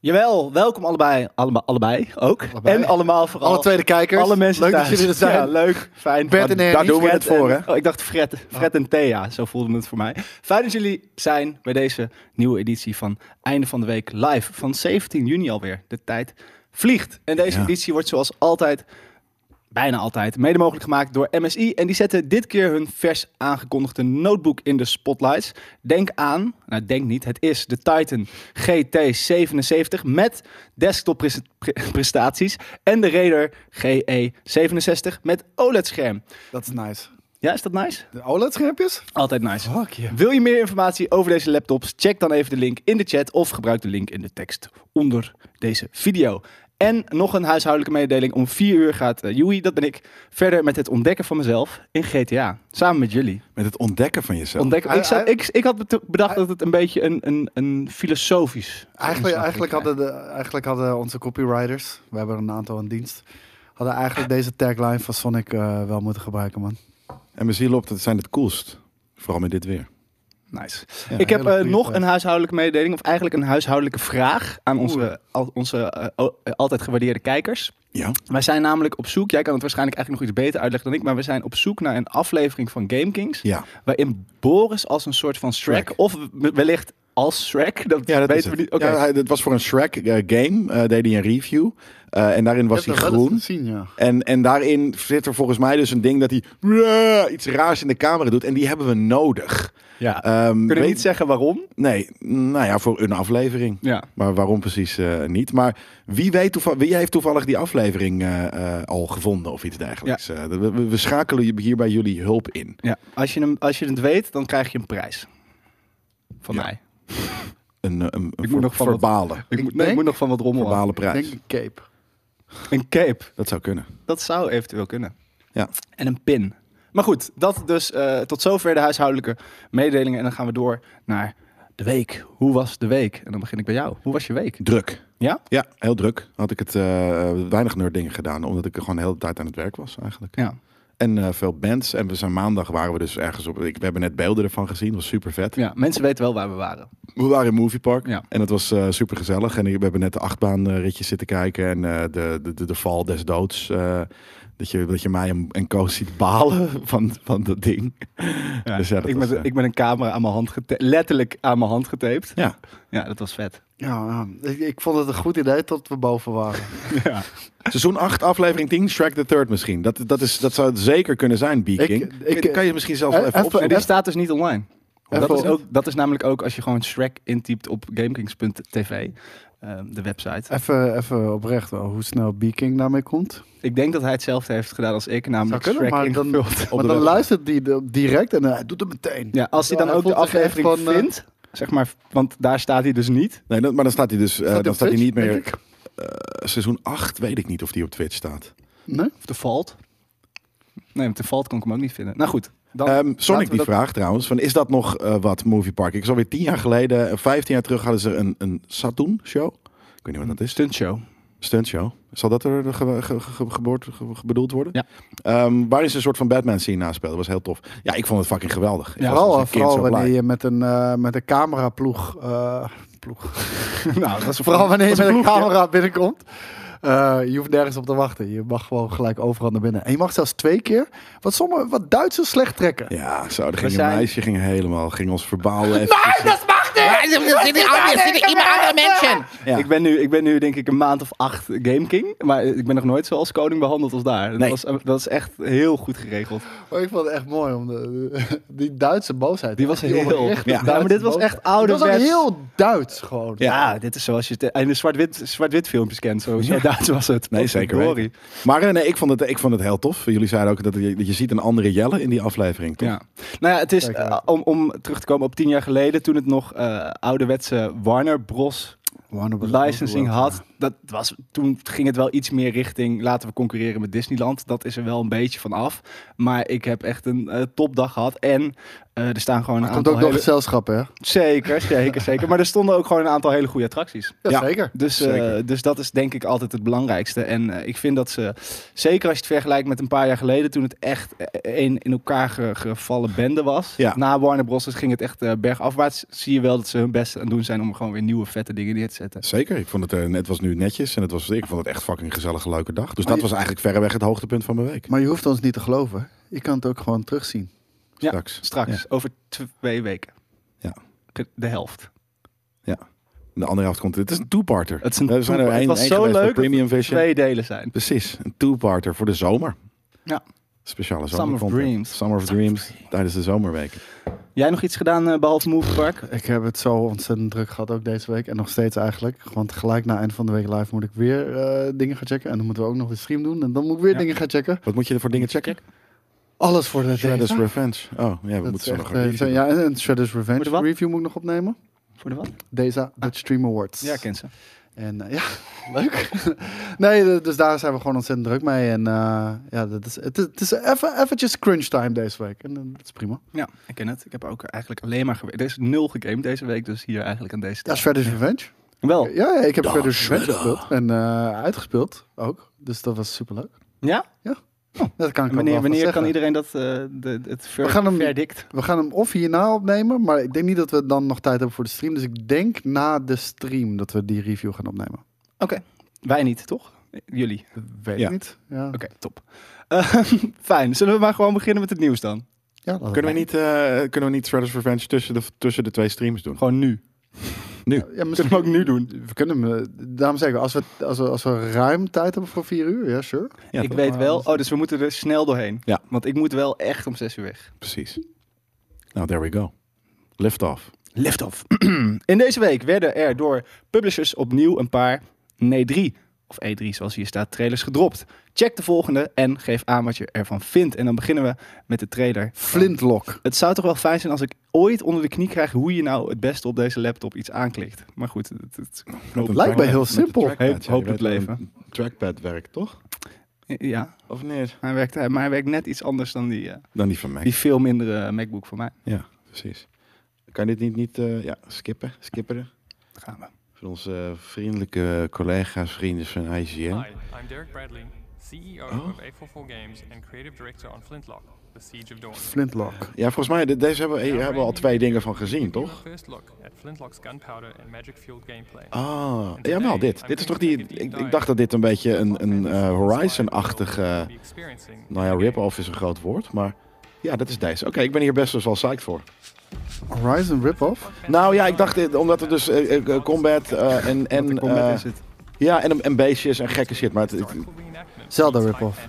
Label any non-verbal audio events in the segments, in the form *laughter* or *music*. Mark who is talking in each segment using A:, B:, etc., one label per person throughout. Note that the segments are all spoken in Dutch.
A: Jawel, welkom allebei. Allemaal, allebei ook.
B: Allebei.
A: En allemaal vooral.
B: Alle tweede kijkers.
A: Alle mensen
B: Leuk
A: thuis.
B: dat jullie er zijn.
A: Ja, leuk, fijn.
B: Bert en Ernie.
C: Daar doen we het
A: Fred
C: voor,
A: en-
C: hè?
A: Oh, ik dacht Fred, Fred en Thea, zo voelde het voor mij. Fijn dat jullie zijn bij deze nieuwe editie van Einde van de Week live. Van 17 juni alweer. De tijd vliegt. En deze
C: Ja.
A: editie wordt zoals altijd, bijna altijd, mede mogelijk gemaakt door MSI. En die zetten dit keer hun vers aangekondigde notebook in de spotlights. Denk aan, nou denk niet, het is de Titan GT77 met *laughs* desktopprestaties en de Raider GE67 met OLED-scherm.
B: Dat is nice.
A: Ja, is dat nice?
B: De OLED-schermpjes?
A: Altijd nice.
B: Fuck je.
A: Wil je meer informatie over deze laptops? Check dan even de link in de chat of gebruik de link in de tekst onder deze video. En nog een huishoudelijke mededeling. Om 4 uur gaat eh, Joey, dat ben ik, verder met het ontdekken van mezelf in GTA. Samen met jullie.
C: Met het ontdekken van jezelf.
A: Ontdekken.
B: Hij-
A: Ik, zou-
B: hij-
A: ik, ik had bet- bedacht dat het een beetje een, een, een filosofisch...
B: Eigenlijk,
A: inslag
B: eigenlijk,
A: ging
B: hadden de, eigenlijk hadden onze copywriters, we hebben er een aantal aan dienst, hadden eigenlijk deze tagline van Sonic eh, wel moeten gebruiken, man.
C: En mijn ziel op, dat zijn het coolst. Vooral met dit weer.
A: Nice.
C: Ja,
A: ik heb
B: hele
A: eh,
B: goede
A: nog
B: vraag.
A: een huishoudelijke mededeling, of eigenlijk een huishoudelijke vraag aan onze, al- onze eh, o- eh, altijd gewaardeerde kijkers.
C: Ja.
A: Wij zijn namelijk op zoek, jij kan het waarschijnlijk eigenlijk nog iets beter uitleggen dan ik, maar we zijn op zoek naar een aflevering van Game Kings,
C: Ja.
A: waarin Boris als een soort van Shrek,
C: Shrek.
A: of wellicht als Shrek, dat,
C: Ja, dat
A: weten we niet. Oké.
C: Ja, hij- dat was voor een Shrek eh, game. eh deed hij een review. Eh, en daarin
B: Je
C: was hij
B: hebt dat wel eens
C: groen.
B: gezien, ja.
C: En, en daarin zit er volgens mij dus een ding dat hij "Bruh", iets raars in de camera doet. En die hebben we nodig.
A: Ja.
C: Ehm,
A: Kunnen we
C: weet-
A: niet zeggen waarom?
C: Nee, nou ja, voor een aflevering.
A: Ja.
C: Maar waarom precies eh, niet? Maar wie, weet toeval- wie heeft toevallig die aflevering eh, eh, al gevonden of iets dergelijks? Eh, we, we- we schakelen hier bij jullie hulp in.
A: ja. Als, je hem, als je het weet, dan krijg je een prijs. Van
C: Ja.
A: mij.
C: Een, eh, een, een
A: moet nog van dat-
C: verbale,
A: Ik,
B: Ik
A: moet, nee, ik
B: denk-
A: moet nog van wat rommel af.
C: verbale
B: Ik
C: prijs.
B: denk een cape.
A: Een cape.
C: Dat zou kunnen.
A: Dat zou eventueel kunnen.
C: Ja.
A: En een pin. Maar goed, dat dus eh, tot zover de huishoudelijke mededelingen. En dan gaan we door naar de week. Hoe was de week? En dan begin ik bij jou. Hoe was je week?
C: Druk.
A: Ja?
C: Ja, heel druk. Had ik het eh, weinig nerd dingen gedaan, omdat ik gewoon de hele tijd aan het werk was eigenlijk.
A: Ja.
C: En eh, veel bands. En we zijn maandag waren we dus ergens op. Ik, we hebben net beelden ervan gezien. Dat was super vet.
A: ja, mensen weten wel waar we waren.
C: We waren in Movie Park.
A: Ja.
C: En dat was eh, super gezellig. En we hebben net de achtbaanritjes ritjes zitten kijken. En eh, de, de, de, de val des doods. eh, dat, je, dat je mij en, en Koos ziet balen *laughs* van, van dat ding. Dus ja, dat
A: ik,
C: was,
A: met,
C: eh,
A: ik met een camera aan mijn hand geta- letterlijk aan mijn hand getaped.
C: Ja,
A: Ja, dat was vet.
B: Ja, ja. Ik, ik vond het een goed idee tot we boven waren.
A: Ja.
C: seizoen 8, aflevering 10, Shrek the Third misschien. Dat, dat, is, dat zou het zeker kunnen zijn, B-King.
B: ik-
C: Kan- Kan je misschien zelfs wel
B: Eh, even-
C: even,
A: En
C: opzoeken?
A: die staat dus niet online. Dat
B: Even-
A: is, ook, dat is namelijk ook als je gewoon Shrek intypt op gamekings.tv, ehm, de website.
B: Even, even oprecht, wel, hoe snel B-King daarmee komt.
A: Ik denk dat hij hetzelfde heeft gedaan als ik, namelijk
B: Zou kunnen,
A: Shrek
B: maar dan-
A: *laughs* ingevuld.
C: de
B: maar dan
C: website.
B: luistert die de- direct en eh, hij doet het meteen.
A: Ja, als hij dan
B: Ja, hij
A: ook de
B: voelt zich echt
A: aflevering
B: van, eh,
A: vindt, zeg maar, want daar staat hij dus niet.
C: Nee, dat- maar dan staat hij dus eh,
B: hij
C: dan
B: op
C: staat hij
B: Twitch,
C: niet meer.
B: denk ik?
C: eh, seizoen 8 weet ik niet of die op Twitch staat.
B: Nee?
A: Of de Valt. Nee, met de Valt kon ik hem ook niet vinden. Nou goed, *laughs* dan
C: Ehm, Sonic
A: laten we
C: die
A: dat-
C: vraag trouwens, van is dat nog eh, wat Movie Park? Ik zal weer tien jaar geleden, eh, vijftien jaar terug hadden ze een, een Satoon show. Ik weet niet wat dat is.
A: stuntshow.
C: Stunt show. Zal dat er eh, ge- ge- ge- geboord- ge- ge- bedoeld worden?
A: Ja.
C: Ehm, waarin ze een soort van Batman scene naspeelden. was heel tof. Ja, ik vond het fucking geweldig. Ik
A: Ja,
C: was als
B: vooral eh,
C: een kind zo
B: vooral
C: blij.
B: wanneer je met een, eh, met een cameraploeg... eh, ploeg.
A: *laughs* nou, dat is
B: Vooral wanneer je
A: dat is
B: met een
A: ploeg, ja.
B: camera binnenkomt. Eh, je hoeft nergens op te wachten. Je mag gewoon gelijk overal naar binnen. En je mag zelfs twee keer, wat, sommige, wat Duitsers slecht trekken.
C: Ja, zo, er ging
A: zijn-
C: een meisje ging helemaal, ging ons verbouwen. eventjes. Ja.
A: Ik, ben nu, ik ben nu denk ik een maand of acht Game King, maar ik ben nog nooit zoals koning behandeld als daar. Dat,
C: Nee.
A: was, dat is echt heel goed geregeld.
B: Oh, ik vond het echt mooi om de- *laughs* die Duitse boosheid.
A: Die was heel-
B: oprechte
C: ja.
A: Ja, maar dit was echt
B: Dat was ook
A: ouderwets.
B: heel Duits gewoon.
A: Ja, dit is zoals je het in de zwart-wit zwart filmpjes kent. Zo, zo Duits was het.
C: Nee, zeker
A: Potverdorie.
C: weten. Maar eh, nee, ik vond, het, ik vond het heel tof. Jullie zeiden ook dat je, dat je ziet een andere Jelle in die aflevering, toch?
A: Ja. Nou ja, het is
B: Kijk, ja.
A: eh, om, om terug te komen op tien jaar geleden, toen het nog eh, ouderwetse Warner Bros. licensing had. Dat was, toen ging het wel iets meer richting laten we concurreren met Disneyland. Dat is er wel een beetje van af. Maar ik heb echt een eh, topdag gehad. En eh, er staan gewoon
B: Maar
A: een
B: komt
A: aantal.
B: ook door
A: hele-
B: gezelschap, hè?
A: Zeker, zeker, zeker. Maar er stonden ook gewoon een aantal hele goede attracties.
C: Ja.
B: zeker.
A: Dus, eh,
C: Zeker.
A: dus dat is denk ik altijd het belangrijkste. En eh, ik vind dat ze, zeker als je het vergelijkt met een paar jaar geleden, toen het echt eh, een in elkaar ge- gevallen bende was.
C: Ja.
A: Na Warner Bros. ging het echt eh, bergafwaarts. Zie je wel dat ze hun best aan het doen zijn om gewoon weer nieuwe vette dingen neer te zetten.
C: Zeker, ik vond het, eh, het was nu netjes en het was, ik vond het echt fucking gezellige leuke dag.
A: Oh,
B: Maar
C: Dus dat
B: je-
C: was eigenlijk verreweg het hoogtepunt van mijn week.
B: Maar je hoeft ons niet te geloven. Je kan het ook gewoon terugzien.
A: Ja.
C: Straks.
A: Straks,
C: Ja.
A: over twee weken.
C: Ja.
A: Ge- De helft.
C: De andere helft komt. Het is een two-parter.
A: Het is een
C: Er zijn er
A: two-parter.
C: één-
A: Het was
C: één
A: zo
C: geweest bij
A: leuk dat
C: Premium Vision.
A: Twee delen zijn.
C: Precies, een two-parter voor de zomer.
A: Ja.
C: Speciale
A: Summer of
C: zomercontent.
A: Dreams.
C: Summer of Dreams tijdens de zomerweken.
A: Jij nog iets gedaan eh, behalve Move Park?
B: Ik heb het zo ontzettend druk gehad ook deze week. En nog steeds eigenlijk. Want gelijk na eind van de week live moet ik weer eh, dingen gaan checken. En dan moeten we ook nog de stream doen. En dan moet ik weer
A: Ja.
B: dingen gaan checken.
C: Wat moet je er voor dingen checken?
B: Alles voor de
C: Shredder's
B: data.
C: Revenge. Oh, ja, we
B: Dat
C: moeten
B: is
C: zo
B: echt,
C: nog
B: eh,
C: een
B: zo-
C: review
B: ja, en Shredder's
A: Voor de
B: Revenge
A: wat?
B: review moet ik nog opnemen.
A: Voor de wat?
C: Ah.
B: Deze Dutch Stream Awards.
A: Ja, ken ze.
B: En eh, ja, *laughs* leuk. nee, d- dus daar zijn we gewoon ontzettend druk mee. En eh, ja, dat is, het is, het is even, eventjes crunch time deze week. En eh, dat is prima.
A: Ja, ik ken het. Ik heb ook eigenlijk alleen maar gewerkt. Er is nul gegamed deze week, dus hier eigenlijk aan deze
B: Ja,
A: tijd.
B: Shredder's Revenge.
A: Wel,
B: Ja, ja, ik heb
C: Dag,
B: Shredder's Revenge
C: Shredder.
B: gespeeld. En eh, uitgespeeld ook. Dus dat was superleuk.
A: ja?
B: Dat kan ik ook wel
A: Wanneer,
B: van
A: wanneer
B: zeggen.
A: kan iedereen dat, eh, de, het ver,
B: We gaan hem-
A: verdict?
B: We gaan hem of hierna opnemen, maar ik denk niet dat we dan nog tijd hebben voor de stream. Dus ik denk na de stream dat we die review gaan opnemen.
A: Wij niet, toch? Jullie. Oké,
B: Weet
C: Ja.
B: ik niet. Ja,
A: top. Eh, *laughs* fijn. Zullen we maar gewoon beginnen met het nieuws dan?
B: ja laten
C: Kunnen we niet, eh, kunnen we niet Shredder's Revenge tussen de, tussen de twee streams doen?
A: Gewoon nu.
B: Ja, misschien-
A: Kunnen we ook nu doen.
B: We kunnen hem, eh, daarom zeggen, als we, als, we, als we ruim tijd hebben voor vier uur, ja, sure.
C: Ja,
A: ik
C: toch?
A: weet
B: Maar
A: wel.
B: anders-
A: Oh, dus we moeten er snel doorheen.
C: Ja.
A: Want ik moet wel echt om zes uur weg.
C: Precies. Nou, there we go. Lift off.
A: Liftoff. *clears throat* In deze week werden er door publishers opnieuw een paar, nee drie, of E3 zoals hier staat, trailers gedropt. Check de volgende en geef aan wat je ervan vindt. En dan beginnen we met de trailer. van-
B: Flintlock.
A: Het zou toch wel fijn zijn als ik ooit onder de knie krijg hoe je nou het beste op deze laptop iets aanklikt. Maar goed, het, het-
C: Met een
B: Lijkt
C: trackpad-
B: me heel
C: met een
B: simpel.
C: trackpad,
A: Hoop-
C: ja, je
A: hoop
C: weet
A: het
C: hoe
A: leven.
C: een Trackpad werkt, toch?
A: ja,
C: Of niet?
A: hij werkt, maar hij werkt net iets anders dan die, eh,
C: Dan die van mij.
A: die veel mindere eh, MacBook van mij.
C: Ja, precies. Kan je dit niet, niet eh, ja, skippen? Skipperen?
A: Daar gaan we.
C: Voor onze vriendelijke collega's, vrienden van IGN.
D: Hi, I'm Derek Bradley, CEO
C: Oh.
D: of A44 Games and creative director on Flintlock, The Siege of
C: Oh.
D: Dawn.
B: Flintlock.
C: Ja, volgens mij, de- deze hebben, we- hier hebben we al twee dingen van gezien, toch?
D: First look at Flintlock's gunpowder and magic-fueled gameplay.
C: Ah, jawel, dit. Dit is toch die... Ik, ik dacht dat dit een beetje een, een eh, Horizon-achtige... eh, nou ja, rip-off is een groot woord, maar... Ja, dat is deze. Oké, ik ben hier best dus wel psyched voor.
B: Horizon Rip-Off.
C: Nou ja, ik dacht, eh, omdat er dus eh, eh, combat eh, en... en
A: En, combat
C: eh,
A: is het.
C: ja, en, en beestjes en gekke shit, maar het, het-
B: Zelda rip-off.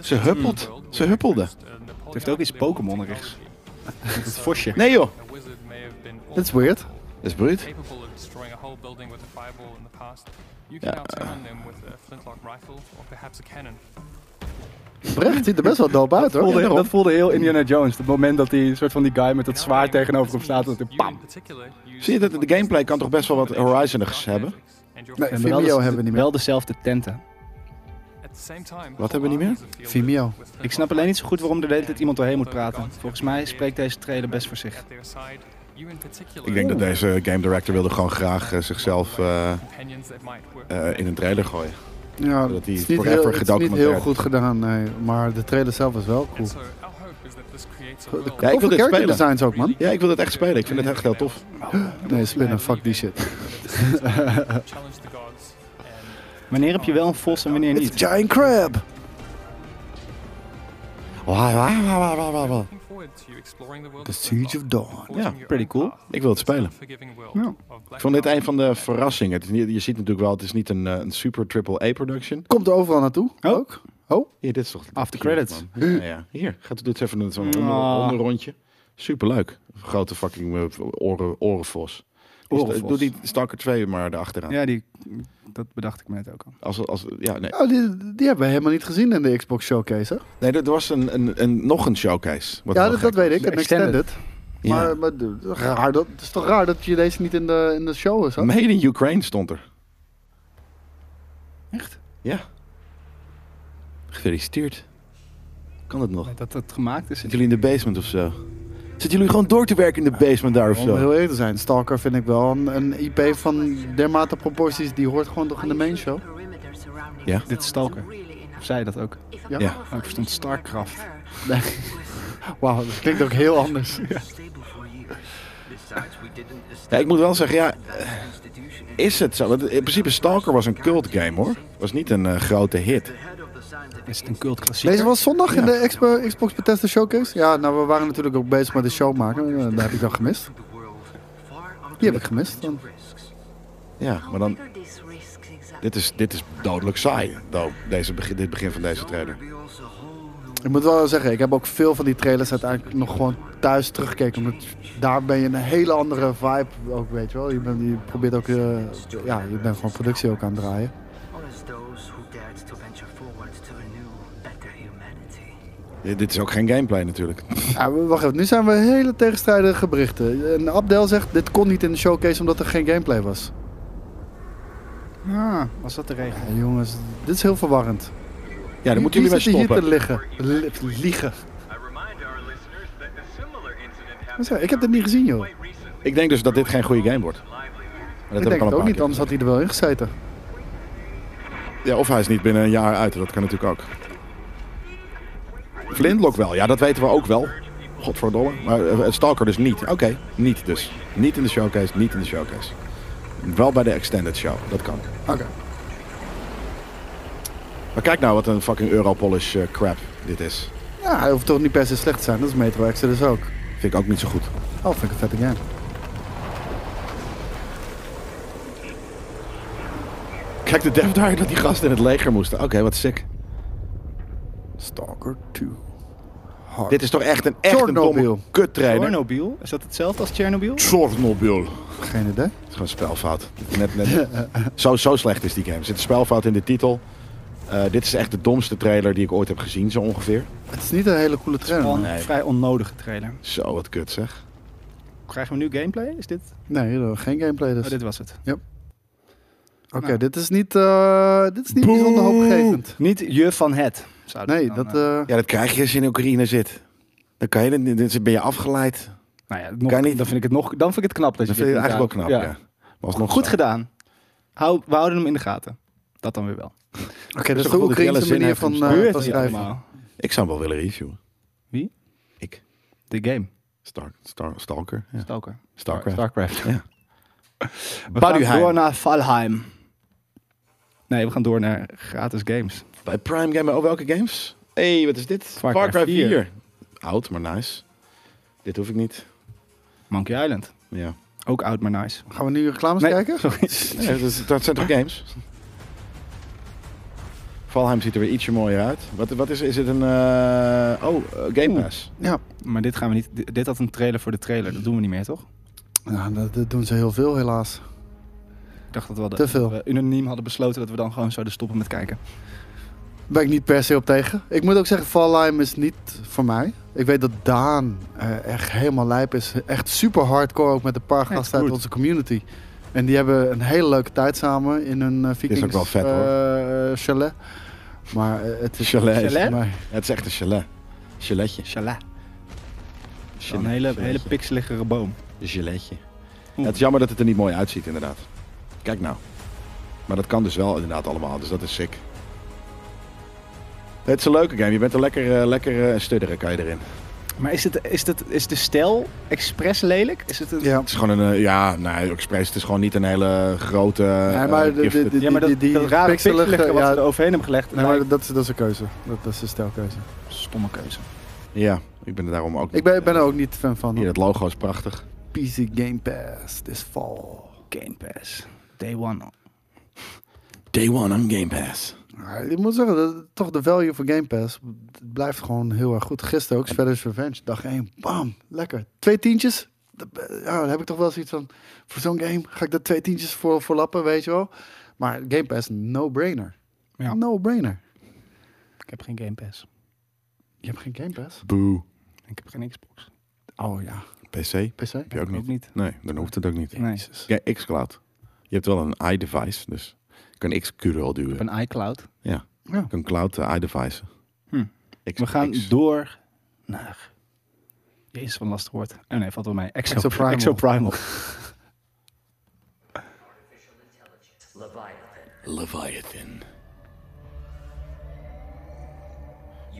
C: Ze huppelt. Ze huppelde.
D: Het
A: heeft ook iets Pokémon-erigs.
C: *laughs*
A: Het vosje.
C: Nee joh,
B: Dat is weird.
C: dat is bruut.
D: Capable of destroying a whole building with a fireball in the past, you
C: Ja.
D: can now turn them with a flintlock rifle or perhaps a cannon.
B: Brecht ziet er best wel dope uit, hoor.
A: voelde,
B: Ja,
A: dat voelde heel Indiana Jones. Het moment dat die soort van die guy met dat zwaar tegenover hem staat. Dat hij pam.
C: Zie je, dat de gameplay kan toch best wel wat Horizonigs hebben?
B: Nee,
A: En
B: Vimeo
A: wel de-
B: hebben we niet meer.
A: Wel dezelfde tenten.
C: Wat hebben we niet meer?
B: Vimeo.
A: Ik snap alleen niet zo goed waarom er de hele tijd iemand doorheen moet praten. Volgens mij spreekt deze trailer best voor zich.
C: Ik denk dat deze game director wilde gewoon graag eh, zichzelf eh, eh, in een trailer gooien.
B: Ja,
C: Dat
B: het
C: die
B: is niet
C: forever
B: heel, het is niet
C: gedocumenteerd.
B: heel goed gedaan, nee. Maar de trailer zelf is wel cool. De
C: Ja, ik wil dit
B: character
C: spelen.
B: designs ook, man.
C: Ja, ik wil dat echt spelen. Ik vind het echt heel tof.
B: Nee, spinnen, fuck die shit.
A: Wanneer heb je wel een vos en wanneer
B: It's
A: niet?
B: a giant crab.
C: Wauw, wauw, wauw, wauw, wauw, wauw.
D: The
B: The Siege of Dawn.
C: Ja,
A: pretty cool.
C: Ik wil het spelen. Ik vond dit een van de verrassingen. Het is niet, je ziet natuurlijk wel, het is niet een, eh, een super triple A production.
B: Komt er overal naartoe, ook. Oh,
C: Hier, dit is toch...
A: After credits.
C: man. Ja, ja. Hier, gaat doet even een zo'n onder,
A: Ah.
C: onderrondje. Superleuk. Grote fucking eh, oren, orenvos. Die sta-
A: Orenvos.
C: Doe die Stalker 2 maar erachteraan.
A: Ja, die, dat bedacht ik me net ook al.
C: Als, als, ja, nee.
B: oh die, die hebben we helemaal niet gezien in de Xbox Showcase, hè?
C: nee, er was een, een, een, nog een showcase. Wat
B: Ja,
C: wel
B: dat,
C: gek
B: dat weet
C: was.
B: ik.
A: De
B: Een extended.
C: Ja.
B: Maar, maar d- raar, dat, het is toch raar dat je deze niet in de, in de show zat?
C: Made in Ukraine stond er.
A: Echt?
C: Ja. Gefeliciteerd. Kan het nog?
A: Dat dat gemaakt is.
C: Zitten jullie in de basement of zo? Zitten jullie gewoon door te werken in de basement daar of
B: Om heel
C: zo?
B: eerlijk te zijn, Stalker vind ik wel een, een IP van dermate proporties. Die hoort gewoon toch in de main show?
C: Ja.
A: Dit is Stalker. Of zei dat ook?
B: Ja.
C: Ja.
A: Oh, ik verstond Starcraft.
B: *laughs* Wauw, dat klinkt ook heel anders.
E: Stable for years. This
C: Ja, ik moet wel zeggen, ja, is het zo? Want in principe Stalker was een cult game hoor. Was niet een eh, grote hit.
A: Is het een cult klassieker?
B: Deze was zondag in
C: Ja.
B: de Xbox, Xbox Bethesda Showcase. Ja, nou, we waren natuurlijk ook bezig met de show maken. Eh, Dat heb ik dan gemist. Die heb ik gemist dan.
C: Ja, maar dan, dit is, dit is dodelijk saai. do- Deze, begin- dit begin van deze trailer.
B: Ik moet wel zeggen, ik heb ook veel van die trailers uiteindelijk nog gewoon thuis teruggekeken. Omdat daar ben je een hele andere vibe ook, weet je wel. Je, bent, je probeert ook, eh, ja, je bent gewoon productie ook aan het draaien.
C: Dit, dit is ook geen gameplay natuurlijk.
B: Ja, maar wacht even, nu zijn we hele tegenstrijdige berichten. En Abdel zegt, dit kon niet in de showcase omdat er geen gameplay was.
A: Ah, was dat de regel?
B: Ja, jongens, dit is heel verwarrend.
C: Ja, dan moeten
B: Wie-
C: jullie
B: wie zit
C: maar
B: hier te
C: stoppen.
B: liggen. Li- liegen.
E: I remind our listeners that a similar incident
B: Wat
E: happened
B: zeg, Ik heb dit niet gezien, joh.
E: quite recently.
C: Ik denk dus dat dit geen goede game wordt. Maar dat
B: ik
C: heb
B: denk
C: al
B: het
C: een
B: ook
C: paar
B: niet,
C: keer
B: anders had hij er wel in gezeten.
C: Ja, of hij is niet binnen een jaar uit. Dat kan natuurlijk ook. Flintlock wel. Ja, dat weten we ook wel. Godverdomme. Maar eh, Stalker dus niet. Oké, niet dus. Niet in de showcase, niet in de showcase. Wel bij de extended show. Dat kan.
B: Oké.
C: Maar kijk nou wat een fucking Europolish eh, crap dit is.
B: Ja, hij hoeft toch niet per se slecht te zijn. Dat is Metro Exodus ook.
C: Vind ik ook niet zo goed.
B: Oh, vind ik een vette game.
C: Kijk de dev daar dat die gasten in het leger moesten. Oké, wat sick.
B: Stalker 2.
C: Dit is toch echt een echt een domme
B: Chernobyl.
C: kut trainer.
A: Chernobyl? Is dat hetzelfde als Chernobyl?
C: Chernobyl.
B: Geen idee.
C: Het is gewoon een spelfout. Net, net, zo, zo slecht is die game. Er zit een spelfout in de titel. Eh, dit is echt de domste trailer die ik ooit heb gezien, zo ongeveer.
B: Het is niet een hele coole trailer.
A: Gewoon
B: man.
A: een vrij onnodige trailer.
C: Zo, wat kut zeg.
A: Krijgen we nu gameplay? Is dit?
B: Nee, er was geen gameplay dus.
A: Oh, dit nou. was het.
B: Oké, dit is niet, eh, dit is niet bijzonder hoopgevend.
A: Niet je van het. zou dit
B: Nee,
A: dan,
B: dat...
A: eh,
B: eh,
C: Ja, dat krijg je als je in Oekraïne zit. Dan kan je dat niet, dan ben je afgeleid.
A: nou ja, nog-
C: kan niet.
A: dan vind ik het nog. Dan vind ik het knap dat je
C: Dat vind je
A: dit
C: eigenlijk ook
A: doet.
C: knap,
A: Ja.
C: ja. Maar alsnog
A: Goed
C: zo.
A: gedaan. Hou, we houden hem in de gaten. Dat dan weer wel.
B: Oké, dat is de
C: zo'n goed dat Jelle
B: Oekraïnse
C: zin
B: manier
C: heeft om
B: van,
C: te
B: eh,
A: Gebeurt
B: van
A: niet
B: schrijven.
A: allemaal.
C: Ik zou hem wel willen reviewen.
A: Wie?
C: Ik.
A: De game.
C: Star, star, stalker. Ja.
A: Stalker.
C: Starcraft.
A: Starcraft.
C: Ja.
A: We gaan
C: Baduheim.
A: door naar Valheim. Nee, we gaan door naar gratis games.
C: Bij Prime Game, oh welke games? Hé, hey, wat is dit?
A: Far Cry 4.
C: Oud, maar nice. Dit hoef ik niet.
A: Monkey Island.
C: Ja.
A: Ook oud, maar nice.
B: Gaan we nu reclames
A: Nee,
B: kijken?
A: sorry. *laughs*
C: Nee, dat, dat zijn *clears throat* toch games? Valheim ziet er weer ietsje mooier uit. Wat, wat is, is het een... eh, oh, eh, Game Pass.
B: Ja.
A: Maar dit gaan we niet. Dit, dit had een trailer voor de trailer. Dat doen we niet meer, toch?
B: Nou, dat, dat doen ze heel veel helaas.
A: Ik dacht dat we, hadden,
B: Te veel.
A: we unaniem hadden besloten dat we dan gewoon zouden stoppen met kijken.
B: Ben ik niet per se op tegen. Ik moet ook zeggen, Valheim is niet voor mij. Ik weet dat Daan eh, echt helemaal lijp is. Echt super hardcore, ook met een paar
A: Echt
B: gasten uit
A: goed.
B: onze community. En die hebben een hele leuke tijd samen in hun eh Vikings
C: ook wel vet,
B: eh,
C: hoor.
B: eh, chalet. Maar eh, het is...
C: Chalet. is-
A: Chalet?
B: Maar,
C: Ja, het is echt een chalet. Chaletje.
A: Shala.
C: Chalet.
A: Een hele,
C: Chaletje.
A: hele pixeligere boom.
C: Giletje.
A: Oeh.
C: het is jammer dat het er niet mooi uitziet, inderdaad. Kijk nou. Maar dat kan dus wel inderdaad allemaal, dus dat is sick. Het is een leuke game. Je bent er lekker, eh, lekker eh, studderen kan je erin.
A: Maar is, het, is, het, is de stijl expres lelijk? Is het een...
B: ja.
C: Het is gewoon een... eh, ja, nee, Express. Het is gewoon niet een hele grote...
B: Nee, maar
C: eh,
B: de- de-
C: gifted-
B: de-
A: Ja, maar dat,
B: die- die
A: dat rare
B: pixelige-
A: pixelige wat
B: ja.
A: ze er overheen hebben gelegd.
B: Nee,
A: lijkt-
B: maar dat is, dat is een keuze. Dat, dat is een stijlkeuze.
A: Stomme keuze.
C: Ja, ik ben er daarom ook
B: Ik ben, ik ben er ook niet fan van.
C: Hier, het logo is prachtig.
B: PC Game Pass this fall.
A: Game Pass. Day one.
C: Day one on Game Pass.
B: Maar Ik moet zeggen, dat, toch de value van Game Pass het blijft gewoon heel erg goed. Gisteren ook, Shredder's Revenge, dag 1, bam, lekker. Twee tientjes, Dat- eh, ja, daar heb ik toch wel zoiets van, voor zo'n game ga ik daar twee tientjes voor, voor lappen, weet je wel. Maar Game Pass, no-brainer.
A: Ja.
B: No-brainer.
A: Ik heb geen Game Pass.
B: Je hebt geen Game Pass?
C: Boo.
A: Ik heb geen Xbox.
B: Oh ja.
C: PC? Heb
B: PC?
C: je ook
A: Ook
C: niet?
A: niet.
C: Nee, dan hoeft het ook niet.
A: Nee. Ik
B: Jezus.
C: Ja, xCloud. Je hebt wel een iDevice, dus je kan xQL duwen.
A: heb een iCloud.
C: Je kan cloud eh, iDevice.
A: Hm.
C: X-
A: We gaan
C: X-
A: door naar... Jezus, van lastig woord. Oh nee, valt wel mee. Exo,
B: Exoprimal.
A: Exoprimal.
C: Leviathan.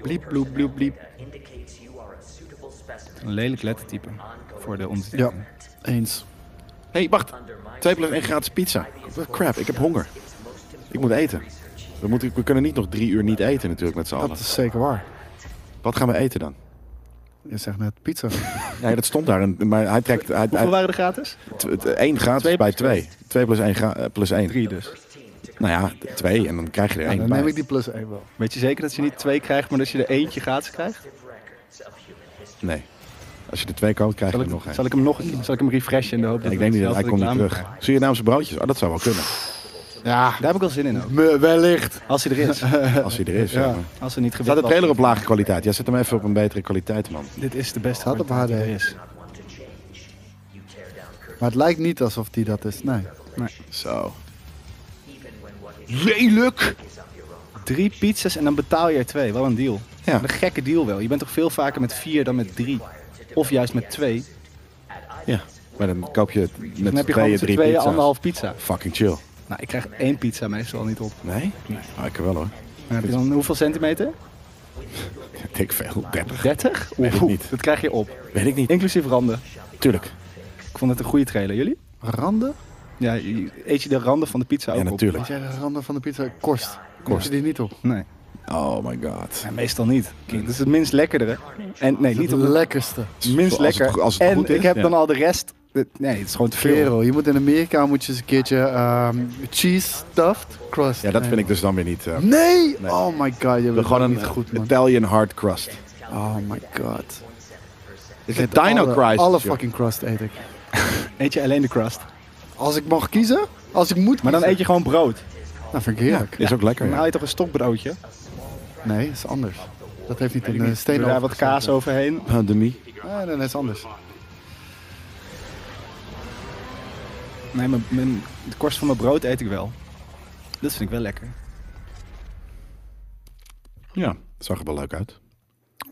A: Bliep, bloep, bloep, bliep.
F: indicates you are a suitable specimen.
A: Een lelijk lettertype voor de ons.
B: Ja, eens.
C: Hé, hey, wacht. Twee plus één gratis pizza. Wat crap, ik heb honger. Ik moet eten. We, moeten, we kunnen niet nog drie uur niet eten natuurlijk met z'n allen.
B: Dat is zeker waar.
C: Wat gaan we eten dan?
B: Je zegt net
A: *laughs*
B: pizza.
C: Nee, dat stond daar. en- Maar hij trekt... Hij,
A: Hoeveel
C: hij,
A: waren er gratis?
C: t- t- één gratis
A: Twee
C: bij
A: plus
C: twee. Twee plus één gra- eh, plus één.
A: Drie dus.
C: Nou ja, twee. En dan krijg je er één
B: Dan
C: bij.
B: neem ik die plus één wel.
A: Weet je zeker dat je niet twee krijgt, maar dat je er eentje gratis krijgt?
C: Nee. Als je er twee koopt, krijg je
A: Zal
C: er nog
A: ik,
C: één.
A: zal ik hem nog een keer- zal ik hem refreshen in de hoop dat
C: ik denk niet dat hij komt niet
A: dezelfde reclame
C: terug. Surinaamse broodjes. Oh, dat zou wel kunnen.
A: krijgt. Daar heb ik wel zin in ook.
B: Me, wellicht.
A: Als hij er is.
C: Als hij er is. *laughs* Ja.
A: Als er niet gebeurt.
C: Staat de trailer op lage kwaliteit? Ja, zet hem even op een betere kwaliteit, man.
A: Dit is de beste
B: Staat op
A: kwaliteit die
B: HD.
A: er is.
B: Maar het lijkt niet alsof die dat is. Nee.
C: Zo.
A: Drie pizzas en dan betaal je er twee. Wel een deal.
C: Ja.
A: Een gekke deal wel. Je bent toch veel vaker met vier dan met drie. Of juist met twee.
C: Ja. Maar dan koop je met
A: Dan heb je gewoon
C: tweeën
A: met z'n
C: drie
A: tweeën
C: pizza's.
A: anderhalf pizza.
C: Fucking chill.
A: Nou, ik krijg één pizza meestal niet op.
C: Nee? Ah, ik wel hoor. *laughs*
A: Maar heb je dan hoeveel centimeter?
C: Ik denk veel. 30.
A: 30?
C: Weet ik
A: Oeh,
C: niet.
A: Dat krijg je op.
C: Weet ik niet.
A: Inclusief randen.
C: Tuurlijk.
A: Ik vond het een goede trailer. Jullie?
B: Randen?
A: Ja, je- eet je de randen van de pizza ook
C: Ja, natuurlijk.
B: Als jij de randen van de pizza kost, kost je die niet op.
A: op? Nee.
C: Oh my god.
A: Ja, meestal niet. Dat is het minst lekkerdere. En nee, niet
B: Niet de
A: op het
B: lekkerste.
A: minst
C: Als het
A: lekker.
C: go- als het
A: en
C: goed is,
A: ik heb
C: ja.
A: dan al de rest. Nee, het is gewoon te veel.
B: Kerel, je moet in Amerika moet je eens een keertje ehm, cheese stuffed crust.
C: Ja, dat
B: nemen.
C: vind ik dus dan weer niet. eh,
B: Nee! Oh my god, je bent
C: gewoon
B: gewoon
C: een eh,
B: niet goed, man.
C: Italian hard crust.
B: Oh my god.
C: Is het Dino
B: alle,
C: Crisis?
B: Alle
C: joh.
B: fucking crust eet ik.
A: Eet je alleen de crust.
B: Als ik mag kiezen? Als ik moet
A: Maar dan eet je gewoon brood.
B: Nou, vind ik heerlijk.
C: Is ook lekker.
A: Dan haal
C: Ja.
A: je toch een stokbroodje?
B: Nee, is anders. Dat heeft niet een eh,
A: Doe
B: steen
A: daar
B: over
A: wat kaas overheen.
C: Ah, Demi.
B: Nee, nee, dat is anders.
A: Nee, mijn, mijn, de korst van mijn brood eet ik wel. Dat vind ik wel lekker.
C: Ja, zag er wel leuk uit.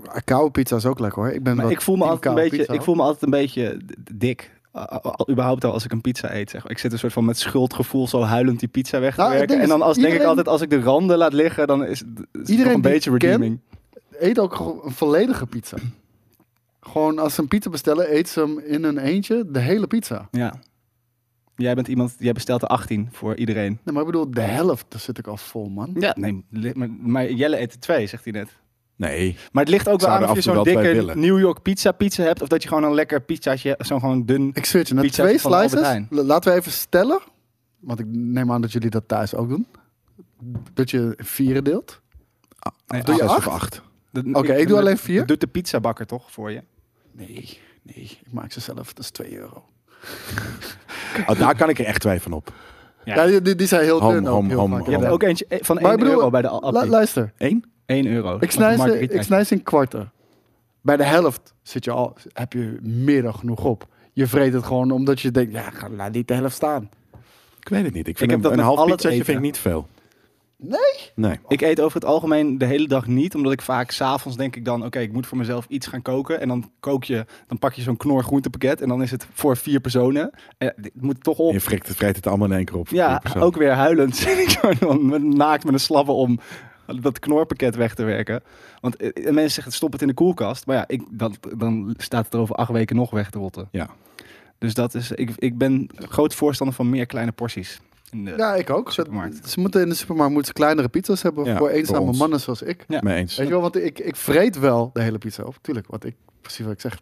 B: Ah, Koude pizza is ook lekker hoor. Ik ben
A: Maar
B: wel
A: ik voel, me
B: team
A: altijd een
B: koude
A: beetje,
B: pizza,
A: ik voel me altijd een beetje d- d- dik. Uh, al- überhaupt al als ik een pizza eet. Zeg. maar. Ik zit een soort van met schuldgevoel zo huilend die pizza weg te
B: Nou, het
A: werken. En
B: ding is,
A: dan als, denk ik
B: iedereen-
A: altijd, als ik de randen laat liggen, dan is, het- is het
B: Iedereen
A: nog een
B: die
A: beetje
B: ik ken-
A: redeeming.
B: hoor. Eet ook gewoon een volledige pizza. Gewoon als ze een pizza bestellen, eet ze hem in een eentje de hele pizza.
A: Ja. Jij bent iemand, jij bestelt de 18 voor iedereen.
B: Nee, maar ik bedoel, de helft, daar zit ik al vol, man.
A: Ja, nee, li- maar, maar Jelle eet er twee, zegt hij net.
C: Nee.
A: Maar het ligt ook wel
C: Zou
A: aan
C: er
A: of je zo'n
C: af en toe wel twee
A: dikke
C: willen.
A: New York pizza pizza hebt. Of dat je gewoon een lekker pizzaatje, zo'n gewoon dun...
B: Ik zweer het je, na
A: Pizzaatje
B: twee
A: van Albert
B: slices,
A: Heijn.
B: la- laten we even stellen, want ik neem aan dat jullie dat thuis ook doen, dat je vieren deelt.
A: Nee,
B: Doe je
C: Zes
B: acht?
C: of acht.
A: Oké,
B: Oké, ik doe alleen vier.
A: doet de pizzabakker toch voor je?
B: Nee, nee, ik maak ze zelf, dat is 2 euro.
C: Oh, daar kan ik er echt twee van op.
A: Ja.
B: Ja, die- die, die zijn heel
C: Home,
B: dun ook,
C: home,
B: heel
C: home,
B: vaak.
A: Je hebt
C: Ja.
A: er ook eentje eh, van
B: Maar
A: 1
B: ik bedoel,
A: euro bij de
B: lu-
A: appie.
B: luister,
C: Één?
A: 1 euro.
B: ik snij, ze,
A: Margarita.
B: ik snij ze in kwarten. Bij de helft zit je al, heb je meer dan genoeg op. Je vreet het gewoon omdat je denkt, ja, ga- laat niet de helft staan.
C: Ik weet het niet. Ik vind
A: heb
C: een,
A: dat
C: een
A: met
C: half
A: al het
C: pizzaatje vind ik
A: eten.
C: niet veel.
B: Nee?
C: Nee.
A: Ik eet over het algemeen de hele dag niet, omdat ik vaak s'avonds denk ik dan, oké, ik moet voor mezelf iets gaan koken. En dan kook je, dan pak je zo'n knor groentepakket en dan is het voor vier personen. Eh, dit moet toch op.
C: Je frikt, vreet het allemaal in één keer op. voor
A: Ja,
C: één persoon.
A: ook weer huilend *laughs* zit ik zo dan met- naakt met een slabbe om dat knorpakket weg te werken. Want eh, eh, mensen zeggen, stop het in de koelkast. Maar ja, ik, dat, dan staat het er over acht weken nog weg te rotten.
C: Ja.
A: Dus dat is, ik, ik ben groot voorstander van meer kleine porties. In de-
B: Ja, ik ook. Ze-
A: Supermarkt.
B: Ze moeten in de supermarkt moeten ze kleinere pizza's hebben
C: Ja,
B: voor
C: voor
B: eenzame
C: ons.
B: mannen zoals ik.
A: Ja.
C: Mee eens.
B: Weet je wel, want ik, ik vreet wel de hele pizza op. Tuurlijk, want ik, precies wat ik zeg,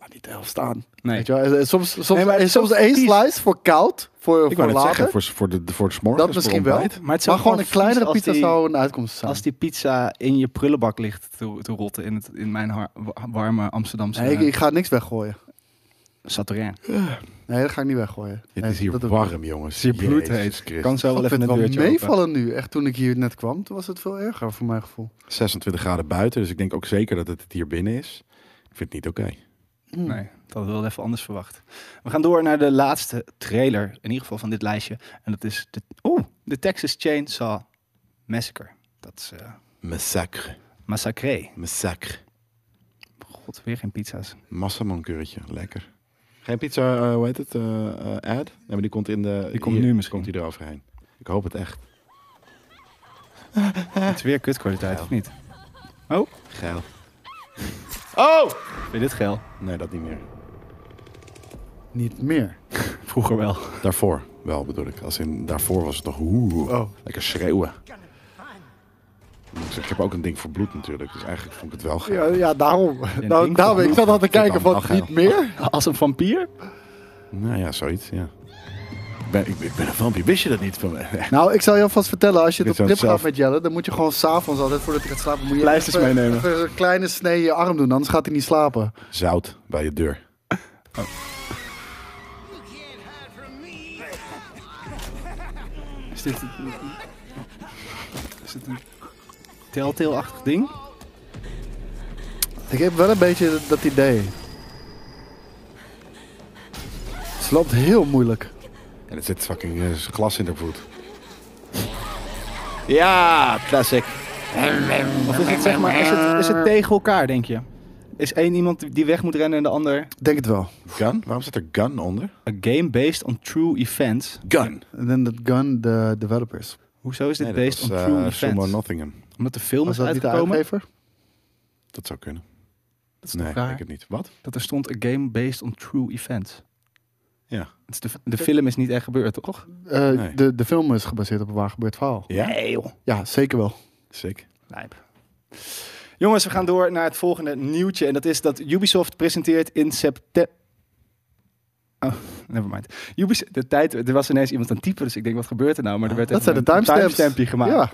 B: laat niet de helft staan.
A: Nee.
B: Weet je wel, en- en soms, soms,
A: Nee, maar het
B: en
A: is
B: soms
A: zo
B: één
A: vies.
B: slice voor koud, voor,
C: Ik
B: voor
C: wou net
B: later.
C: zeggen, voor, voor de, voor s morgens,
B: dat
C: voor
B: misschien wel.
C: ontbijt.
A: Maar
B: Maar,
A: het is ook
B: gewoon
A: wel
B: een kleinere
A: vies als
B: pizza
A: die-
B: zou een uitkomst zijn.
A: Als die pizza in je prullenbak ligt te, te rotten in, het, in mijn har- wa- warme Amsterdamse eh,
B: Nee, ik, ik ga niks weggooien.
A: Saturin.
B: Nee, dat ga ik niet weggooien.
C: Het
B: Nee,
C: is hier
B: dat doe ik
C: warm, jongens.
A: Zie je bloed
C: Jezus
A: heet.
C: Christus.
A: Kan zo
B: Ik
A: wel even
B: vind het
A: een
B: wel
A: deurtje open.
B: meevallen nu. Echt toen ik hier net kwam, toen was het veel erger voor mijn gevoel.
C: 26 graden buiten, dus ik denk ook zeker dat het het hier binnen is. Ik vind het niet oké.
B: Mm.
A: Nee, dat hadden we wel even anders verwacht. We gaan door naar de laatste trailer, in ieder geval van dit lijstje. En dat is de, oh, de Texas Chainsaw Massacre. Dat is eh
C: Massacre.
A: massacre.
C: Massacre.
A: God, weer geen pizza's.
C: Massamankeurtje, lekker. Geen pizza, eh, hoe heet het? eh, eh, ad? Nee, maar die komt in de...
A: Die komt
C: hier
A: nu misschien.
C: Komt die eroverheen. Ik hoop het echt.
B: Eh.
A: Het is weer kutkwaliteit, of niet? Oh,
C: Geil.
A: vind je dit geil?
C: Nee, dat niet meer.
B: Niet meer.
A: Vroeger wel.
C: Daarvoor wel bedoel ik. Als in, daarvoor was het nog oeh, lekker schreeuwen. Ik heb ook een ding voor bloed natuurlijk. Dus eigenlijk vond ik het wel geil.
B: Ja, ja daarom. Nou,
A: ding
B: daarom. Ik zat al te kijken
C: dan
B: van,
C: wel
B: niet
C: geil.
B: meer?
A: Als een vampier?
C: Nou ja, zoiets, ja. Ik ben, ik, ik ben een vampie. Wist je dat niet van eh, mij?
B: Nou, ik zal je alvast vertellen. Als je
C: Dit
B: het op
C: zou
B: trip
C: zelf-
B: gaat met Jelle, dan moet je gewoon s'avonds altijd, voordat je gaat slapen, moet je
A: Pleisters
B: even-
A: meenemen.
B: even een kleine snee in je arm doen, anders gaat hij niet slapen.
C: *laughs* Zout bij je deur.
A: Is dit een, is dit een telltale-achtig ding?
B: Ik heb wel een beetje dat idee. Ze loopt heel moeilijk.
C: En er zit fucking eh, glas in de voet.
A: Ja, classic. Of is het zeg maar, is het, is het tegen elkaar, denk je? Is één iemand die weg moet rennen en de ander...
B: Ik Denk het wel.
C: Gun? Waarom zit er gun onder?
A: A game based on true events.
C: Gun.
B: En dan dat gun de developers.
A: Hoezo is dit
C: Nee,
A: based
C: dat
A: on
C: was,
A: true
C: eh, Sumo
A: events?
C: Nottingham.
A: Omdat de film
B: Was
A: is
B: dat niet de
A: uitgekomen?
B: uitgever?
C: Dat zou kunnen.
A: Dat is
C: Nee,
A: toch raar?
C: ik het niet. Wat?
A: Dat er stond a game based on true events.
C: Ja.
A: Het is de, de film is niet echt gebeurd, toch?
B: Eh,
C: Nee.
B: de, de film is gebaseerd op een waar gebeurd verhaal.
C: Ja?
A: joh.
B: Ja, zeker wel.
C: Sick.
A: Lijp. Jongens, we gaan door naar het volgende nieuwtje. En dat is dat Ubisoft presenteert in september... Oh, nevermind. Ubis- de tijd, er was ineens iemand aan het typen, dus ik denk, wat gebeurt er nou? Maar er werd
B: Dat
A: even
B: zijn de timestamps.
A: een timestampje gemaakt.
B: Ja,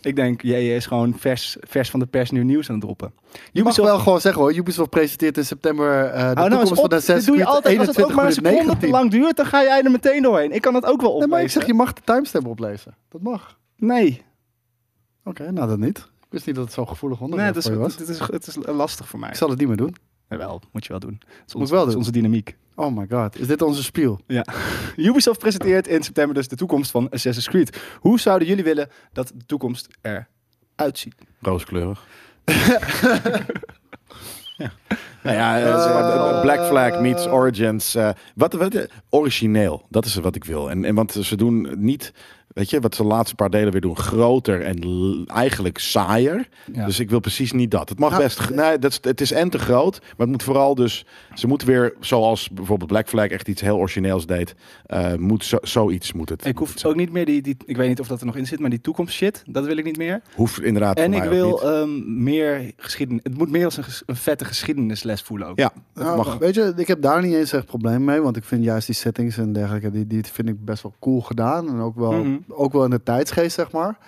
A: Ik denk, jij is gewoon vers, vers van de pers nieuw nieuws aan het droppen.
B: je mag wel gewoon zeggen hoor. Ubisoft presenteert in september eh
A: Hou
B: de
A: nou eens
B: toekomst
A: op,
B: van
A: dit
B: Assassin's
A: doe je
B: Creed
A: altijd als het ook
B: 21
A: maar een
B: minuten
A: seconde te
B: 19.
A: lang duurt, dan ga jij er meteen doorheen. Ik kan dat ook wel
B: Nee,
A: oplezen.
B: maar ik zeg, je mag de timestamp oplezen. Dat mag.
A: Nee,
B: Oké, nou dat niet. Ik wist niet dat het zo'n gevoelig
A: nee
B: onderwerp
A: het, is,
B: voor je was.
A: het, is, het is lastig voor mij.
B: Ik zal het niet meer doen.
A: Jawel, moet je wel doen. Het is,
B: Moet
A: ons-
B: wel
A: het is
B: doen.
A: onze dynamiek.
B: Oh my god, is dit onze spiel?
A: Ja. *laughs* Ubisoft presenteert in september dus de toekomst van Assassin's Creed. Hoe zouden jullie willen dat de toekomst eruit ziet?
C: *laughs* Rooskleurig. ja. Nou ja, eh, eh, Black Flag meets Origins. eh, wat, wat, eh, origineel, dat is wat ik wil. En, en want ze doen niet, weet je, wat ze de laatste paar delen weer doen, groter en l- eigenlijk saaier.
A: Ja.
C: Dus ik wil precies niet dat. Het mag
B: Nou,
C: best, g- nee, dat, is- het is en te groot, maar het moet vooral dus, ze moet weer, zoals bijvoorbeeld Black Flag echt iets heel origineels deed, eh, moet zo, zoiets moet
A: Ik
C: het. moet het
A: hoef
C: zijn.
A: ook niet meer die, die, ik weet niet of dat er nog in zit, maar die toekomst shit, dat wil ik niet meer.
C: Hoeft inderdaad
A: En
C: voor
A: ik
C: mij ook niet.
A: wil ehm, meer geschiedenis. Het moet meer als een, ges- een vette geschiedenisles voelen ook.
C: ja, dat
B: Nou,
C: mag.
B: Weet je, ik heb daar niet eens echt probleem mee. Want ik vind juist die settings en dergelijke, die, die vind ik best wel cool gedaan. En ook wel,
A: Mhm.
B: ook wel in de tijdsgeest, zeg maar.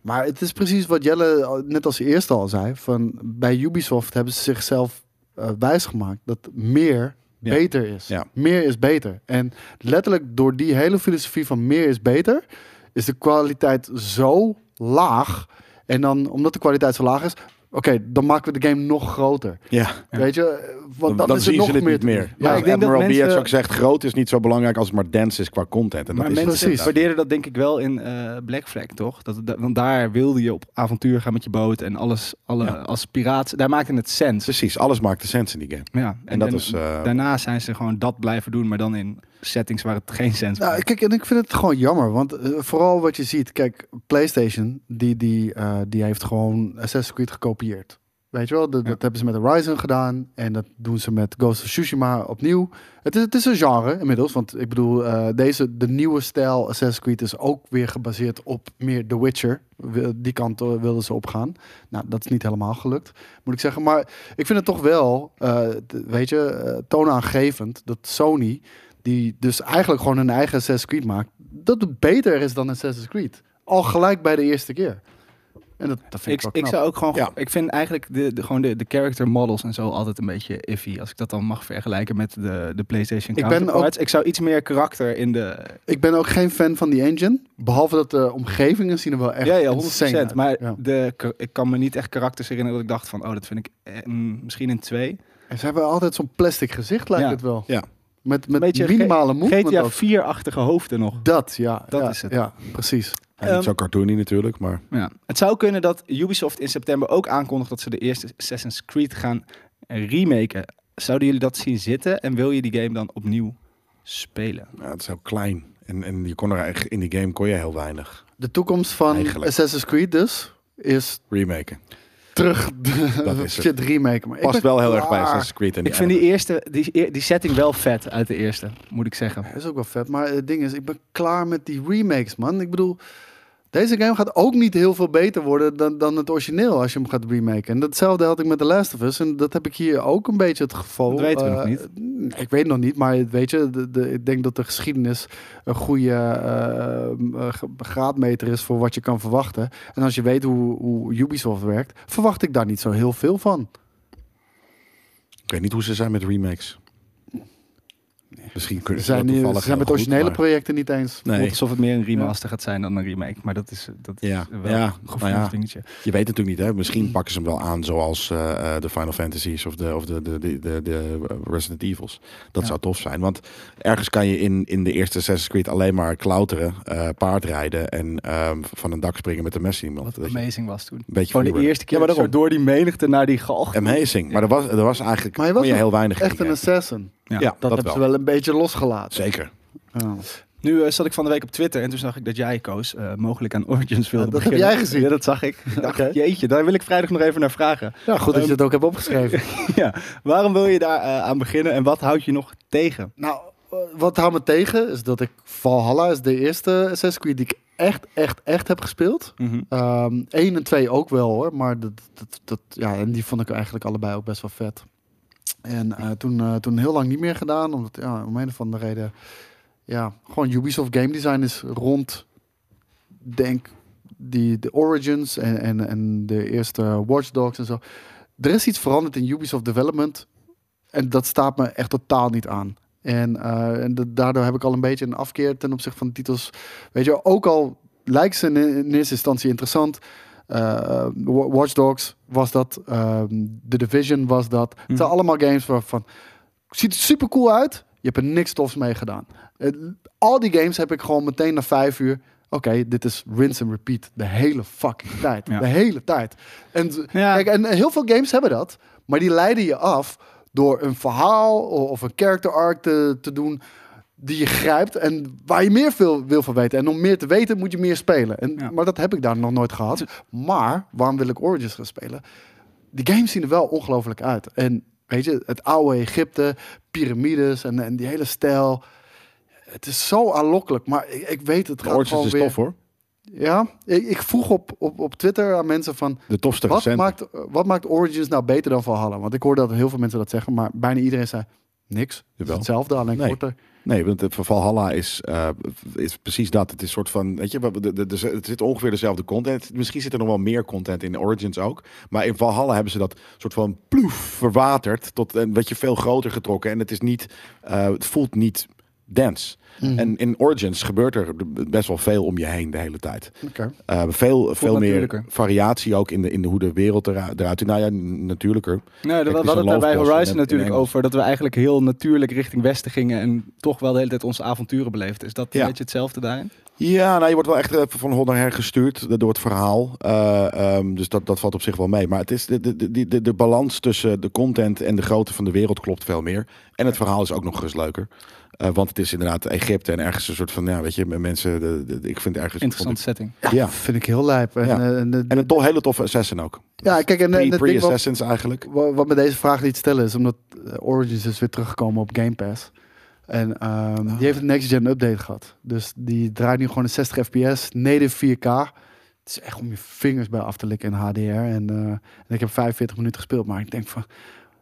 B: Maar het is precies wat Jelle al- net als eerste al zei. Van, bij Ubisoft hebben ze zichzelf eh, wijsgemaakt dat meer
C: Ja.
B: beter is.
C: Ja.
B: Meer is beter. En letterlijk door die hele filosofie van meer is beter, is de kwaliteit zo laag. En dan, omdat de kwaliteit zo laag is, oké, dan maken we de game nog groter.
C: Ja.
B: Weet je, eh, want
C: dan
B: dan, is er
C: zien
B: nog
C: ze het
B: meer
C: niet
B: te
C: meer.
B: doen.
A: Ja,
C: Ja,
A: ik denk dat
C: Admiral Beard
A: mensen-
C: ook zegt, groot is niet zo belangrijk als het maar dense is qua content. En
A: Maar
C: dat is
A: mensen
B: precies.
A: waarderen dat denk ik wel in eh, Black Flag, toch? Dat, dat- want daar wilde je op avontuur gaan met je boot en alles, alle,
C: Ja.
A: als piraat. Daar maakte het sens.
C: Precies, alles maakt de sens in die game.
A: ja, Dus en,
C: dat
A: en
C: is, eh,
A: daarna zijn ze gewoon dat blijven doen, maar dan in settings waar het geen sens
B: Nou, kijk, en ik vind het gewoon jammer, want eh, vooral wat je ziet, kijk, PlayStation, die, die, eh, die heeft gewoon Assassin's Creed gekopieerd. Weet je wel, dat, dat hebben ze met Horizon gedaan en dat doen ze met Ghost of Tsushima opnieuw. Het is, het is een genre inmiddels, want ik bedoel, eh, deze, de nieuwe stijl Assassin's Creed is ook weer gebaseerd op meer The Witcher. Wil- Die kant eh, wilden ze opgaan. Nou, dat is niet helemaal gelukt, moet ik zeggen. Maar ik vind het toch wel, eh, t- weet je, eh, toonaangevend dat Sony, die dus eigenlijk gewoon hun eigen Assassin's Creed maakt, dat het beter is dan Assassin's Creed. Al gelijk bij de eerste keer. En dat, dat vind ik,
A: ik,
B: wel
A: ik
B: knap.
A: zou ook gewoon.
C: Ja.
A: Ik vind eigenlijk de, de, gewoon de, de character models en zo altijd een beetje iffy. Als ik dat dan mag vergelijken met de, de PlayStation
B: Ik ben
A: counterparts. Ik zou iets meer karakter in de.
B: Ik ben ook geen fan van die engine. Behalve dat de omgevingen zien er wel echt
A: ja, ja, 100%.
B: insane uit.
A: Maar
B: Ja.
A: de, ka- ik kan me niet echt karakters herinneren dat ik dacht van, oh, dat vind ik eh, mm, misschien in twee.
B: En ze hebben altijd zo'n plastic gezicht, lijkt
A: Ja.
B: het wel.
C: Ja.
B: Met, met
A: Beetje
B: minimale
A: G-
B: movement
A: GTA
B: ook.
A: 4-achtige hoofden nog.
B: Dat, ja.
A: Dat
B: ja,
A: is het.
B: Ja, precies.
C: En niet
A: Ehm,
C: zo cartoony natuurlijk, maar
A: Ja. Het zou kunnen dat Ubisoft in september ook aankondigt dat ze de eerste Assassin's Creed gaan remaken. Zouden jullie dat zien zitten en wil je die game dan opnieuw spelen?
C: ja, het is heel klein. En, en je kon er eigenlijk, in die game kon je heel weinig
B: De toekomst van
C: Eigenlijk.
B: Assassin's Creed dus is
C: remaken.
B: terug
C: Dat is
B: *laughs*
C: het.
B: shit remake. Maar ik
C: Past
B: ben
C: wel heel erg bij
B: klaar.
C: Assassin's Creed. En
A: Ik vind die eerste, die, die setting wel vet uit de eerste, moet ik zeggen.
B: Dat is ook wel vet. Maar het ding is, ik ben klaar met die remakes, man. Ik bedoel, deze game gaat ook niet heel veel beter worden dan, dan het origineel als je hem gaat remaken. En datzelfde had ik met The Last of Us. En dat heb ik hier ook een beetje het geval.
A: Dat weten we
B: Eh,
A: nog niet.
B: nee, Ik weet nog niet, maar weet je, de, de- ik denk dat de geschiedenis een goede eh, eh, ge- graadmeter is voor wat je kan verwachten. En als je weet hoe, hoe Ubisoft werkt, verwacht ik daar niet zo heel veel van. e-
C: Ik weet niet hoe ze zijn met remakes. Misschien
B: Ze
C: kunnen ze
B: zijn,
C: dat
B: niet-
C: toevallig
B: ze zijn
C: heel
B: met
C: goed,
B: originele
C: maar-
B: projecten niet eens.
A: Nee.
C: Nee,
A: Alsof het meer een remaster gaat zijn dan een remake. Maar dat is, dat is
C: Ja,
A: wel
C: ja,
A: een gevoelig
C: nou ja.
A: dingetje.
C: je weet natuurlijk niet. Hè? Misschien pakken ze hem wel aan zoals eh, eh, de Final Fantasies of de, of de, de, de, de, de Resident Evils. Dat
A: Ja.
C: zou tof zijn. Want ergens kan je in, in de eerste Assassin's Creed alleen maar klauteren, eh, paardrijden en ehm, van een dak springen met een mes in iemand.
A: Wat
C: Dat je-
A: amazing was toen.
C: beetje
A: Gewoon de
C: freerunner.
A: eerste keer
C: Ja, maar
A: zo door die menigte naar die galg.
C: Amazing. Maar er was, er was eigenlijk
B: Maar je
C: kon
B: was
C: je
B: een-
C: heel weinig in
B: Echt een
C: kijken.
B: assassin.
A: Ja.
C: Ja,
B: Dat,
C: dat,
B: hebben
C: wel.
B: ze wel een beetje losgelaten. Oh.
C: Zeker.
B: Ja.
A: Nu eh, zat ik van de week op Twitter en toen zag ik dat jij koos. eh, mogelijk aan Origins wilde
B: Ja, dat heb
A: beginnen.
B: jij gezien.
A: Ja, dat zag
C: *laughs*
A: ik. Ik dacht,
B: Oké.
A: jeetje, daar wil ik vrijdag nog even naar vragen.
B: Ja, goed dat je het ook hebt opgeschreven.
A: ja. Waarom wil je daar eh, aan beginnen en wat houdt je nog tegen?
B: nou, eh, wat houdt me tegen is dat ik Valhalla is de eerste Assassin's Creed die ik echt, echt, echt heb gespeeld. Ehm 1 en 2 ook wel hoor, maar dat, dat, dat, ja, en die vond ik eigenlijk allebei ook best wel vet. En eh, toen, eh, toen heel lang niet meer gedaan, omdat ja, om een of andere reden, ja, gewoon Ubisoft game design is rond, denk, die, de Origins en, en, en de eerste Watch Dogs en zo. Er is iets veranderd in Ubisoft development en dat staat me echt totaal niet aan. En, eh, en dat- daardoor heb ik al een beetje een afkeer ten opzichte van titels. Weet je, ook al lijkt ze in, in eerste instantie interessant. eh, Wa- Watch Dogs was dat. ehm, The Division was dat.
A: Mhm.
B: Het zijn allemaal games waarvan... Ziet er super cool uit. Je hebt er niks tofs mee gedaan. Eh, al die games heb ik gewoon meteen na vijf uur... Oké, dit is rinse and repeat. De hele fucking tijd.
A: Ja.
B: De hele tijd. En, z-
A: Ja.
B: kijk, en eh, heel veel games hebben dat. Maar die leiden je af door een verhaal o- of een character arc te, te doen die je grijpt en waar je meer veel wil van weten. En om meer te weten moet je meer spelen. En,
A: Ja.
B: Maar dat heb ik daar nog nooit gehad. Maar waarom wil ik Origins gaan spelen? Die games zien er wel ongelooflijk uit. En weet je, het oude Egypte, piramides en, en die hele stijl. Het is zo aanlokkelijk, maar ik, ik weet het
C: De
B: gaat
C: Origins
B: gewoon
C: is
B: weer...
C: tof hoor.
B: Ja, ik, ik vroeg op, op, op Twitter aan mensen van...
C: De tofste
B: Wat
C: recente.
B: maakt, wat maakt Origins nou beter dan Valhalla? Want ik hoorde dat heel veel mensen dat zeggen, maar bijna iedereen zei niks. Het is
C: Jawel.
B: hetzelfde, alleen
C: Nee.
B: korter.
C: Nee, want het verval Halla is, eh, is precies dat. Het is soort van, weet je, wat- de- de- de- het zit ongeveer dezelfde content. Misschien zit er nog wel meer content in Origins ook. Maar in Valhalla hebben ze dat soort van ploef verwaterd tot een beetje veel groter getrokken. En het is niet, eh, het voelt niet dense. En in Origins gebeurt er best wel veel om je heen de hele tijd.
B: Oké.
C: Eh, veel veel meer
A: natuurlijker.
C: variatie ook in, de, in de, hoe de wereld era- eruit ziet. Nou ja, natuurlijker.
A: Nou,
C: Kijk,
A: dat,
C: het
A: we
C: is
A: hadden
C: een
A: het daar bij
C: loofbos
A: Horizon
C: in- in
A: natuurlijk
C: Engeland.
A: over. Dat we eigenlijk heel natuurlijk richting Westen gingen. En toch wel de hele tijd onze avonturen beleefden. Is dat een
C: Ja.
A: beetje hetzelfde daarin?
C: Ja, nou, je wordt wel echt even van hond naar her gestuurd door het verhaal. Eh, ehm, dus dat, dat valt op zich wel mee. Maar het is de, de, de, de, de balans tussen de content en de grootte van de wereld klopt veel meer. En het verhaal is ook nog eens leuker. Eh, want het is inderdaad Egypte en ergens een soort van, ja, weet je, met mensen, de, de- de- ik vind ergens...
A: Interessante setting.
C: Ja.
B: Vind ik heel lijp. En,
C: Ja.
B: eh, en, de-
C: En een to- hele toffe assassin ook.
B: ja, kijk, en, en
C: Pre-
B: het ding wat,
C: Pre-assassins eigenlijk.
B: wa- wat me deze vraag liet stellen is omdat eh, Origins is weer teruggekomen op Game Pass. En ehm, die heeft een next-gen update gehad. Dus die draait nu gewoon een 60 fps, native 4K. Het is echt om je vingers bij af te likken in HDR. En, eh, en ik heb 45 minuten gespeeld, maar ik denk van...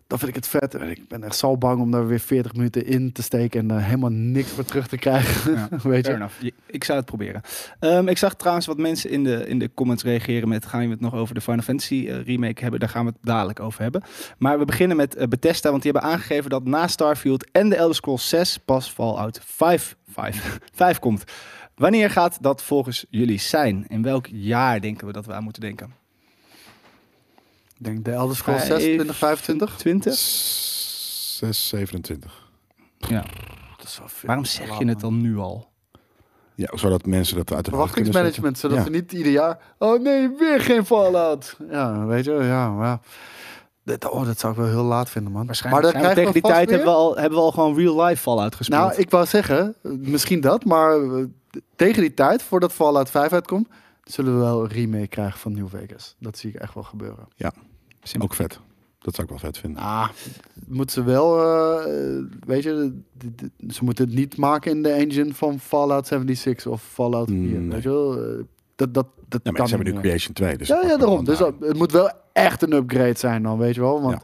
B: Dan vind ik het vet. En ik ben echt zo bang om daar weer 40 minuten in te steken en daar helemaal niks voor terug te krijgen.
A: Ja,
B: *laughs* Weet
A: Fair
B: je?
A: enough. Je- Ik zou het proberen. Ehm, ik zag trouwens wat mensen in de, in de comments reageren met... gaan we het nog over de Final Fantasy eh, remake hebben? Daar gaan we het dadelijk over hebben. Maar we beginnen met eh, Bethesda, want die hebben aangegeven... dat na Starfield en de Elder Scrolls 6 pas Fallout 5, *laughs* 5, 5 komt. Wanneer gaat dat volgens jullie zijn? In welk jaar denken we dat we aan moeten denken?
B: Ik denk de Elder Scrolls 6, 2025.
A: 20?
C: 6, 27.
A: Ja.
B: Dat is wel veel.
A: Waarom zeg je het dan nu al?
C: Ja, zodat mensen dat uit de hoofd kunnen zetten.
B: verwachtingsmanagement, zodat
C: Ja.
B: we niet ieder jaar. Oh nee, weer geen Fallout. Ja, weet je, ja, maar. Dat, oh, dat zou ik wel heel laat vinden, man.
A: Waarschijnlijk
B: maar
A: zijn we tegen die tijd hebben we,
B: wel.
A: al, hebben we al gewoon real-life Fallout gespeeld.
B: Nou, ik wou zeggen, eh, misschien dat, maar eh, tegen die tijd, voordat Fallout 5 uitkomt, zullen we wel een remake krijgen van New Vegas. Dat zie ik echt wel gebeuren.
C: Ja, ook vet. Dat zou ik wel vet vinden.
B: Ah, moeten ze wel, eh, eh, weet je, d- d- ze moeten het niet maken in de engine van Fallout 76 of Fallout 4.
C: Mm, nee.
B: Weet je wel? Eh, Dat, dat, dat
C: Ja, maar ze hebben
B: niet
C: nu
B: meer.
C: Creation 2. Dus
B: Ja, ja, daarom. Dus dat-
C: dat
B: het moet wel echt een upgrade zijn dan, weet je wel. Want,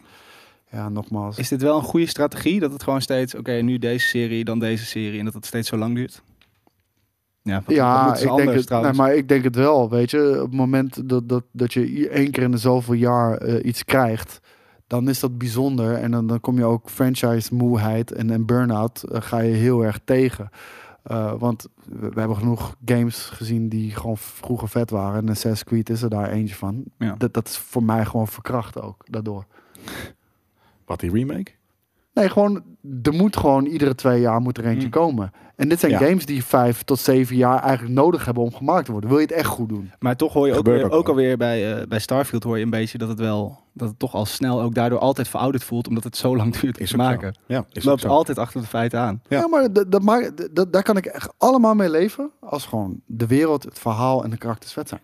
B: ja. nogmaals.
A: Is dit wel een goede strategie? Dat het gewoon steeds, oké, nu deze serie, dan deze serie. En dat het steeds zo lang duurt? Ja, wat- wat
B: ja,
A: moeten ze
B: ik denk,
A: anders
B: het, nee,
A: trouwens?
B: maar ik denk het wel, weet je. Op het moment dat, dat, dat je i- één keer in de zoveel jaar eh, iets krijgt, dan is dat bijzonder. En dan, dan kom je ook franchise-moeheid en, en burn-out eh, ga je heel erg tegen. Eh, want we, we hebben genoeg games gezien die gewoon vroeger vet waren. En Assassin's Creed is er daar eentje van.
A: Ja.
B: Dat, dat is voor mij gewoon verkracht ook, daardoor.
C: Wat, die remake?
B: Nee, gewoon, er moet gewoon iedere twee jaar moet er eentje
A: Mm.
B: komen. En dit zijn
C: Ja.
B: games die vijf tot zeven jaar eigenlijk nodig hebben om gemaakt te worden. Wil je het echt goed doen?
A: Maar toch hoor je ook,
C: Gebeurt
A: weer,
C: ook
A: ook
C: wel.
A: alweer bij, eh, bij Starfield hoor je een beetje dat het wel dat het toch al snel ook daardoor altijd verouderd voelt omdat het zo lang duurt om
C: Is
A: te
C: ook zo.
A: maken.
C: Ja, is
A: Het
C: ook
A: loopt
C: zo.
A: altijd achter de feiten aan.
C: Ja.
B: Ja, maar dat, dat maakt, dat- dat, daar kan ik echt allemaal mee leven. Als gewoon de wereld, het verhaal en de karakters vet zijn.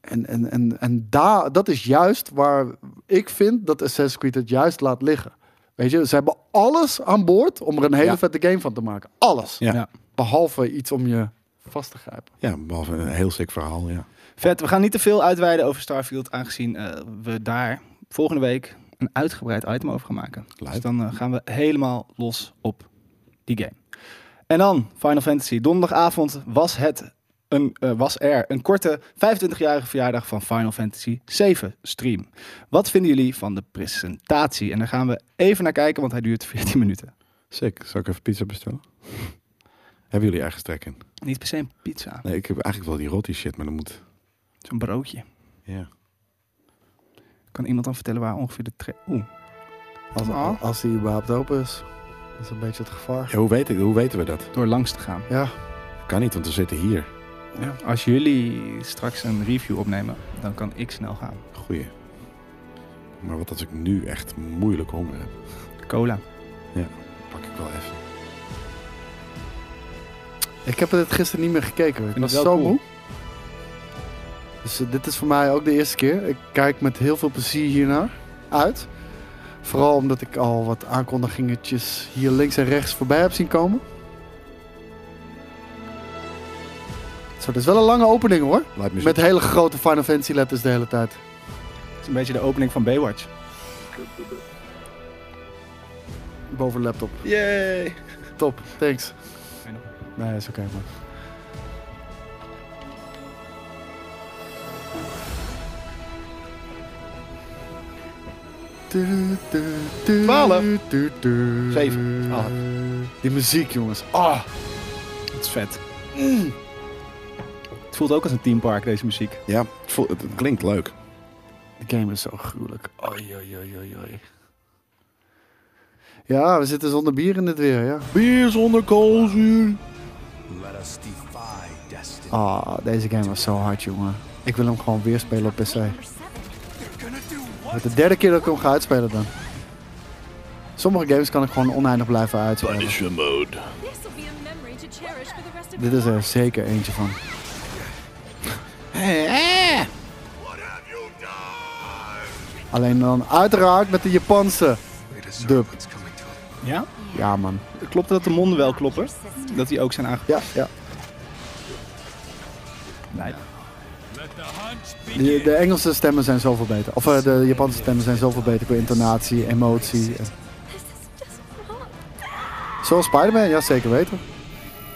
B: En, en, en, en daar, dat is juist waar ik vind dat Assassin's Creed het juist laat liggen. Weet je, ze hebben alles aan boord om er een hele
C: Ja.
B: vette game van te maken. Alles.
C: Ja.
A: Ja.
B: Behalve iets om je vast te grijpen.
C: Ja, behalve een heel sick verhaal, ja.
A: Vet, we gaan niet te veel uitweiden over Starfield, aangezien eh, we daar volgende week een uitgebreid item over gaan maken.
C: Leuk.
A: Dus dan eh, gaan we helemaal los op die game. En dan Final Fantasy. Donderdagavond was, het een, eh, was er een korte 25-jarige verjaardag van Final Fantasy 7 stream. Wat vinden jullie van de presentatie? En daar gaan we even naar kijken, want hij duurt 14 minuten.
C: Sick. Zal ik even pizza bestellen? *laughs* hebben jullie ergens trek in?
A: Niet per se een pizza,
C: Nee, ik heb eigenlijk wel die rotti shit, maar dan moet...
A: zo'n broodje.
C: Ja.
A: Kan iemand dan vertellen waar ongeveer de tre- Oeh.
B: Als,
A: Ah.
B: als die überhaupt open is. Dat is een beetje het gevaar.
C: Ja, hoe, weet ik, hoe weten we dat?
A: Door langs te gaan.
B: Ja,
C: Kan niet, want we zitten hier.
A: Als jullie straks een review opnemen, dan kan ik snel gaan.
C: Goeie. Maar wat als ik nu echt moeilijk honger heb?
A: Cola.
C: Pak ik wel even.
B: ik heb het gisteren niet meer gekeken. Ik
A: het
B: was
A: wel
B: zo
A: cool.
B: moe. Dus eh, dit is voor mij ook de eerste keer. Ik kijk met heel veel plezier hiernaar uit. Vooral omdat ik al wat aankondigingetjes hier links en rechts voorbij heb zien komen. Zo, dat is wel een lange opening hoor.
C: Laat me
B: Met hele grote Final Fantasy letters de hele tijd.
A: Dat is een beetje de opening van Baywatch.
B: Boven de laptop.
A: Yay!
B: Top, thanks.
A: Fijn hoor.
B: Nee, is oké man. Du, du, du,
A: Twaalf.
B: du, du.
A: Zeven. Ah.
B: Die muziek, jongens. Ah,
A: Het is vet. Mm. Het voelt ook als een teampark, deze muziek.
C: Ja, het, voelt- het- het klinkt leuk.
B: de game is zo gruwelijk. Oei, oei, oei, oei, oei. Ja, we zitten zonder bier in het weer, ja.
C: Bier zonder koolzuur.
B: Ah, deze game was zo hard, jongen. Ik wil hem gewoon weer spelen op PC. Het is de derde keer dat ik hem ga uitspelen dan. Sommige games kan ik gewoon oneindig blijven uitspelen.
C: mode.
G: This will be a memory to cherish for the rest
B: Dit
G: of your
B: is er
G: life.
B: zeker eentje van. Alleen dan uiteraard met de Japanse dub.
A: Ja?
B: Ja man.
A: Klopt dat de monden wel kloppen? Dat die ook zijn aangepakt?
B: Ja, ja.
A: Nee.
B: De, de Engelse stemmen zijn zoveel beter. Of eh, de Japanse stemmen zijn zoveel beter qua intonatie, emotie. en-
G: This is just wrong.
B: Zoals Spider-Man, ja zeker weten.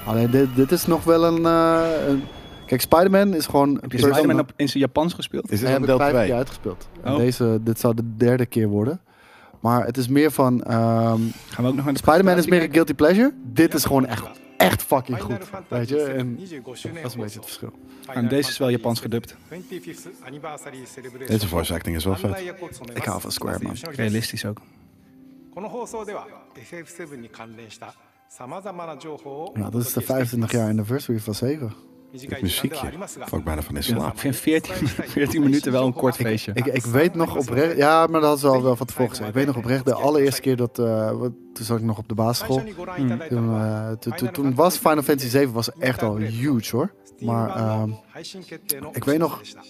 B: Alleen dit, dit is nog wel een... eh, een- Kijk, Spider-Man is gewoon... een
A: Heb je
B: persona-
A: Spider-Man op- in zijn Japans gespeeld?
C: Is dit
B: Daar
C: dan
B: heb ik
C: deel
B: vijf
C: 2?
B: keer uitgespeeld. En
A: Oh.
B: Deze, dit zou de derde keer worden. Maar het is meer van... ehm,
A: Gaan we ook nog naar de
B: Spider-Man is meer een guilty pleasure. Dit is gewoon echt, echt fucking goed. Weet je, en dat is een beetje het verschil.
A: En Ah, deze is wel Japans gedubt.
C: Deze voice acting is wel vet.
B: Ik hou van Square, man.
A: Realistisch ook.
H: この放送では FF7 に関連したさまざまな情報を
B: Nou, dat is de 25 jaar anniversary van 7.
H: 短
C: Het
H: い時間ではあ
C: muziekje.
H: りますが
C: Val ik bijna van in
A: Ja,
C: slaap.
A: ik vind 14, *laughs* 14 minuten wel een kort feestje.
B: Ik, ik weet nog oprecht, ja, maar dat hadden ze al wel van tevoren gezegd. Ik weet nog oprecht, de allereerste keer dat, eh, wat- toen zat ik nog op de basisschool.
H: 最初にご覧いただいた
B: Toen,
H: のは
B: eh, toen, toen, toen was Final Fantasy 7 was echt al huge hoor.
H: Steam 版
B: Maar ehm,
H: の配信決定の
B: ik weet nog-
H: でした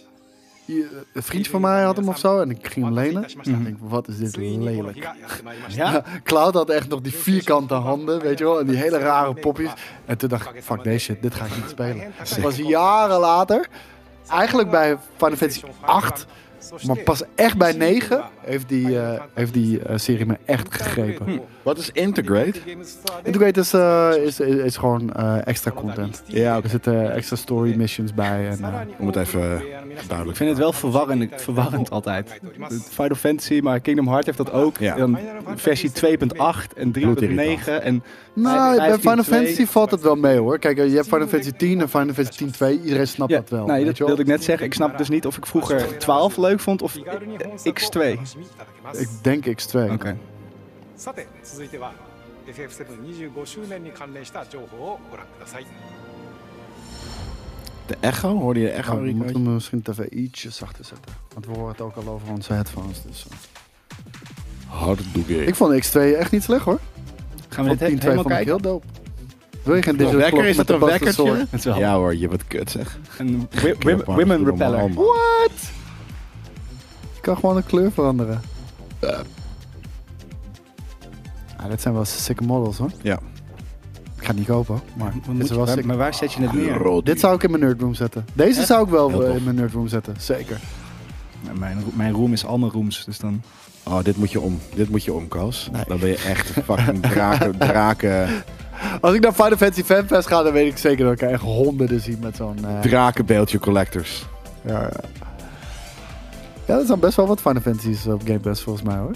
B: je- eh, een vriendje van mij had hem of zo en ik ging hem lenen. Ik denk, wat is dit
H: ついにこの日
B: lelijk.
H: がやってまいりました
A: Ja,
B: *laughs* Cloud had echt nog die vierkante handen, weet je wel, en die hele rare popjes. En toen dacht ik, fuck deze shit, dit ga ik *laughs* niet spelen. Het was jaren later, eigenlijk bij Final Fantasy 8, maar pas echt bij 9 heeft die, eh, heeft die eh, serie me echt gegrepen.
C: Hm. Wat is Integrate?
B: Integrate is, eh, is, is, is gewoon eh, extra content.
C: Ja, oké.
B: Er zitten extra story missions bij. En, eh,
C: Om het even duidelijk te
A: Ik vind het wel verwarrend, verwarrend altijd. Final Fantasy, maar Kingdom Hearts heeft dat ook.
C: Ja.
A: Dan versie 2.8 en 3.9 en
B: nou, bij
A: 15.2.
B: Final Fantasy valt het wel mee hoor. Kijk, eh, je hebt Final Fantasy 10 en Final Fantasy 10 2. Iedereen snapt
A: Ja,
B: dat wel.
A: nee,
B: weet
A: dat
B: je wel.
A: wilde ik net zeggen. Ik snap dus niet of ik vroeger 12 leuk vond of eh, X2.
B: Ik denk X2.
A: Oké.
H: さて続いては FF725 周年に関連した情報をご覧ください
C: De echo? Hoorde je de echo?
B: Oh, we
C: Rico?
B: moeten hem misschien even ietsje zachter zetten. Want we horen het ook al over onze headphones. Dus. eh.
C: Harddoege.
B: Ik vond X2 echt niet slecht hoor.
A: Gaan we
B: Vond
A: dit he-
B: 10 2
A: helemaal
B: vond ik
A: kijken?
B: heel dope. Wil je geen
C: Een
B: digital
C: wekker?
B: klok
C: Is
B: met
C: het
B: de
C: een
B: Buster
C: wekkertje?
B: Sword?
A: Het is wel
C: Ja hoor, je bent kut zeg.
A: een wi- wi-
C: man,
A: women
C: doe
A: repeller.
C: normaal, man.
B: What? Je kan gewoon de kleur veranderen. Ah, dit zijn wel sick models hoor.
C: Ja.
B: Ik ga het niet kopen, maar
A: Wat
B: dit
A: moet
B: is
A: je-
B: wel
A: waar-
B: sick.
A: Maar waar zet je het neer?
C: Rood.
B: Dit zou ik in mijn nerdroom zetten. Deze zou ik wel
C: Heel
B: eh,
C: tof.
B: in mijn nerdroom zetten, zeker.
A: Nou, Mijn, ro- mijn room is allemaal rooms, dus dan...
C: Oh, dit moet je om. Dit moet je om, Koos. Dan ben je echt een fucking
A: *laughs*
C: draken, draken,
B: Als ik naar Final Fantasy Fanfest ga, dan weet ik zeker dat ik er echt honderden zie met zo'n... eh,
C: drakenbeeldje collectors.
B: ja, ja. ja, er zijn best wel wat Final Fantasy's op Game Pass volgens mij hoor.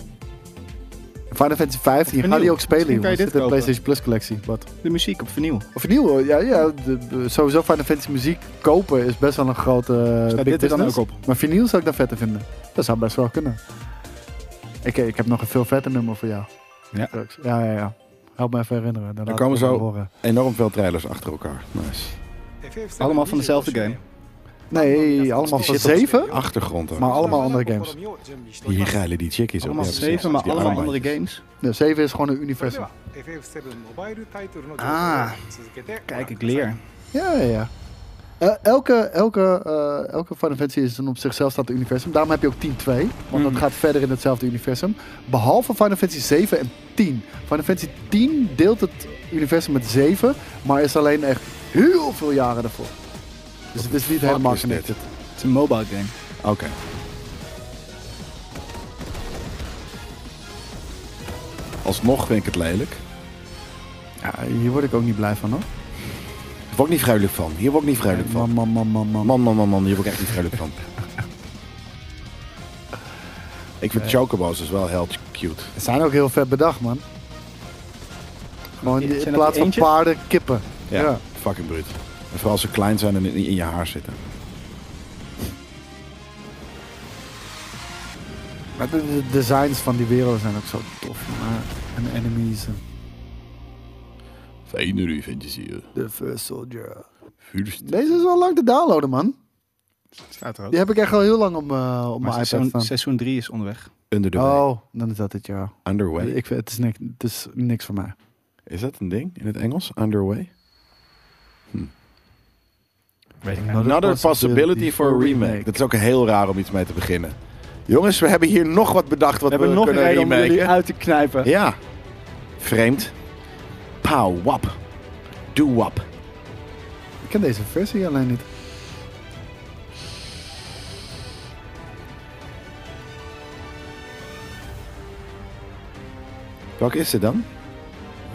B: Final Fantasy 15, ga die
A: vernieuwd.
B: ook spelen
A: Misschien kan je dit
B: jongens. Dit de
A: kopen.
B: PlayStation Plus collectie, wat?
A: De muziek op vernieuw.
B: Of nieuw, ja, ja de, de- sowieso Final Fantasy muziek kopen is best wel een grote eh,
A: Staat
B: big
A: dit nou er dan
B: business.
A: ook op?
B: Maar vinyl zou ik daar vetter vinden. Dat zou best wel kunnen. Ik, ik heb nog een veel vetter nummer voor jou.
A: Ja.
B: Straks. Ja, ja, ja. Help me even herinneren. Dan laat ik
C: komen
B: het
C: zo-
B: wel horen.
C: Enorm veel trailers achter elkaar. Nice.
A: Allemaal van dezelfde game.
B: Nee, allemaal van
C: Shit,
B: zeven,
C: Achtergrond ook.
B: maar allemaal andere games.
C: Hier geilen die chickies op.
A: Allemaal
C: Ja, precies.
A: zeven, maar
C: Die
A: allemaal
C: armbandjes.
A: andere games.
B: Nee, zeven is gewoon een universum.
A: Ah, Kijk, ik leer.
B: Ja, ja, ja. Eh, elke, elke, eh, elke Final Fantasy is een op zichzelf staand universum. Daarom heb je ook 10-2. Want dat gaat verder in hetzelfde universum. Behalve Final Fantasy 7 en 10. Final Fantasy 10 deelt het universum met 7. Maar is alleen echt heel veel jaren daarvoor. Dus het is niet helemaal
C: is dit?
B: connected.
A: Het is een mobile game.
C: Oké. Alsnog vind ik het lelijk.
B: Ja, hier word ik ook niet blij van hoor.
C: Hier word ik niet vrijelijk van. Hier word ik niet vrijelijk
B: Man,
C: van.
B: man, man, man, man.
C: Man, man, man, man. Hier word ik echt niet vrijelijk van. Ik vind Chocobo's dus wel heel cute.
B: Ze zijn ook heel vet bedacht man. Gewoon
A: Zijn dat
B: in plaats van
A: eentjes?
B: paarden, kippen.
C: Ja,
B: Ja.
C: fucking bruut. En vooral als ze klein zijn en in, in je haar zitten.
B: Maar de, de designs van die wereld zijn ook zo tof. Maar, en enemies. en-
C: Fijne vind je hier.
B: The First Soldier.
C: Vuurst.
B: Deze is al lang te downloaden, man.
A: Staat er ook.
B: Die heb ik echt al heel lang op, eh, op mijn iPad
A: seizoen,
B: staan.
A: seizoen 3 is onderweg.
C: Under the way.
B: Oh, dan is dat het, ja.
C: Underway.
B: Ik, vind- het, is niks, het is niks voor mij.
C: Is dat een ding in het Engels? Underway?
A: Weet ik
C: Another possibility for a remake. Dat is ook heel raar om iets mee te beginnen. Jongens, we hebben hier nog wat bedacht wat
A: We
C: we,
A: hebben nog een
C: kunnen
A: reden om
C: remaken.
A: jullie uit te knijpen.
C: Ja. Vreemd. Pow, wap. Doe wap.
B: Ik ken deze versie alleen niet.
C: Welke is dit dan?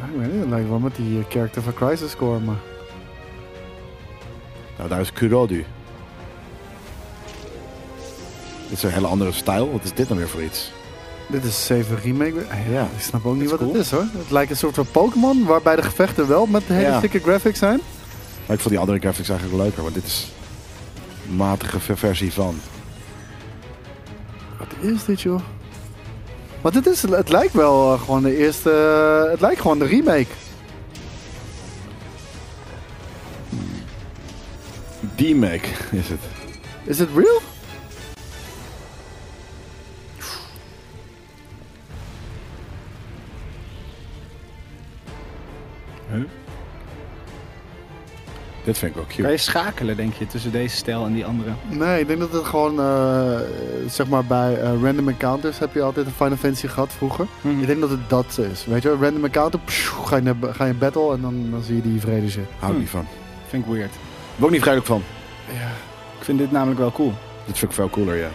B: Ah, Ik weet niet, het lijkt wel met die eh, character van Crisis Core, maar...
C: Nou, daar is Kurodu. Dit is een hele andere stijl. Wat is dit dan weer voor iets?
B: Dit is 7 remake. Ah, Ja, ik snap ook niet
C: is
B: wat
C: cool.
B: het is, hoor. Het lijkt een soort van Pokémon, waarbij de gevechten wel met hele
C: Ja.
B: dikke graphics zijn.
C: Maar ik vond die andere graphics eigenlijk leuker, want dit is een matige ver- versie van.
B: Wat is dit, joh? Maar dit is, het lijkt wel eh, gewoon de eerste... eh, het lijkt gewoon de remake.
C: D-Mac is het.
B: Is it real?
C: Dit vind ik wel
A: Kan
C: cute.
A: je schakelen, denk je, tussen deze stijl en die andere?
B: Nee, ik denk dat het gewoon, eh, zeg maar, bij eh, random encounters heb je altijd een Final Fantasy gehad vroeger. Ik denk dat het dat is. Weet je, wel? random encounter, pshoe, ga, je naar, ga je battle en dan, dan zie je die vrede shit.
C: Hou ik niet van.
A: Vind ik weird.
C: Word ook niet vrijelijk van.
A: Ik vind dit namelijk wel cool.
C: Dit vind ik veel cooler, ja.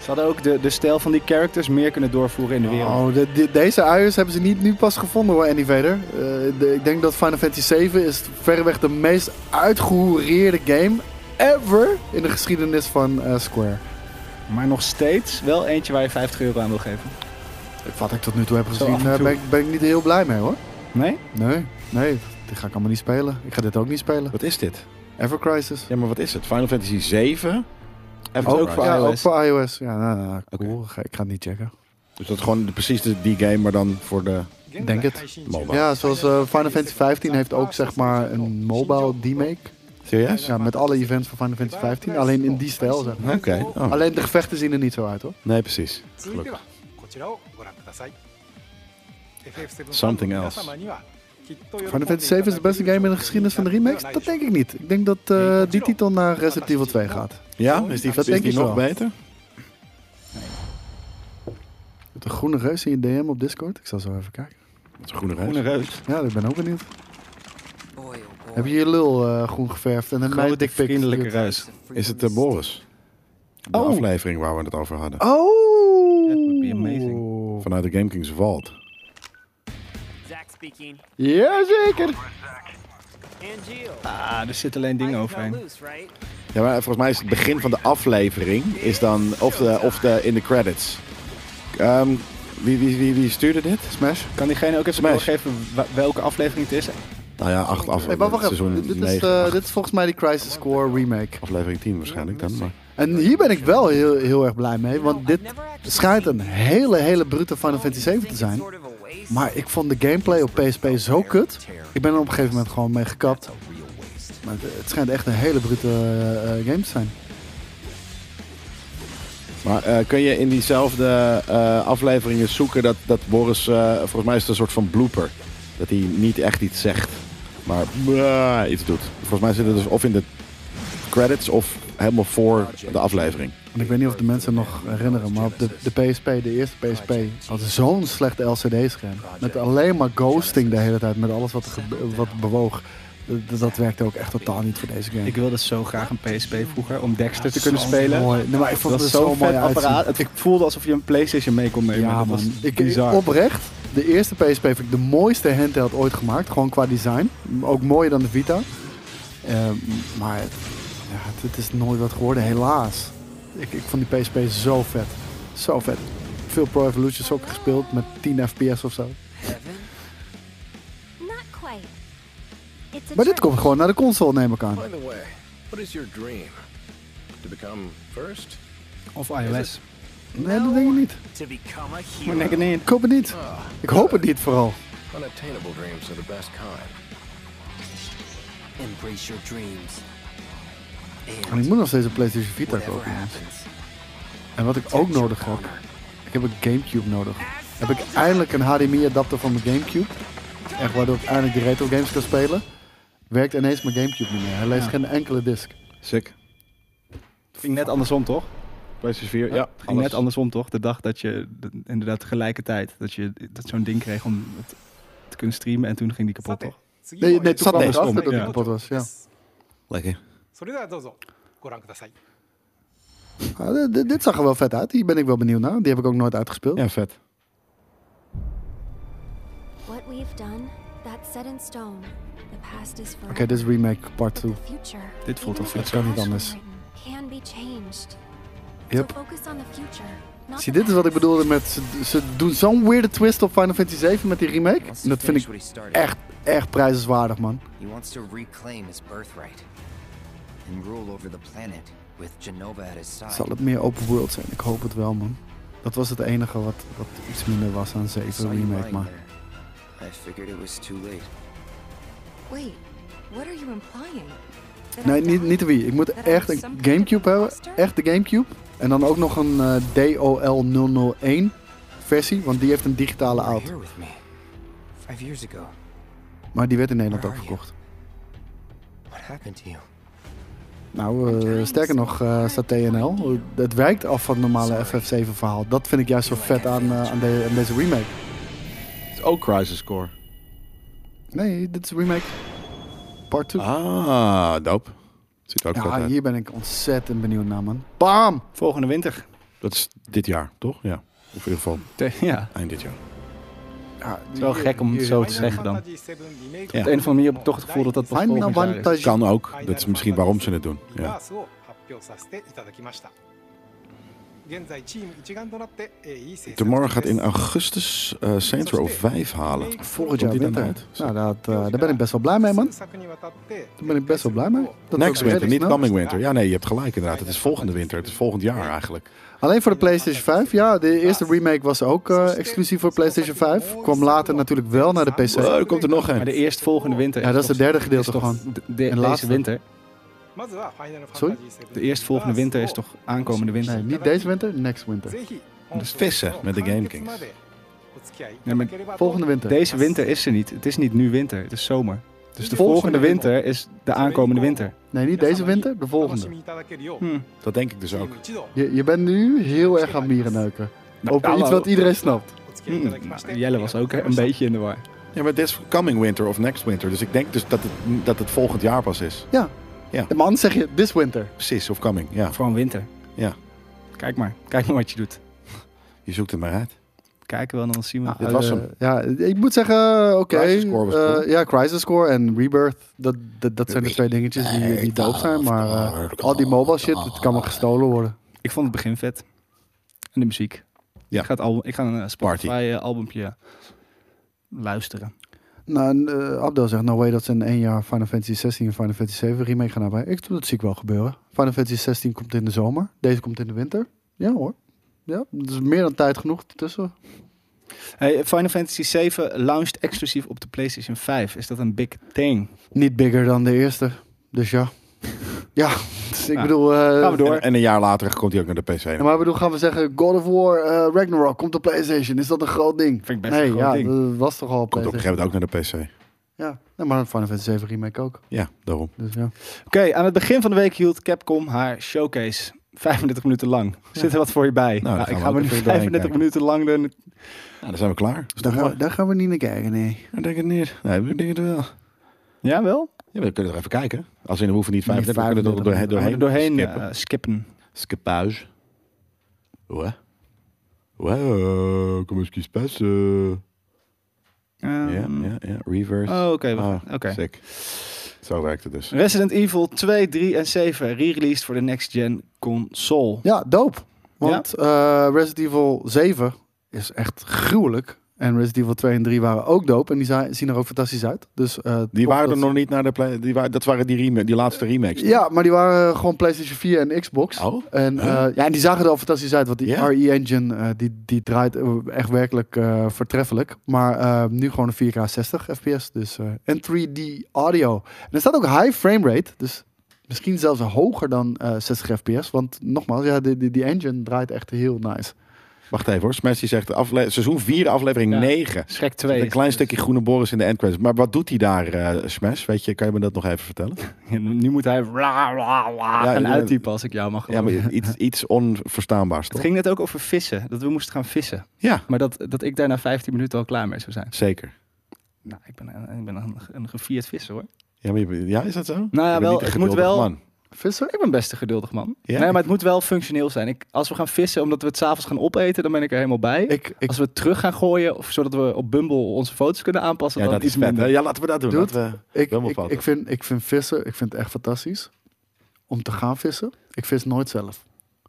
A: Ze hadden ook de, de stijl van die characters meer kunnen doorvoeren in de wereld.
B: Oh, de- de- deze uiers hebben ze niet nu pas gevonden hoor, Andy Vader. Eh, de- ik denk dat Final Fantasy VII is verreweg de meest uitgehoereerde game ever in de geschiedenis van eh, Square.
A: Maar nog steeds wel eentje waar je 50 euro aan wil geven.
B: Wat ik tot nu toe heb gezien,
A: af en
B: eh,
A: toe.
B: ben, ik, ben ik niet heel blij mee hoor.
A: Nee?
B: Nee, nee, dit ga ik allemaal niet spelen. Ik ga dit ook niet spelen.
C: Wat is dit?
B: Ever Crisis.
C: Ja, maar wat is het? Final Fantasy 7?
A: Ook voor
B: Ja,
A: iOS.
B: ook voor iOS. Ja, nou, nou, nou, cool. Ga- Ik ga het niet checken.
C: Dus dat is gewoon de- precies de- die game, maar dan voor de...
B: Denk het.
C: MOBA.
B: Ja, zoals eh, Final Fantasy 15 heeft ook zeg maar een mobile demake.
C: Serieus?
B: Ja, met alle events van Final Fantasy 15. Alleen in die stijl zeg maar.
C: Oké. Oh.
B: Alleen de gevechten zien er niet zo uit hoor.
C: Nee, precies.
H: 続いては
C: Gelukkig.
H: こちらをご覧ください FF7
C: Something
H: ファンの
C: else.
H: 皆様にはきっと喜んでいただける
B: Final Fantasy 7 is de beste game in de geschiedenis van de remakes? Dat denk ik niet. Ik denk dat eh, die titel naar Resident Evil 2 gaat.
C: Ja? Is die,
B: Dat
C: is
B: denk
C: die
B: ik
C: nog
B: wel.
C: beter?
B: Met een groene reus in je DM op Discord. Ik zal zo even kijken.
C: Met een groene reis.
A: Groene reus.
B: Ja, ik ben ook benieuwd.
F: Boy, oh boy.
B: Heb je je lul eh, groen geverfd en een mij
A: Grote,
B: dik
A: vriendelijke reus.
C: Is het eh, Boris? De aflevering waar we het over hadden.
B: Oh!
A: That would be amazing.
C: Vanuit de Game Kings Vault.
I: Zach speaking.
B: Jazeker!
I: Angeal.
A: Ah, er zitten alleen dingen overheen.
I: loose, right?
C: Ja, maar volgens mij is het begin van de aflevering is dan of de, of de in de credits. Ehm, wie, wie, wie, wie stuurde dit? Smash?
A: Kan diegene ook even
C: Smash.
A: doorgeven wa- welke aflevering het is?
C: Nou ja, acht
B: Hey,
C: afleveringen.
B: maar wacht even.
C: Seizoen
B: Dit is,
C: negen,
B: eh,
C: acht.
B: dit is volgens mij die Crisis Core remake.
C: aflevering 10 waarschijnlijk dan. Maar
B: En hier ben ik wel heel, heel erg blij mee, want dit schijnt een hele, hele brute Final Fantasy 7 te zijn. Maar ik vond de gameplay op PSP zo kut. Ik ben er op een gegeven moment gewoon mee gekapt. Maar het, het schijnt echt een hele brute eh, eh, game te zijn.
C: maar eh, kun je in diezelfde eh, afleveringen zoeken dat, dat Boris, eh, volgens mij is het een soort van blooper. Dat hij niet echt iets zegt, maar blah, iets doet. Volgens mij zit het dus of in de credits of helemaal voor de aflevering.
B: En ik weet niet of de mensen nog herinneren, maar op de, de PSP, de eerste PSP, had zo'n slechte LCD-scherm. Met alleen maar ghosting de hele tijd, met alles wat, er gebe- wat bewoog. Dat, dat werkte ook echt totaal niet voor deze game.
A: Ik wilde zo graag een PSP vroeger om Dexter te kunnen spelen.
B: Mooi. Nee, maar ik vond
A: Dat
B: het
A: is
B: zo
A: zo'n
B: mooi
A: vet apparaat. Het voelde alsof je een PlayStation mee kon nemen.
B: Ja,
A: dat
B: man.
A: was
B: ik,
A: bizar.
B: Oprecht, de eerste PSP vind ik de mooiste handheld ooit gemaakt. Gewoon qua design. Ook mooier dan de Vita. Eh, maar het, ja, het, het is nooit wat geworden, helaas. Ik, ik vond die PSP zo vet. Zo vet. Veel Pro Evolution Soccer gespeeld met 10 FPS of zo.
G: Not quite. It's a
B: Maar dit
G: trick.
B: komt gewoon naar de console, neem ik aan.
J: By the way, what is your dream? To become first?
A: Of iOS.
B: Nee, dat denk ik niet.
I: To become a hero.
A: Maar denk ik niet.
B: Ik hoop het niet. Ik hoop het niet vooral.
J: Unattainable dreams are the best kind.
F: Embrace your dreams.
B: En ik moet nog steeds een PlayStation Vita
F: Whatever
B: kopen. jongens.
F: happens,
B: En wat ik ook nodig heb, ik heb een Gamecube nodig. Heb ik eindelijk een HDMI-adapter van mijn Gamecube. Echt waardoor ik eindelijk die retro games kan spelen. Werkt ineens mijn Gamecube niet meer. Hij leest geen enkele disc.
C: Sick.
A: Ging net andersom, toch?
C: PlayStation 4, ja.
A: Ging
C: alles.
A: net andersom, toch? De dag dat je de- inderdaad tegelijkertijd dat je dat zo'n ding kreeg om het te kunnen streamen en toen ging die kapot,
H: さて
A: toch?
H: 次
B: Nee,
H: の
B: nee, toen kwam ik
C: Andersom,
B: achter dat
A: ja.
B: het kapot was. Ja.
C: Lekker.
H: それではどうぞご覧ください
B: Ah, dit- dit, dit zag er wel vet uit. Hier ben ik wel benieuwd naar. Die heb ik ook nooit uitgespeeld.
C: Ja, vet.
G: What we've done, that's set in stone. The past is forever.
B: Oké, dit is remake part
G: But the
B: 2.
G: future,
A: Dit voelt
G: even
A: als
G: if
B: iets kan niet
G: it's
B: anders.
G: written, Can be changed.
B: Yep.
G: So focus on the future. not
B: Zie,
G: the
B: dit is wat ik
G: past.
B: bedoelde met... Ze, ze doen zo'n weirde twist op Final Fantasy 7 met die remake.
F: wants
B: En
F: to
B: dat vind
F: finish what
B: ik
F: he started.
B: echt, echt prijzenswaardig, man.
F: He wants to reclaim his birthright and rule over the planet with Genova at his side.
B: Zal het meer open world zijn? Ik hoop het wel, man. Dat was het enige wat, wat iets minder was aan
F: I
B: 7
F: saw you
B: Remake,
F: lying
B: maar...
F: there. I figured it was too late.
G: Wait, what are you implying?
B: Nee, niet, niet de Wii. Ik moet echt een Gamecube hebben. Echt de Gamecube. En dan ook nog een eh, DOL 001 versie, want die heeft een digitale
F: You're
B: out.
F: here with me. Five years ago.
B: Maar die werd in Nederland
F: Where
B: ook
F: are you?
B: verkocht.
F: What happened to you?
B: Nou, eh, sterker nog, eh, staat TNL. Het wijkt af van het normale FF7 verhaal. Dat vind ik juist zo vet aan, eh, aan, de- aan deze remake.
C: Het is ook Crisis Core.
B: Nee, dit is een remake. Part 2.
C: Ah, dope. Ziet er ook vet
B: ja,
C: uit.
B: hier ben ik ontzettend benieuwd naar, man. Bam!
A: Volgende winter.
C: Dat is dit jaar, toch? Ja. Of in ieder geval
A: Te- Ja.
C: eind dit jaar.
B: Ja,
A: Het is wel gek om het zo te zeggen dan. Op de een of andere manier heb ik toch het gevoel dat dat pas
B: Final
A: volgend jaar is.
B: Vantage.
C: Kan ook. Dat is misschien waarom ze het doen. Ja.
H: スを発表させていただきました現在チーム一丸となってえーいい成績
C: Tomorrow gaat in augustus eh Saints Row 5 halen.
B: Volgend
C: Komt
B: jaar
C: die
B: winter.
C: dan
B: Nou,
C: uit?
B: dat, eh, daar ben ik best wel blij mee, man.
H: 数作にわたって
B: Daar ben ik best wel blij mee. Dat
C: Next
B: ook
C: winter,
B: redelijk
C: niet
B: snel.
C: coming winter. Ja, nee, je hebt gelijk inderdaad. Het is volgende winter. Het is volgend jaar eigenlijk.
B: Alleen voor de PlayStation 5. Ja, de eerste remake was ook eh, exclusief voor PlayStation 5. Kwam later natuurlijk wel naar de PC.
C: Wow, er komt er nog
A: Maar de
C: een.
A: eerstvolgende winter.
B: Ja, dat is het derde gedeelte
A: is toch
B: gewoon.
A: de- de- deze
B: laatste.
A: winter.
H: まずはファイナルファン
B: Sorry?
H: タジー7
A: De eerstvolgende winter is toch aankomende winter.
B: Nee, niet deze winter, next winter.
H: ぜひ
C: Dus vissen met de Game Kings.
H: お付き合いい
A: や
H: た
A: まあ
H: だければと
B: Volgende winter.
A: Deze winter is er niet. Het is niet nu winter, het is zomer. Dus de
B: Volgende
A: volgende winter is de aankomende winter.
B: Nee, niet deze winter, de
H: お楽し
B: volgende.
H: みいただけるよう、
C: Dat denk ik dus
H: チー
A: Hm,
C: ook.
H: ム一同
B: Je, je bent nu heel erg aan mierenneuken.
C: Nou,
B: Over iets wat iedereen snapt.
H: お付き合いいただき
A: Hmm,
H: まして、
A: nou, Jelle was ook een beetje in de war.
C: Ja, maar dit is coming winter of next winter. Dus ik denk dus dat het, dat het volgend jaar pas is.
B: Ja.
C: Ja.
B: De man zeg je this winter.
C: Precies, of coming. Ja,
A: Gewoon winter.
C: ja.
A: Kijk maar. Kijk maar wat je doet.
C: je zoekt het maar uit.
A: Kijken wel, dan zien we.
C: Nou, Dit was
B: Eh,
C: hem.
B: ja, ik moet zeggen, oké.
C: Crisis Core was
B: eh,
C: cool.
B: ja, Crisis Core en Rebirth, dat, dat, dat zijn de twee dingetjes die, die dope
C: nou,
B: zijn. Maar eh, al die mobile shit,
C: Ah.
B: het kan wel gestolen worden.
A: Ik vond het begin vet. En de muziek.
C: Ja.
A: Ik ga, het album, ik ga een eh, Spotify eh, albumpje luisteren.
B: Nou, en, eh, Abdel zegt, no way dat ze in één jaar Final Fantasy 16 en Final Fantasy 7 remake gaan hebben. Ik, dat zie ik wel gebeuren. Final Fantasy 16 komt in de zomer, deze komt in de winter. Ja hoor. Ja, dat is meer dan tijd genoeg tussen.
A: Hey, Final Fantasy 7 launched exclusief op de PlayStation 5. Is dat een big thing?
B: Niet bigger dan de eerste, dus ja. ja, dus ik
A: Ja.
B: bedoel... eh,
A: Gaan we door.
C: En, en een jaar later komt hij ook naar de PC.
B: Ja, maar ik bedoel, gaan we zeggen, God of War, eh, Ragnarok komt op PlayStation. Is dat een groot ding?
A: Vind ik best
B: nee,
A: een groot
B: ja,
A: ding.
B: dat was toch al op
C: Komt op een
B: PlayStation.
C: gegeven moment ook naar de PC.
B: Ja, nee, maar Final Fantasy 7 remake ook.
C: Ja, daarom.
B: Dus ja.
A: Oké, aan het begin van de week hield Capcom haar showcase. 35 minuten lang. Zit er wat voor je bij?
C: dan
A: Nou,
C: gaan
A: ik
C: we
A: ga
C: ook
A: me nu
C: even doorheen
A: 35
C: kijken.
A: minuten lang... De...
C: Nou, dan zijn we klaar. Dus
B: Daar, gaan we, daar gaan we niet naar kijken, nee.
C: Ik denk het niet. Nee, we denken het wel.
A: Ja, wel?
C: Ja, we kunnen er even kijken. Als in, we hoeven niet 35, we kunnen
B: 35
C: er doorheen,
A: Gaan we
C: doorheen,
A: er doorheen eh,
C: skippen.
A: skippen.
C: Skepage. Wat? Wow, Eh, kom eens kies eh. passen. Ja,
A: Ehm,
C: ja, ja. Reverse.
A: Oh, oké. we gaan-
C: Ah,
A: Oké.
C: Sick. Zo werkt het dus.
A: Resident Evil 2, 3 en 7 re-released voor de next-gen console.
B: Ja, dope. Want eh, Resident Evil 7 is echt gruwelijk. En Resident Evil 2 en 3 waren ook dope. En die za- zien er ook fantastisch uit. Dus, eh,
C: Die
B: top
C: waren
B: dat
C: er
B: ze-
C: nog niet naar de... Play, die, wa- dat waren die, rema- die laatste remakes.
B: Ja, maar die waren gewoon PlayStation 4 en Xbox.
C: Oh?
B: En, eh, ja, en die zagen er al fantastisch uit, want die
C: Ja.
B: RE-engine eh, die, die draait eh, echt werkelijk eh, voortreffelijk. Maar eh, nu gewoon een 4K 60 fps dus, eh, en 3D audio. En er staat ook high frame rate, dus misschien zelfs hoger dan eh, 60 fps. Want nogmaals, ja, die, die, die engine draait echt heel nice.
C: Wacht even hoor. Smash die zegt afle seizoen 4, aflevering
A: Ja.
C: 9.
A: Schrek 2.
C: Een
A: is-
C: klein stukje groene Boris in de endcredits. Maar wat doet hij daar, eh, Smash? Weet je, kan je me dat nog even
A: *laughs*
C: vertellen?
A: Nu moet hij bla, bla, bla
C: Ja,
A: gaan
C: ja.
A: uittypen als ik jou mag
C: Ja,
A: geloven.
C: maar iets, iets onverstaanbaars
A: *laughs* Het
C: toch?
A: ging net ook over vissen, dat we moesten gaan vissen.
C: Ja,
A: Maar dat, dat ik daar na 15 minuten al klaar mee zou zijn.
C: zeker.
A: Nou, ik ben, een- ik ben een, een gevierd visser hoor.
C: Ja, maar je bent- ja, is dat zo?
A: Nou ja,
C: Je bent
A: wel,
C: niet een
A: het moet
C: geduldig
A: wel-
C: man.
B: Visser?
A: Ik ben best een geduldig man.
C: Ja?
A: Nee, maar het moet wel functioneel zijn. Ik, als we gaan vissen omdat we het s'avonds gaan opeten, dan ben ik er helemaal bij.
B: Ik, ik
A: als we het terug gaan gooien, of zodat we op Bumble onze foto's kunnen aanpassen,
C: Ja,
A: dan
C: dat is
A: iets
C: vet. hè?
A: minder.
C: Ja, laten we dat doen.
B: Doe
C: Laten we-
B: Ik,
C: Helemaal
B: ik,
C: fout.
B: ik, vind, ik vind vissen, ik vind het echt fantastisch om te gaan vissen. Ik vis nooit zelf.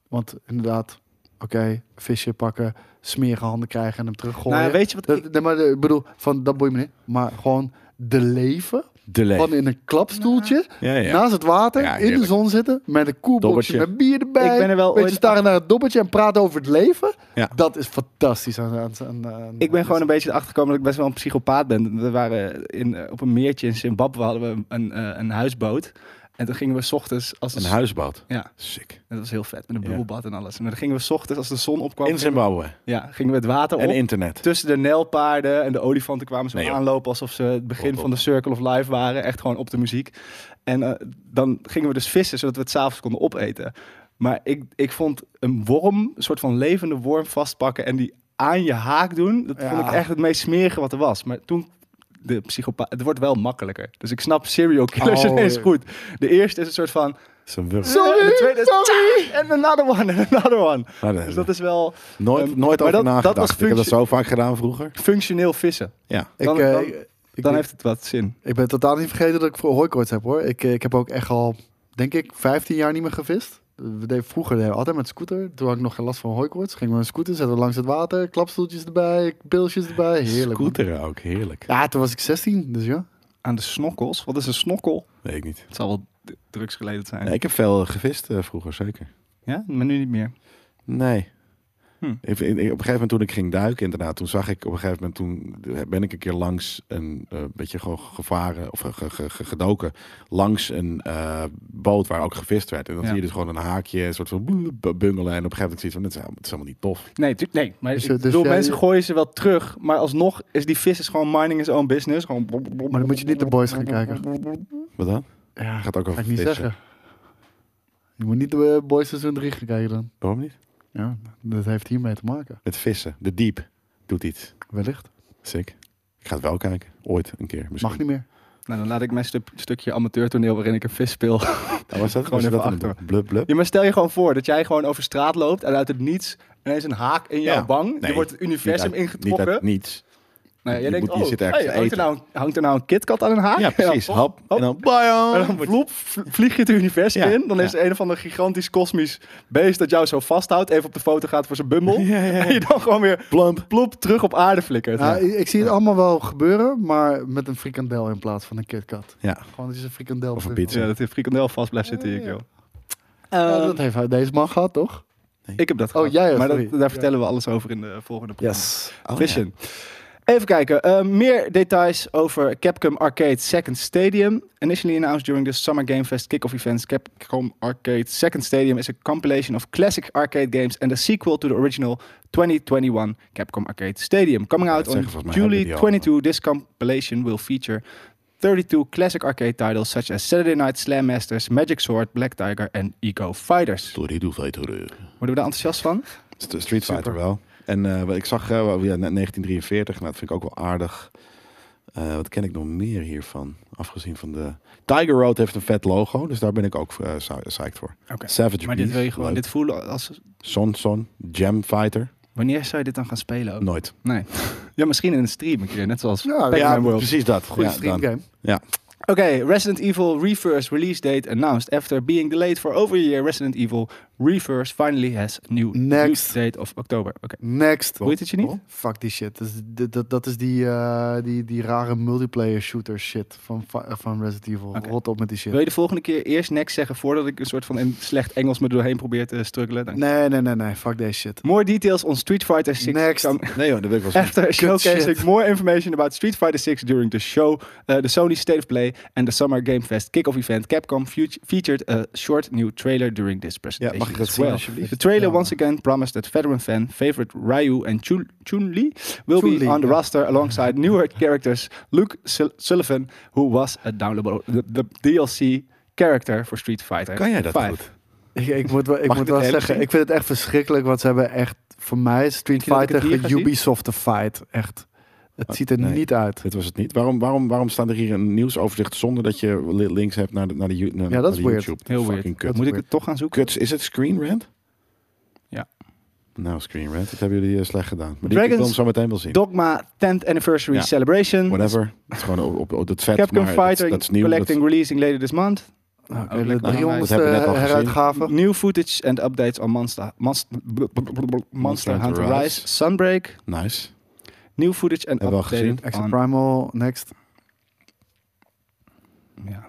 B: Want inderdaad, oké, visje pakken, smerige handen krijgen en hem teruggooien.
A: Nou ja, weet je wat ik-
B: Dat- nee, maar eh, ik bedoel, van, dat boeit me niet. Maar gewoon de leven,
C: De leef.
B: van in een klapstoeltje,
C: Ja, ja.
B: naast het water,
C: Ja,
B: in de
C: heerlijk.
B: zon zitten, met een koelboxje,
C: Dobbertje.
B: met bier erbij.
A: Ik ben er wel
B: Weet je,
A: ooit-
B: staren naar het dobbertje en praten over het leven.
C: Ja.
B: Dat is fantastisch. Aan, aan, aan, aan-
A: Ik ben gewoon een beetje erachter gekomen dat ik best wel een psychopaat ben. We waren in, eh, op een meertje in Zimbabwe hadden we een, eh, een huisboot. En toen gingen we 's ochtends als de
C: Een
A: s-
C: huisboot.
A: Ja.
C: Sick. En
A: En dat was heel vet met een bubbelbad en alles. En dan gingen we 's ochtends als de zon opkwam.
C: In
A: gingen we-
C: Zimbabwe.
A: Ja, gingen we het water op.
C: En internet.
A: Tussen de nijlpaarden en de olifanten kwamen ze
C: Nee, joh.
A: aanlopen alsof ze het begin van de Circle of Life waren. Echt gewoon op de muziek. En eh, dan gingen we dus vissen, zodat we het s'avonds konden opeten. Maar ik, ik vond een worm, een soort van levende worm vastpakken en die aan je haak doen. Dat vond ik echt het meest smerige wat er was. Maar toen... De psychopaat, het wordt wel makkelijker. Dus ik snap serial killers *laughs*
B: Oh,
A: ineens
B: ja.
A: goed. De eerste is een soort van
C: Zo'n wurm.
A: en de tweede is "Tja!" En another one, en another one.
C: Maar dat-
A: Dus dat is wel
C: Nooit,
A: Ehm,
C: nooit
A: maar
C: over
A: dat- dat
C: nagedacht.
A: was
C: Ik heb dat
A: functie-
C: zo vaak gedaan vroeger.
A: functioneel vissen.
C: Ja.
B: Ik,
A: Dan-
B: eh,
A: dan-
B: ik- ik,
A: Dan heeft het wat zin.
B: ik ben totaal niet vergeten dat ik voor hooikoorts heb hoor. Ik, eh, ik heb ook echt al, denk ik, 15 jaar niet meer gevist. We deden vroeger deden we altijd met scooter. Toen had ik nog geen last van hooikoorts. Gingen we een scooter, zetten we langs het water, klapstoeltjes erbij, pilsjes erbij. Heerlijk. man.
C: Scooteren ook, heerlijk.
B: Ja, toen was ik 16, dus ja.
A: Aan de snokkels. Wat is een snokkel?
C: Weet ik niet.
A: Het zal wel d- drugsgerelateerd zijn.
C: Nee, ik heb veel eh, gevist eh, vroeger, zeker.
A: Ja, maar nu niet meer.
C: Nee.
A: Hm.
C: Ik- ik- op een gegeven moment toen ik ging duiken, inderdaad, toen zag ik op een gegeven moment, toen ben ik een keer langs een eh, beetje gewoon gevaren of ge- ge- ge- gedoken, langs een eh, boot waar ook gevist werd. En dan
A: Ja.
C: zie je dus gewoon een haakje, een soort van boe- bungelen. En op een gegeven moment zie je van, het is, het is helemaal niet tof.
A: Nee, tuurlijk nee. Maar
B: Dus,
A: ik
B: eh, dus
A: bedoel,
B: jij-
A: mensen gooien ze wel terug. Maar alsnog is die vis is gewoon mining his own business. Gewoon...
B: Maar dan moet je niet de boys gaan kijken.
C: Wat dan?
B: Ja,
C: Gaat ook over
B: ga ik niet
C: vissen.
B: zeggen. Je moet niet de eh, boys seizoen 3 gaan kijken dan.
C: Waarom niet?
B: Ja, dat heeft hiermee te maken.
C: Het vissen, de diep, doet iets.
B: Wellicht.
C: Sick. Ik ga het wel kijken. Ooit een keer misschien.
B: Mag niet meer.
A: Nou, dan laat ik mijn stu- stukje amateurtoneel waarin ik een vis speel. *laughs*
C: Oh, was dat,
A: Gewoon
C: was dat
A: even
C: in het
A: achter.
C: boek? Blub, blub.
A: Ja, maar stel je gewoon voor dat jij gewoon over straat loopt en uit het niets ineens een haak in jouw
C: Ja.
A: bang.
C: Nee,
A: je wordt het
C: niet
A: universum
C: uit-
A: ingetrokken.
C: Niet uit niets.
A: Nou,
C: Je
A: jij denkt,
C: moet- je
A: oh,
C: zit ergens
A: hey,
C: te
A: hangt, er
C: eten.
A: nou, een- hangt er nou een KitKat aan een haak? *laughs*
C: Ja, precies.
A: Ja,
C: Hap. En dan, bye
A: En dan vloep, v- vlieg je het universum
C: Oh. Ja,
A: in. Dan is
C: ja.
A: er een of ander gigantisch kosmisch beest dat jou zo vasthoudt. Even op de foto gaat voor zijn bummel.
C: *laughs* Ja, ja, Nou, ja.
A: En je dan gewoon weer
C: Plump.
A: ploep terug op aarde flikkert.
B: Ja, ik, ik zie het allemaal wel gebeuren, maar met een frikandel in plaats van een KitKat.
C: Ja.
B: Gewoon dat je een frikandel
C: Of een
B: begint.
C: pizza.
A: Ja, dat die frikandel vast blijft zitten
C: Oh,
A: hier, joh.
B: Ja, dat heeft hij- deze man gehad, toch?
A: Ik heb dat
B: Oh,
A: gehad.
B: jij hebt-
A: Maar dat,
B: sorry.
A: daar
B: Ja.
A: vertellen we alles over in de volgende podcast.
C: Oh, ja.
A: Vision. Even kijken. eh, meer details over Capcom Arcade Second Stadium. Initially announced during the Summer Game Fest kickoff events, Capcom Arcade Second Stadium is a compilation of classic arcade games and a sequel to the original 2021 Capcom Arcade Stadium. Coming out
C: Ja, dat zeggen,
A: on
C: volgens mij
A: July
C: hebben die al.
A: 22, this compilation will feature 32 classic arcade titles such as Saturday Night Slam Masters, Magic Sword, Black Tiger en Eco Fighters.
C: Sorry, doe fighter.
A: Worden we daar enthousiast van?
C: St- Street Fighter wel. En eh, ik zag eh, wel- ja, 1943, nou, dat vind ik ook wel aardig. Eh, wat ken ik nog meer hiervan? Afgezien van de... Tiger Road heeft een vet logo, dus daar ben ik ook eh, psy- psyched voor.
A: Oké.
C: Savage
A: Maar dit
C: Beast,
A: wil je gewoon
C: leuk.
A: dit voelen als...
C: Son Son, Jam Fighter,
A: Wanneer zou je dit dan gaan spelen ook?
B: Oh.
C: nooit.
A: Nee. Ja, misschien in een stream een keer, net zoals
B: Ja,
A: Pac-Man
B: ja,
A: World.
C: precies dat.
B: Goede
C: ja, dan.
B: streamgame.
C: Ja.
A: Oké, Resident Evil Reverse release date announced. After being delayed for over a year, Resident Evil Reverse finally has new
B: Next.
A: release date of oktober. Oké.
B: Next.
A: Boeit het je niet?
B: Fuck die shit. Dat is, dat, dat, dat is die, eh, die, die rare multiplayer shooter shit van, Fi- eh, van Resident Evil.
A: Oké.
B: Rot op met die shit.
A: Wil je de volgende keer eerst next zeggen voordat ik een soort van in slecht Engels me doorheen probeer te struggelen? Dank je.
B: Nee, nee, nee, nee. Fuck deze shit.
A: More details on Street Fighter 6.
B: Next.
A: come-
C: Nee joh, dat wil ik wel zeggen.
A: After showcasing
B: shit.
A: more information about Street Fighter 6 during the show, uh, the Sony State of Play and the Summer Game Fest kickoff event, Capcom fut- featured a short new trailer during this presentation.
C: mag ik dat
A: as
C: zien,
A: well.
C: alsjeblieft?
A: The trailer once again promised that veteran fan favorite Ryu and Chun- Chun-Li will be
B: Chun-Li,
A: on the
B: ja.
A: roster alongside newer characters Luke Sul- Sullivan, who was a downloadable the, the DLC character for Street Fighter.
C: Kan jij dat
A: 5.
C: goed?
B: Ik, ik moet wel, ik
C: Mag ik
B: moet
C: dit
B: wel
C: eerlijk
B: zeggen,
C: zien?
B: ik vind het echt verschrikkelijk. Want ze hebben echt voor mij Street
A: je dat ik het
B: Fighter
A: hier ga zien?
B: Ubisoft te fight. Echt. Het ziet er
C: nee.
B: niet uit.
C: Dit was het niet. Waarom, waarom, waarom staan er hier een nieuwsoverzicht zonder dat je li- links hebt naar de, naar de, you- naar,
B: Ja, dat is
C: naar de
B: weird.
C: YouTube?
A: Heel weird.
C: Fucking kut.
A: Moet ik het toch gaan zoeken?
C: Kuts, is het Screen Rant?
A: Ja.
C: Nou, Screen Rant, dat hebben jullie eh, slecht gedaan. Maar die
A: Dragons
C: ik wil hem zo meteen wel zien.
A: Dogma 10th Anniversary
C: Ja.
A: Celebration.
C: Whatever. Het is gewoon op, op, op dat vet,
A: Capcom
C: maar
A: Fighter
C: dat, dat is nieuw.
A: collecting releasing later this month.
B: Nou,
A: Ook
B: de
A: lekker. Nou, dat
B: 300
C: hebben we net al gezien.
B: heruitgave.
A: New footage and updates on Monster, Monster, Monster, Hunter
C: Hunter
A: Rise.
C: Rise.
A: Sunbreak.
C: dat, nice.
A: New footage and
C: Hebben we al gezien.
A: updated
B: Extra
A: on...
B: Primal, next.
A: Ja.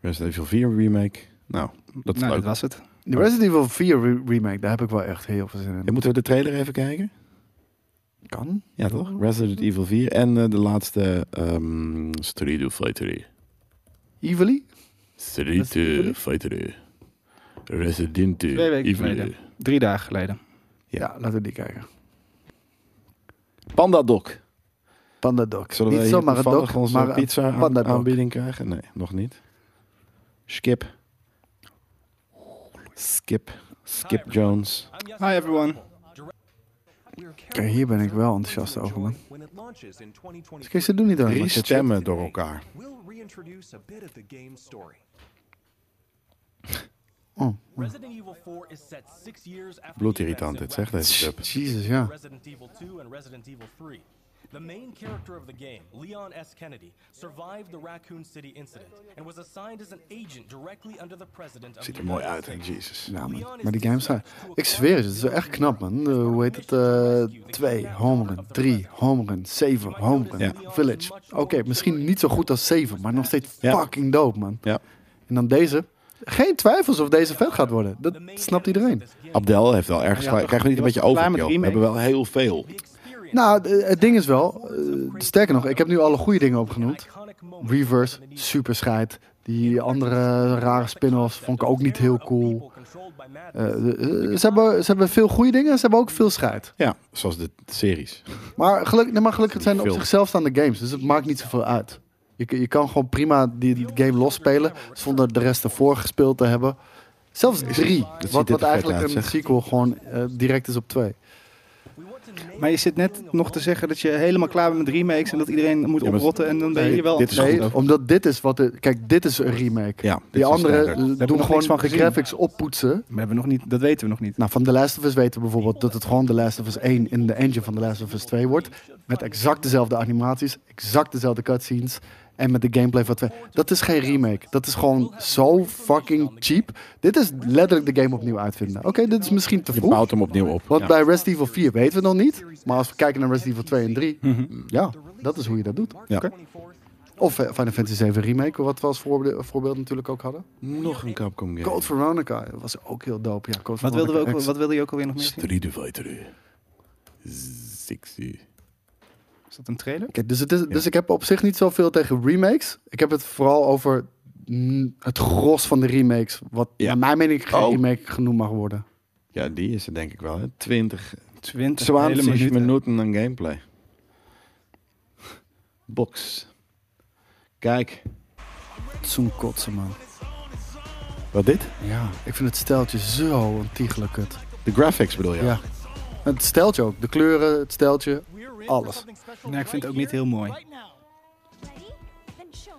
C: Resident Evil 4 remake. Nou, dat is
A: nou, dat
C: leuk.
A: was het.
B: De Resident Evil 4 re- remake, daar heb ik wel echt heel veel zin in.
C: En moeten we de trailer even kijken?
B: kan.
C: Ja, toch? Resident Evil 4 en eh, de laatste ehm Street of Fighter 3.
B: Evilly?
C: Street eh, Fighter. Resident
A: Twee weken
C: Evil.
A: geleden. Drie dagen geleden.
B: Ja. laten we die kijken.
C: Panda Doc.
B: Panda Dog.
C: Zullen
B: Niet
C: we
B: zomaar een
C: hier toevallig
B: dog,
C: onze
B: maar een
C: pizza aan-
B: panda dog.
C: aanbieding krijgen? Nee, nog niet. Skip. Skip. Skip Jones.
A: Hi everyone.
B: Kijk, hier ben ik wel enthousiast over, man.
K: When it launches in 2020,
B: Dus kijk, ze doen niet aan
C: Drie stemmen door elkaar.
K: we'll reintroduce a bit of the game's story.
B: Oh,
K: Resident Evil 4 is set six years after
C: Bloedirritant dit, zeg deze sub.
B: *laughs* Jezus, ja.
K: Resident Evil 2 and Resident Evil 3. The main character of the game, Leon S. Kennedy, survived the Raccoon City incident and was assigned as an agent directly under the president of
C: Ziet
K: the
C: er mooi
K: United
C: uit, hè? Jezus.
B: Ja, man. Maar die games zijn... Ik zweer het, het is wel echt knap, man. Eh, hoe heet het? eh, twee, home run. Drie, home run. Zeven, home run.
C: Ja.
B: Village. Oké, misschien niet zo goed als zeven, maar nog steeds
C: Ja.
B: fucking dope, man.
C: Ja.
B: En dan deze. Geen twijfels of deze vet gaat worden. Dat snapt iedereen.
C: Abdel heeft wel ergens... gelijk. Krijgen we niet een beetje
A: klaar met
C: overkill? We
A: remake?
C: hebben wel heel veel.
B: Nou, d- het ding is wel... eh, sterker nog, ik heb nu alle goede dingen opgenoemd. Reverse, super scheid. Die andere rare spin-offs vond ik ook niet heel cool. Eh, eh, ze, hebben, ze hebben veel goede dingen en ze hebben ook veel scheid.
C: Ja, zoals de series.
B: Maar, geluk, nee, maar gelukkig
C: Niet
B: zijn het op
C: veel.
B: zichzelf staande games, dus het maakt niet zoveel uit. Je, kan- je kan gewoon prima die game losspelen zonder de rest ervoor gespeeld te hebben. Zelfs drie, wat,
C: ziet er
B: wat
C: vet
B: eigenlijk
C: uit,
B: een
C: zeg.
B: sequel gewoon eh, direct is op twee.
A: Maar je zit net nog te zeggen dat je helemaal klaar bent met remakes en dat iedereen moet
C: Ja, maar-
A: oprotten en dan ben je
C: Nee,
A: hier wel
C: dit is
A: enthousiast
C: goed
A: over.
C: ook.
B: Omdat dit is wat... de- kijk, dit is een remake.
C: Ja, dit
B: die
C: is een
B: andere
C: standaard.
B: eh,
A: we nog
B: doen gewoon
A: niks van
B: de
A: gezien.
B: graphics oppoetsen.
A: Maar hebben we nog niet, dat weten we nog niet.
B: Nou, van The Last of Us weten we bijvoorbeeld dat het gewoon The Last of Us 1 in de engine van The Last of Us 2 wordt. Met exact dezelfde animaties, exact dezelfde cutscenes en met de gameplay van 2. Dat is geen remake. Dat is gewoon zo fucking cheap. Dit is letterlijk de game opnieuw uitvinden. Oké, dit is misschien te
C: Je
B: vroeg.
C: bouwt hem opnieuw op.
B: Want
C: Ja.
B: bij Resident Evil 4 weten we nog niet. Maar als we kijken naar Resident Evil 2 en 3, ja, dat is hoe je dat doet.
C: Mhm. Ja.
B: Of eh, Final Fantasy 7 Remake, wat we als voorbeeld, voorbeeld natuurlijk ook hadden.
C: Nog een Capcom game.
B: Code Veronica was ook heel dope. Ja, Code
A: Wat wilden we
B: Veronica
A: ook,
B: X.
A: wat wilde je ook alweer nog meer zien?
C: Street Fighter. Sexy.
A: Is dat een trailer?
B: Oké, dus, het is, dus ik heb op zich niet zoveel tegen remakes. Ik heb het vooral over mm, het gros van de remakes. Wat
C: Ja.
B: naar mijn mening geen
C: Oh.
B: remake genoemd mag worden.
C: Ja, die is er denk ik wel. Hè. 20,
A: 20 hele
C: 20
A: minuten.
C: minuten aan gameplay. Box. Kijk,
B: Zo'n kotsen, man.
C: wat dit?
B: Ja, ik vind het steltje zo ontiegelijk kut.
C: De graphics bedoel je?
B: Ja. Het steltje ook. De kleuren, het steltje, alles.
A: Nee, ik vind het ook niet heel mooi.
G: Ready? Then show.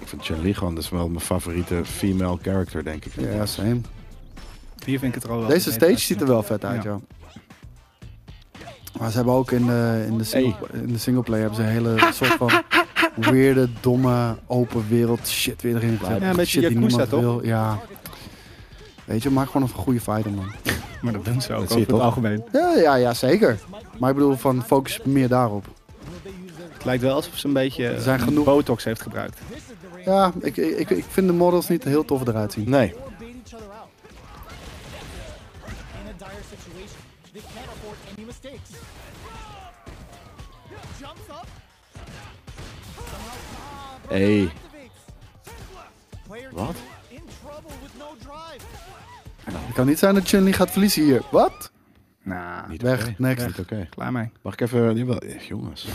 C: Ik vind Charlie gewoon, dat is wel mijn favoriete female character, denk ik.
B: Ja, same.
A: Hier vind ik het er al wel.
B: Deze
A: mee
B: stage
A: uit.
B: ziet er wel vet uit, ja. Maar ze hebben ook in de, in de, single, in de singleplayer hebben ze een hele soort van weirde, domme, open wereld shit weer erin gezet.
A: Ja, een beetje
B: shit die
A: Yakuza,
B: niemand
A: toch?
B: wil. Ja. Weet je, maak gewoon een goede fighter, man.
A: Maar dat doen ze ook
C: Dat
A: over
C: zie je
A: het
C: toch?
A: algemeen.
B: Ja, ja, ja, zeker. Maar ik bedoel, van focus meer daarop.
A: Het lijkt wel alsof ze een beetje eh,
B: zijn genoeg-
A: botox heeft gebruikt.
B: Ja, ik, ik, ik vind de models niet heel tof eruit zien.
C: Nee. Hey. Wat?
B: Het kan niet zijn dat Chun-Li gaat verliezen hier. Wat?
A: Nou,
C: Niet
B: Weg,
C: oké.
B: next.
C: Niet oké.
A: klaar mee.
C: Mag ik even... jawel, eh, Jongens.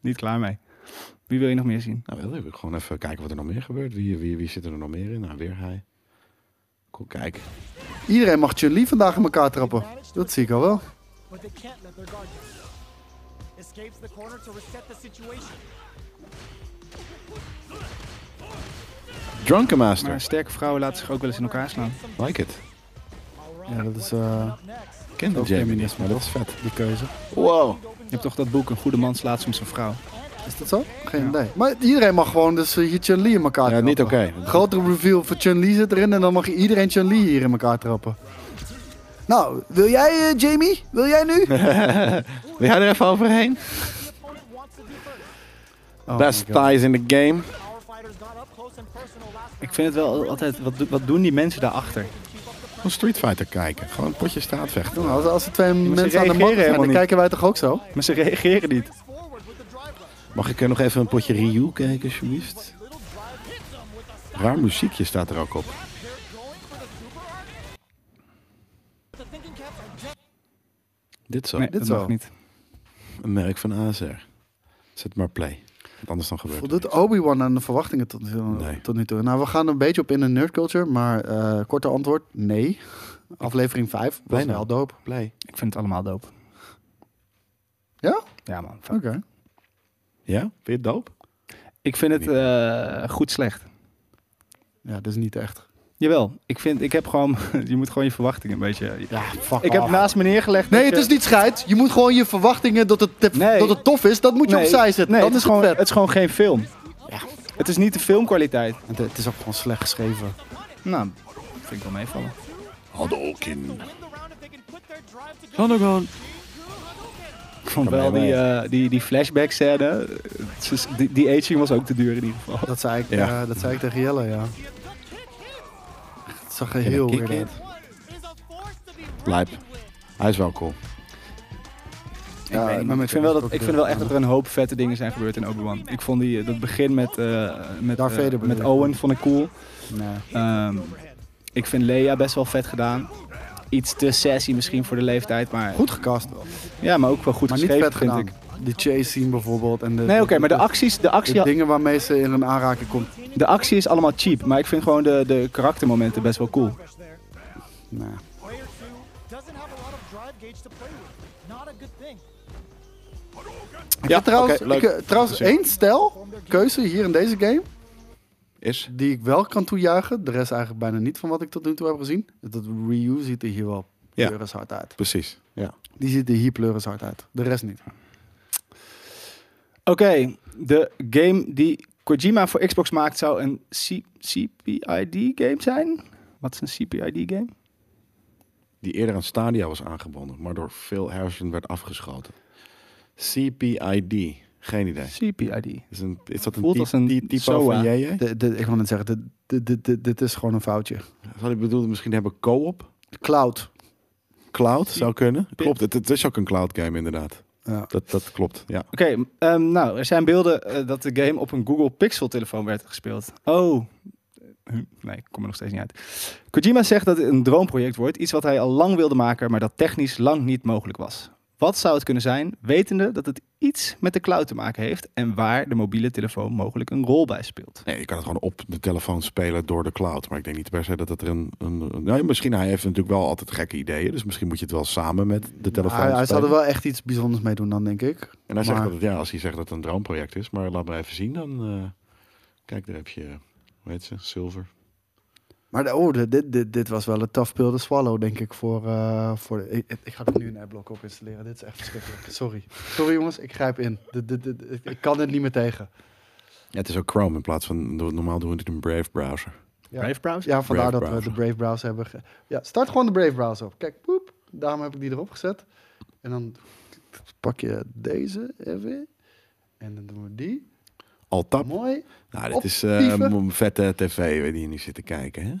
A: Niet klaar mee. Wie wil je nog meer zien?
C: Nou, wil ik gewoon even kijken wat er nog meer gebeurt. Wie, wie, wie zit er nog meer in? Nou, weer hij. Kom kijken.
B: Iedereen mag Chun-Li vandaag in elkaar trappen. Dat zie ik al wel.
L: but they can't let their guard down. Escapes the corner to reset the situation.
C: Drunken
A: Maar
C: Master.
A: sterke vrouwen laten zich ook wel eens in elkaar slaan.
C: Like it.
B: Ja, dat is eh,
C: Ik ken de
B: Ook
C: Jamie niet,
B: feminisme,
C: maar dat is vet.
B: die keuze.
C: Wow.
A: Je hebt toch dat boek, een goede man slaat soms een vrouw.
B: Is dat zo? Geen idee. Maar iedereen mag gewoon dus eh, hier Chun-Li in elkaar
C: Ja,
B: trappen.
C: niet oké.
B: Grotere reveal voor Chun-Li zit erin en dan mag iedereen Chun-Li hier in elkaar trappen. Nou, wil jij eh, Jamie? Wil jij nu?
C: Wil jij er even overheen?
B: Oh
C: Best
B: my God.
C: ties in the game.
A: Ik vind het wel altijd, wat, do- wat doen die mensen daarachter?
C: Gewoon Street Fighter kijken. Gewoon een potje straatvechten.
B: Nou, als, als er twee
A: ze
B: mensen aan de
A: reageren
B: macht zijn,
A: helemaal
B: dan
A: niet.
B: kijken wij toch ook zo?
A: Maar ze reageren niet.
C: Mag ik er nog even een potje Ryu kijken, alsjeblieft? Raar muziekje staat er ook op. Dit zo.
A: Nee, Dit dat zo. mag niet.
C: Een merk van ASR. Zet maar play. Want anders dan gebeurt het.
B: Voldoet Obi-Wan aan de verwachtingen tot, nu toe- tot nu toe? Nou, we gaan een beetje op in de nerdculture, maar eh korte antwoord, nee. Aflevering 5 was
A: Blij nou.
B: wel doop.
C: Blij.
A: Ik vind het allemaal dope.
B: Ja?
A: Ja, man.
B: Oké.
C: Ja? Vind je het dope?
A: Ik vind het eh, goed slecht.
B: Ja, dat is niet echt.
A: Jawel. Ik vind, ik heb gewoon, *laughs* je moet gewoon je verwachtingen een beetje... Ja,
B: fuck
A: Ik heb
B: off.
A: naast me neergelegd...
B: Nee,
A: dat
B: het
A: je-
B: is niet scheid. Je moet gewoon je verwachtingen dat het, te- dat het tof is, dat moet je
A: Nee,
B: opzij zetten.
A: Nee,
B: dat
A: het is, gewoon, het is gewoon geen film. Het is niet de filmkwaliteit.
B: Het, is ook gewoon slecht geschreven.
A: Nou, vind ik wel meevallen.
C: Hadouken.
A: Hadouken. Ik vond
C: Kan
A: wel
C: mij
A: die,
C: wel.
A: eh, die, die flashback scène. Die, die aging was ook te duur in ieder geval.
B: Dat zei ik,
A: Ja.
B: eh, dat zei ik tegen Jelle, ja. Het zag er heel
C: kick
B: weird uit.
C: Lijp. Hij is wel cool.
A: ik, weet niet. ik vind wel, dat, ik vind wel echt dat er een hoop vette dingen zijn gebeurd in Obi-Wan. Ik vond die, dat begin met, eh, met,
B: Darth
A: eh,
B: Vader bedoel
A: met
B: je?
A: Owen vond ik cool.
B: Nee.
A: Ehm, ik vind Leia best wel vet gedaan. Iets te sassy misschien voor de leeftijd, maar...
B: Goed gecast wel.
A: Ja, maar ook wel goed
B: maar niet
A: geschreven,
B: vet
A: vind
B: gedaan.
A: ik.
B: De chase scene bijvoorbeeld. En de,
A: Nee, oké, maar de acties- de actie had-
B: dingen waarmee ze in een aanraking komt.
A: De actie is allemaal cheap, maar ik vind gewoon de, de karaktermomenten best wel cool.
B: Nou,
L: Doesn't have a lot of drive gauge to play with. Not a good thing.
B: Ik heb trouwens,
C: oké, leuk.
B: ik, eh, trouwens
C: Goed gezien.
B: één stel keuze hier in deze game.
C: Is?
B: Die ik wel kan toejuichen. De rest eigenlijk bijna niet van wat ik tot nu toe heb gezien. Dat Ryu ziet er hier wel
C: Ja.
B: pleuris hard uit.
C: Precies. Ja.
B: Die ziet er hier pleuris hard uit. De rest niet.
A: Oké, de game die Kojima voor Xbox maakt zou een C- CPID-game zijn. Wat is een CPID-game?
C: Die eerder aan Stadia was aangebonden, maar door Phil Harrison werd afgeschoten. CPID. Geen idee.
A: CPID.
C: Is, een, is dat
A: Voelt
C: een,
A: als een
C: ty- ty- typo
A: SOA.
C: van JJ?
B: De, de, ik wil net zeggen, dit- dit- dit- dit- dit is gewoon een foutje.
C: Zal ik bedoelen, misschien hebben co-op?
B: Cloud.
C: Cloud zou kunnen. Klopt, het, het is ook een cloud game inderdaad.
B: Ja.
C: Dat, dat klopt, ja.
A: Oké, ehm, nou, er zijn beelden eh, dat de game op een Google Pixel-telefoon werd gespeeld. Oh, Hm, nee, ik kom er nog steeds niet uit. Kojima zegt dat het een droomproject wordt, iets wat hij al lang wilde maken, maar dat technisch lang niet mogelijk was. Wat zou het kunnen zijn, wetende dat het iets met de cloud te maken heeft en waar de mobiele telefoon mogelijk een rol bij speelt?
C: Nee, je kan het gewoon op de telefoon spelen door de cloud. Maar ik denk niet per se dat dat er een... een, een- nou, misschien, hij heeft natuurlijk wel altijd gekke ideeën. Dus misschien moet je het wel samen met de telefoon
B: Ah, Hij, hij zou
C: spelen.
B: er wel echt iets bijzonders mee doen dan, denk ik.
C: En hij zegt
B: Maar-
C: dat het, ja, als hij zegt dat het een droomproject is. Maar laat maar even zien dan. eh, kijk, daar heb je, hoe heet ze, Silver.
B: Maar de, oh, de- dit, dit, dit was wel een tough pill to swallow, denk ik. Voor, eh, voor de- ik, ik ga er nu een adblock op installeren. Dit is echt verschrikkelijk. Sorry. Sorry jongens, ik grijp in. Dit, dit, dit- ik, ik kan dit niet meer tegen.
C: Ja, het is ook Chrome in plaats van, normaal doen we het in een Brave browser.
B: Ja.
A: Brave browser?
B: Ja, vandaar
C: Brave
B: dat
C: browser.
B: we de Brave browser hebben. ge- ja, start gewoon de Brave browser op. Kijk, poep. Daarom heb ik die erop gezet. En dan pak je deze even. En dan doen we die.
C: Altap.
B: Mooi.
C: Nou, dit is eh,
B: Optieven.
C: een vette tv waar die je nu zit te kijken, hè?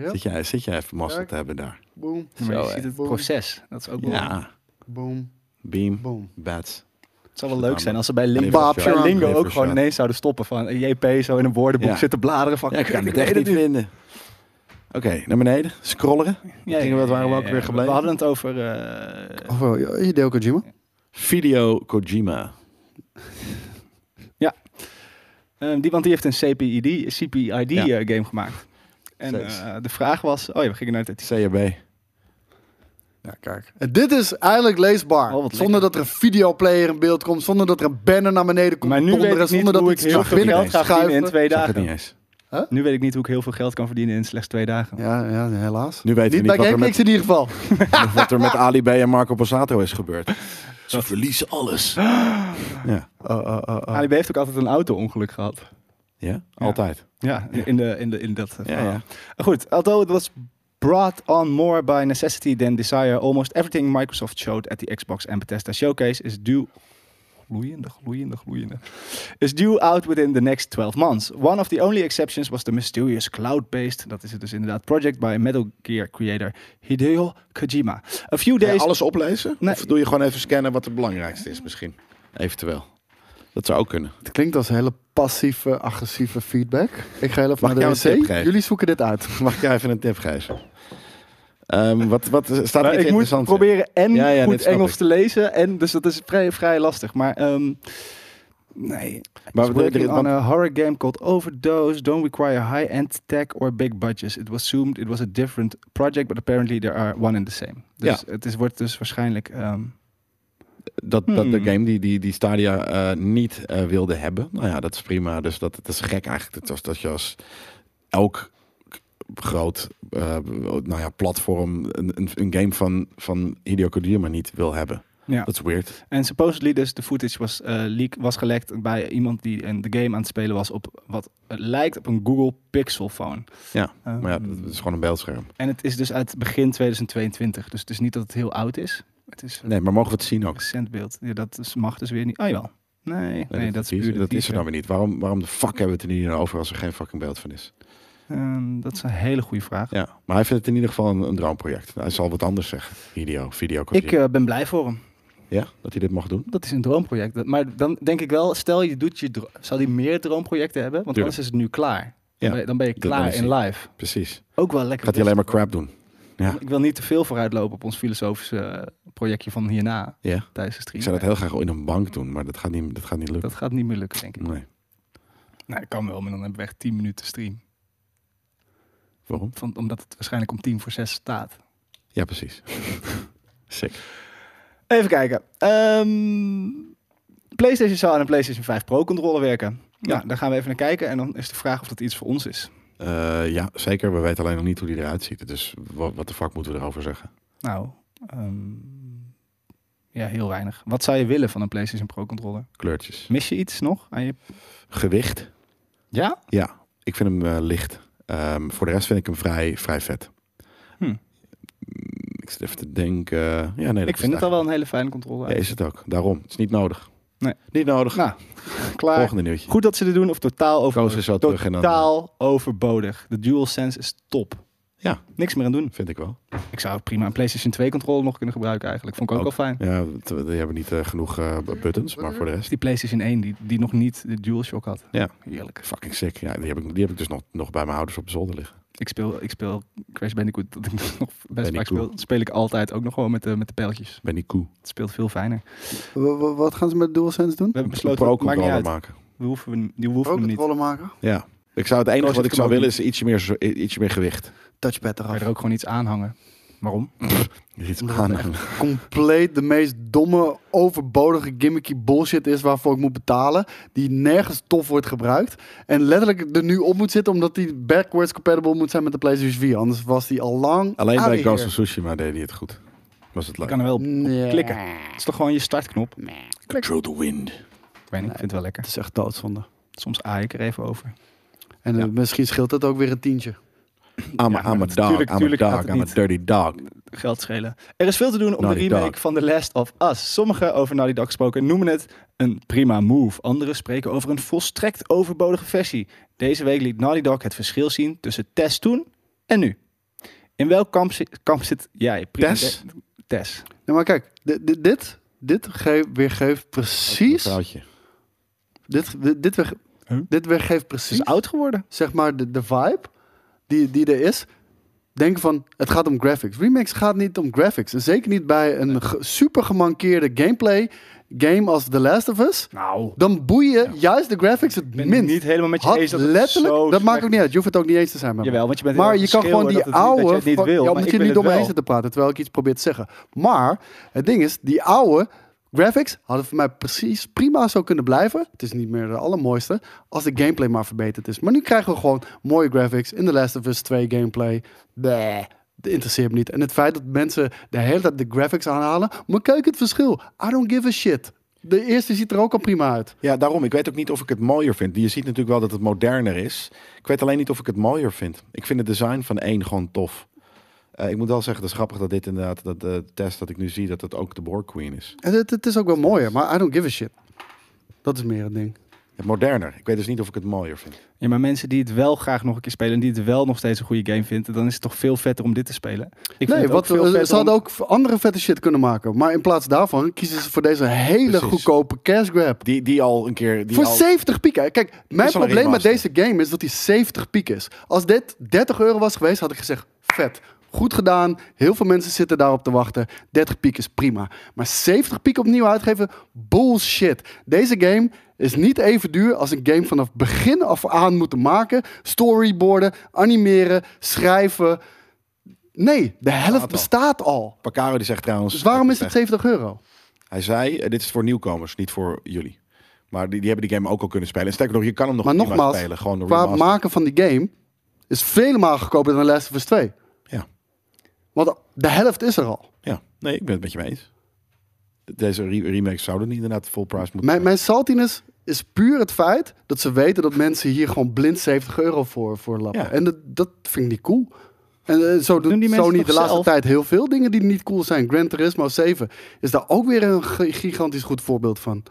B: Ja.
C: Zit, jij, zit jij even massa
B: Kijk.
C: te hebben daar?
B: Boom.
A: Maar je
C: Zo,
A: ziet
C: hè.
A: het
B: Boom.
A: proces, dat is ook wel...
C: Ja,
B: Boom.
C: beam,
B: Boom.
C: bats.
A: Het zou wel leuk zijn als ze bij Lingo,
C: Paap,
A: bij
C: Sharon.
A: Lingo ook
C: Even
A: gewoon
C: shot.
A: ineens zouden stoppen van eh, JP zo in een woordenboek
C: Ja.
A: zitten bladeren van...
C: Ja, ik
A: *laughs*
C: *laughs* kan het
A: weet
C: echt niet
A: niet.
C: vinden. Oké, naar beneden. Scrolleren.
A: Ja,
C: Gingen we, dat waren we
A: ja,
C: ook
A: ja,
C: weer gebleven.
A: We hadden het over... eh,
B: Of wel, ja, Hideo Kojima.
C: Video Kojima.
A: Ja. Ehm, die, want die heeft een CPID, CPID
C: Ja.
A: eh, game gemaakt. En
C: Zeus.
A: eh, de vraag was... Oh ja, we gingen naar het...
C: CAB.
B: Ja, kijk. En dit is eigenlijk leesbaar.
A: wat
B: zonder dat er een videoplayer in beeld komt. Zonder dat er een banner naar beneden komt.
A: Maar nu
B: donderen,
A: weet ik niet
B: zonder
A: hoe ik
B: dat iets
A: heel
B: naar
A: veel
B: binnen
A: geld ga verdienen in
B: schuiven.
A: twee
C: Zag het niet
A: dagen.
C: *laughs* eens.
A: Nu weet ik niet hoe ik heel veel geld kan verdienen in slechts twee dagen.
B: Ja, ja, helaas.
C: Nu weten we
B: Niet bij
C: niet wat er,
B: GameKings
C: met,
B: in ieder geval.
C: wat er met Ali B en Marco Passato is gebeurd. Ze verliezen alles. Ja,
B: Oh,
C: Oh.
A: Ali B heeft ook altijd een auto-ongeluk gehad.
C: ja? altijd.
A: Ja, in, de, in, de, in dat eh,
C: Ja,
A: verhaal.
C: ja.
A: Goed, although it was brought on more by necessity than desire, almost everything Microsoft showed at the Xbox and Bethesda showcase is due gloeiende, gloeiende, gloeiende. Is due out within the next 12 months. One of the only exceptions was the mysterious cloud-based, dat is het dus inderdaad, project by Metal Gear creator Hideo Kojima. A few
C: Ga je
A: days...
C: alles oplezen?
A: Nee.
C: Of doe je gewoon even scannen wat het belangrijkste is misschien? Eventueel. Dat zou ook kunnen.
B: Het klinkt als hele passieve, agressieve feedback. Ik ga heel even
C: Mag ik jou
B: naar
C: een
B: de
C: tip
B: wc.
C: geven?
B: Jullie zoeken dit uit. *laughs*
C: Mag jij even een tip geven? Ehm, wat, wat eh, staat er
A: Maar
C: iets
A: ik moet
C: interessants in?
A: proberen en
C: Ja, ja, dit
A: goed
C: snap
A: Engels
C: ik.
A: te lezen. En, dus dat is vrij, vrij lastig. Maar ehm, nee.
C: Maar
A: Maar
C: we-
A: It's working
C: er-
A: on
C: want-
A: a horror game called Overdose. Don't require high-end tech or big budgets. It was assumed it was a different project, but apparently there are one and the same. Dus het is, wordt dus waarschijnlijk... ehm,
C: dat, dat de
A: Hmm.
C: game die, die, die Stadia eh, niet eh, wilde hebben. Nou ja, dat is prima. Dus dat, dat is gek eigenlijk. Dat, was, dat je als elk k- groot eh, nou ja, platform een, een, een game van, van Hideo Kojima niet wil hebben.
A: Ja.
C: Dat is weird.
A: En supposedly dus de footage was, eh, leak, was gelekt bij iemand die een, de game aan het spelen was op wat lijkt op een Google Pixel phone.
C: Ja,
A: Ehm.
C: maar ja, dat is gewoon een beeldscherm.
A: En het is dus uit begin 2022. Dus het is niet dat het heel oud is. Het is
C: Nee, maar mogen we het zien ook?
A: recent beeld. Ja, dat is, mag dus weer niet. Ah jawel. Nee, nee, dat is puur de
C: dat is er
A: teaser.
C: dan weer niet. Waarom, waarom de fuck hebben we het er niet over als er geen fucking beeld van is?
A: Ehm, dat is een hele goede vraag.
C: Ja, maar hij vindt het in ieder geval een, een droomproject. Hij zal wat anders zeggen. Video, video.
A: Ik eh, ben blij voor hem.
C: ja, dat hij dit mag doen.
A: Dat is een droomproject. Dat- Maar dan denk ik wel, stel je doet je dro- zou die meer droomprojecten hebben? Want
C: Tuurlijk.
A: anders is het nu klaar.
C: Ja.
A: Dan ben je- Dan ben je
C: Dat- dan
A: klaar
C: is
A: in
C: hij-
A: live.
C: Precies.
A: Ook wel lekker.
C: Gaat hij alleen maar crap doen? Ja.
A: Ik wil niet te veel vooruitlopen op ons filosofische eh, projectje van hierna
C: Ja.
A: tijdens de stream.
C: Ik zou dat heel graag in een bank doen, maar dat gaat niet, dat gaat niet lukken.
A: Dat gaat niet meer lukken, denk ik.
C: Nee.
A: Nou, dat kan wel, maar dan hebben we echt 10 minuten stream.
C: Waarom?
A: Van, omdat het waarschijnlijk om 10 voor 6 staat.
C: Ja,
A: *laughs*
C: precies. Sick.
A: Even kijken. Ehm, PlayStation zou aan een PlayStation 5 Pro controller werken. Ja. daar gaan we even naar kijken. En dan is de vraag of dat iets voor ons is.
C: Eh, ja, zeker. We weten alleen nog niet hoe die eruit ziet. Dus wat, wat de fuck moeten we erover zeggen?
A: Nou, ehm, ja, heel weinig. Wat zou je willen van een PlayStation Pro controller?
C: Kleurtjes.
A: Mis je iets nog aan je...
C: Gewicht.
A: Ja?
C: Ja, ik vind hem eh, licht. Ehm, voor de rest vind ik hem vrij, vrij vet.
A: Hm.
C: Mm, Ik zit even te denken. eh, ja, nee, dat
A: ik vind
C: is
A: het al
C: eigenlijk-
A: wel een hele fijne controller.
C: Ja, is het ook. Daarom. Het is niet nodig.
A: Nee.
C: Niet nodig.
A: Nou, klaar.
C: Volgende nieuwtje.
A: Goed dat ze dit doen of totaal
C: Koos
A: overbodig.
C: is wel terug en dan-
A: totaal overbodig. De DualSense is top.
C: Ja.
A: Niks meer aan doen.
C: Vind ik wel.
A: Ik zou prima een PlayStation 2 controller nog kunnen gebruiken eigenlijk. Vond ik ook, wel fijn.
C: Ja, t- die hebben niet eh, genoeg eh, buttons, maar voor de
A: Is
C: rest.
A: die PlayStation 1 die, die nog niet de DualShock had.
C: Ja.
A: Heerlijk.
C: Fucking sick. Ja, die heb ik, die heb ik dus nog, nog bij mijn ouders op de zolder liggen.
A: Ik speel, ik speel Crash Bandicoot, dat ik *laughs* nog best vaak
C: cool.
A: speel. Dat speel ik altijd ook nog gewoon met de, met de pijltjes.
C: Ben die koe.
A: Het speelt veel fijner. We
B: Wa- wa- Wat gaan ze met DualSense doen?
A: hebben
C: Een
A: besloten, maakt niet
C: pro-controller
A: uit.
C: maken.
A: We hoeven, hem- die hoeven hem niet.
B: Rollen maken?
C: Ja. Ik zou het enige
A: Koos
C: wat ik
A: heeft
C: zou
A: hem ook
C: willen is ietsje meer, zo- i- ietsje meer gewicht.
B: Touchpad
A: Kan je
B: eraf.
A: er ook gewoon iets aanhangen. Waarom?
C: Iets
B: Omdat
C: aan.
B: Compleet de meest domme, overbodige, gimmicky bullshit is waarvoor ik moet betalen. Die nergens tof wordt gebruikt. En letterlijk er nu op moet zitten omdat die backwards compatible moet zijn met de PlayStation 4. Anders was die al lang
C: Alleen
B: outta
C: bij
B: here.
C: Ghost of Tsushima deed hij het goed. Was het
A: Je
C: leuk.
A: kan er wel op
B: Nee.
A: klikken. Het is toch gewoon je startknop?
C: Control the wind.
A: Ik weet niet, ik vind het wel lekker.
B: Het is echt doodzonde.
A: Soms aai ik er even over.
B: En eh, misschien scheelt dat ook weer een tientje.
C: I'm,
A: Ja,
C: a, I'm a
A: tuurlijk-
C: dog,
A: tuurlijk
C: I'm
A: gaat
C: a dog,
A: het
C: I'm a
A: niet.
C: dirty dog.
A: Geld schelen. Er is veel te doen om
C: Naughty
A: de remake
C: Dog.
A: van The Last of Us. Sommigen over Naughty Dog gesproken noemen het een prima move. Anderen spreken over een volstrekt overbodige versie. Deze week liet Naughty Dog het verschil zien tussen Tess toen en nu. In welk kamp, zi- kamp zit jij? Prima-
C: Tess?
A: Tess.
B: Nee, maar kijk, di- di- dit, dit ge- weergeeft precies...
C: Vrouwtje.
B: Dit, dit, dit, weer,
A: Huh?
B: dit weergeeft
A: Ze is
B: precies,
A: oud geworden.
B: zeg maar, de, de vibe die, die er is. Denken van, het gaat om graphics. Remix gaat niet om graphics. En zeker niet bij een ge- super gemankeerde gameplay game als The Last of Us.
A: Nou.
B: Dan boeien juist de graphics het
A: Ik ben
B: minst.
A: niet helemaal met je
B: Had
A: eens dat het
B: letterlijk,
A: zo
B: dat maakt
A: slecht
B: ook niet uit. Je hoeft het ook niet eens te zijn met me.
A: Jawel, want je bent heel
B: maar
A: erg
B: je kan gewoon
A: schreeuwen
B: die
A: dat het niet- dat je
B: oude...
A: het niet
B: fuck-
A: wil,
B: ja,
A: maar
B: omdat
A: ik
B: je er
A: wil
B: niet
A: het
B: omheen
A: wel.
B: zit te praten, terwijl ik iets probeer te zeggen. Maar het ding is, die oude graphics hadden voor mij precies prima zo kunnen blijven. Het is niet meer de allermooiste, als de gameplay maar verbeterd is. Maar nu krijgen we gewoon mooie graphics in The Last of Us 2 gameplay. Bleh. Dat interesseert me niet. En het feit dat mensen de hele tijd de graphics aanhalen. Maar kijk het verschil. I don't give a shit. De eerste ziet er ook al prima uit.
C: Ja, daarom. Ik weet ook niet of ik het mooier vind. Je ziet natuurlijk wel dat het moderner is. Ik weet alleen niet of ik het mooier vind. Ik vind het design van één gewoon tof. Eh, ik moet wel zeggen, dat is grappig dat dit inderdaad, dat de test dat ik nu zie, dat dat ook de Borg Queen is.
B: En het, het is ook wel mooier, maar I don't give a shit. Dat is meer het ding.
C: Het moderner. Ik weet dus niet of ik het mooier vind.
A: Ja, maar mensen die het wel graag nog een keer spelen en die het wel nog steeds een goede game vinden, dan is het toch veel vetter om dit te spelen. Ik
B: nee, wat,
C: eh,
B: eh,
A: veel
B: ze
A: vetter om-
B: hadden ook andere vette shit kunnen maken. Maar in plaats daarvan kiezen ze voor deze hele
C: Precies.
B: goedkope cash grab.
C: Die, die al een keer... Die
B: voor
C: al...
B: 70 piek. hè. Kijk, mijn
C: is al een
B: probleem met deze
C: remaster.
B: game is dat die 70 piek is. Als dit 30 euro was geweest, had ik gezegd, vet. Goed gedaan. Heel veel mensen zitten daarop te wachten. 30 piek is prima. Maar 70 piek opnieuw uitgeven, bullshit. Deze game is niet even duur als een game vanaf begin af aan moeten maken. Storyboarden, animeren, schrijven. Nee, de helft bestaat al.
C: Pacaro die zegt trouwens...
B: Dus waarom is het 70 euro?
C: Hij zei, eh, dit is voor nieuwkomers, niet voor jullie. Maar die, die hebben die game ook al kunnen spelen. En sterker nog, je kan hem nog
B: Maar
C: prima
B: nogmaals,
C: spelen. Gewoon de
B: qua
C: remaster.
B: maken van die game is vele malen goedkoper dan Last of Us 2.
C: Ja.
B: Want de helft is er al.
C: Ja, nee, ik ben het met je mee eens. Deze re- remakes zouden niet inderdaad full price moeten
B: Mijn, mijn saltiness is puur het feit dat ze weten dat mensen hier gewoon blind 70 euro voor, voor lappen.
C: Ja.
B: En dat, dat vind ik niet cool. En eh, zo doet
A: die mensen
B: Sony
A: toch
B: de laatste
A: zelf?
B: tijd heel veel dingen die niet cool zijn. Gran Turismo 7 is daar ook weer een gi- gigantisch goed voorbeeld van.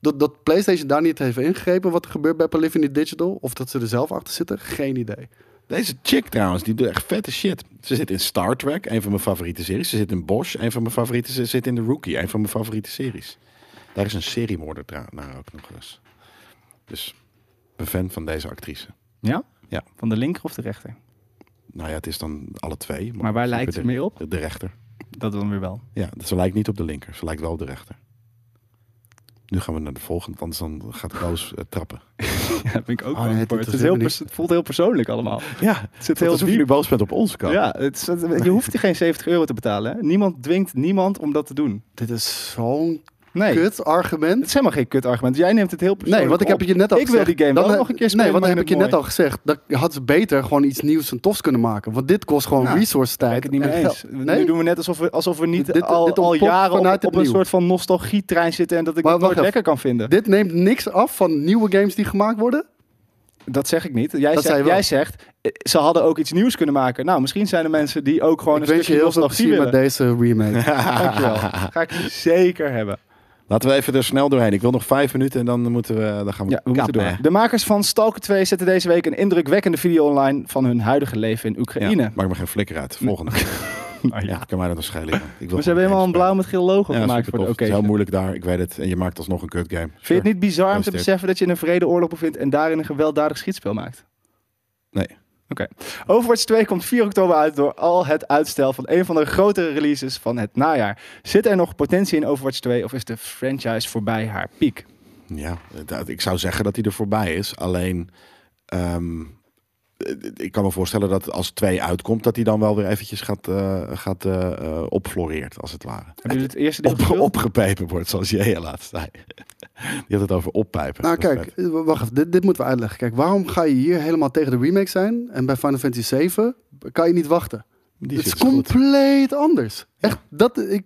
B: Dat, dat PlayStation daar niet heeft ingegrepen wat er gebeurt bij Polyphony Digital. Of dat ze er zelf achter zitten, geen idee.
C: Deze chick trouwens, die doet echt vette shit. Ze zit in Star Trek, een van mijn favoriete series. Ze zit in Bosch, een van mijn favoriete Ze zit in The Rookie, een van mijn favoriete series. Daar is een seriemoorder tra- naar ook nog eens. Dus ik ben fan van deze actrice.
A: Ja?
C: Ja.
A: Van de linker of de rechter?
C: Nou ja, het is dan alle twee.
A: Maar waar
C: ze
A: lijkt
C: de-
A: het meer op?
C: De rechter.
A: Dat dan weer wel.
C: Ja, dus ze lijkt niet op de linker. Ze lijkt wel op de rechter. Nu gaan we naar de volgende, want anders dan gaat Roos eh, trappen.
A: *laughs* Ja, dat vind ik ook
B: Oh,
A: wel
B: nee,
A: voor.
B: dit
A: het, is
B: interesseert
A: heel
B: me niet.
A: pers- het voelt heel persoonlijk allemaal.
C: Ja,
A: het zit
C: heel
A: heel
C: alsof
A: diep.
C: jullie boos bent op onze kant.
A: Ja, het is- het- je hoeft hier geen 70 euro te betalen. hè. Niemand dwingt niemand om dat te doen.
B: Dit is zo'n
A: Nee,
B: kut argument.
A: het is helemaal geen kut argument. Jij neemt het heel
B: Nee,
A: persoonlijk
B: want ik heb
A: op.
B: het je net al
A: Ik
B: gezegd.
A: wil die game
B: Dan
A: wel
B: he-
A: nog een keer spelen.
B: Nee, want
A: maar
B: dan heb ik je
A: vind
B: net al
A: het
B: gezegd. Dat had ze beter gewoon iets nieuws en tofs kunnen maken. Want dit kost gewoon
A: Nou,
B: resource tijd.
A: mooi. Ik ben het
B: en
A: niet mee eens.
B: geld. Nee?
A: Nu doen we net alsof we, alsof we niet
B: Dit- dit-
A: al,
B: dit
A: al
B: ontpopt
A: jaren
B: vanuit
A: op,
B: het
A: op een
B: nieuw.
A: soort van nostalgietrein zitten en dat ik
B: Maar
A: het
B: wacht
A: nooit
B: even.
A: lekker kan vinden.
B: Dit neemt niks af van nieuwe games die gemaakt worden.
A: Dat zeg ik niet. Jij,
B: Dat zei je
A: zegt,
B: wel.
A: jij zegt, eh, ze hadden ook iets nieuws kunnen maken. Nou, misschien zijn er mensen die ook gewoon
B: ik
A: een
B: wens je
A: stukje
B: heel veel
A: nostalgie
B: plezier met
A: willen.
B: deze
A: *laughs*
B: remake. *laughs*
A: Dankjewel. Ga ik zeker hebben.
C: Laten we even er snel doorheen. Ik wil nog vijf minuten en dan moeten we, eh, dan gaan we,
A: Ja, we moeten
C: kappen, hè.
A: door. De makers van Stalker 2 zetten deze week een indrukwekkende video online van hun huidige leven in
C: Ja,
A: Oekraïne.
C: maakt me geen flikker uit. Volgende. ja. Kan mij dat waarschijnlijk. Ik wil
A: maar
C: gewoon
A: ze hebben helemaal een
C: games
A: blauw met geel logo
C: spelen. Ja,
A: gemaakt
C: supertof.
A: voor de
C: Het is heel
A: occasion.
C: moeilijk daar, ik weet het. En je maakt alsnog een kut game.
A: Vind je het niet bizar om te
C: Gefeliciteerd.
A: beseffen dat je in een vredeoorlog bevindt en daarin een gewelddadig schietspel maakt?
C: Nee.
A: Oké. Overwatch 2 komt 4 oktober uit door al het uitstel van een van de grotere releases van het najaar. Zit er nog potentie in Overwatch 2 of is de franchise voorbij haar piek?
C: Ja, dat- ik zou zeggen dat hij er voorbij is. Alleen, ehm, eh, ik kan me voorstellen dat als twee uitkomt, dat hij dan wel weer eventjes gaat, eh gaat eh, eh, opfloreert, als het ware.
A: Hebben jullie het eerste deel
C: Op,
A: gespeeld?
C: opgepijpen wordt, zoals jij laatst zei. Je had het over oppijpen.
B: Nou
C: Dat is
B: kijk, eh, wacht even. Dit, dit moeten we uitleggen. Kijk, waarom ga je hier helemaal tegen de remake zijn? En bij Final Fantasy 7 kan je niet wachten.
C: Die
B: het
C: shit
B: is
C: is goed.
B: compleet anders. Echt, dat, ik,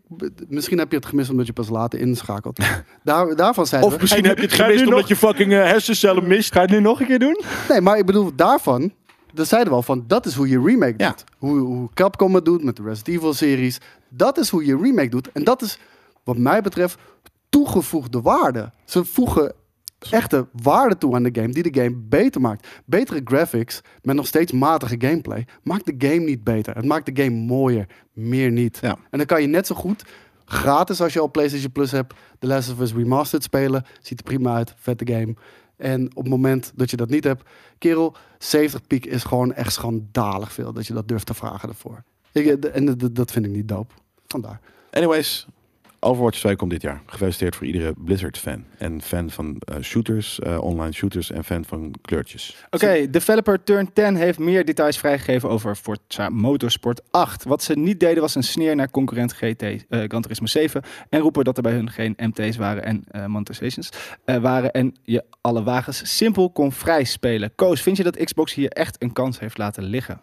B: misschien heb je het gemist omdat je pas later
A: *laughs*
B: inschakelt. Daar, daarvan zijn we...
C: Of misschien heb je het
A: Ga je
C: gemist
A: nu
C: omdat
A: nog-
C: je fucking eh, hersencellen mist.
A: Ga je het nu nog een keer doen?
B: Nee, maar ik bedoel, daarvan, daar zeiden we al van, dat is hoe je remake doet. Hoe, hoe Capcom het doet met de Resident Evil-series. Dat is hoe je remake doet. En dat is, wat mij betreft, toegevoegde waarde. Ze voegen echte waarde toe aan de game, die de game beter maakt. Betere graphics, met nog steeds matige gameplay, maakt de game niet beter. Het maakt de game mooier, meer niet.
C: Ja.
B: En dan kan je net zo goed, gratis als je al PlayStation Plus hebt, The Last of Us Remastered spelen. Ziet er prima uit, vette game. En op het moment dat je dat niet hebt, kerel, 70 piek is gewoon echt schandalig veel dat je dat durft te vragen ervoor. Ik, eh, d- en d- d- dat vind ik niet doop. Vandaar.
C: Anyways, Overwatch 2 komt dit jaar. Gefeliciteerd voor iedere Blizzard-fan. En fan van eh, shooters, eh, online shooters en fan van kleurtjes.
A: Oké, developer Turn 10 heeft meer details vrijgegeven over Forza Motorsport 8. Wat ze niet deden was een sneer naar concurrent GT, eh Gran Turismo 7 en roepen dat er bij hun geen MT's waren en eh monetizations eh, waren en je alle wagens simpel kon vrij spelen. Koos, vind je dat Xbox hier echt een kans heeft laten liggen?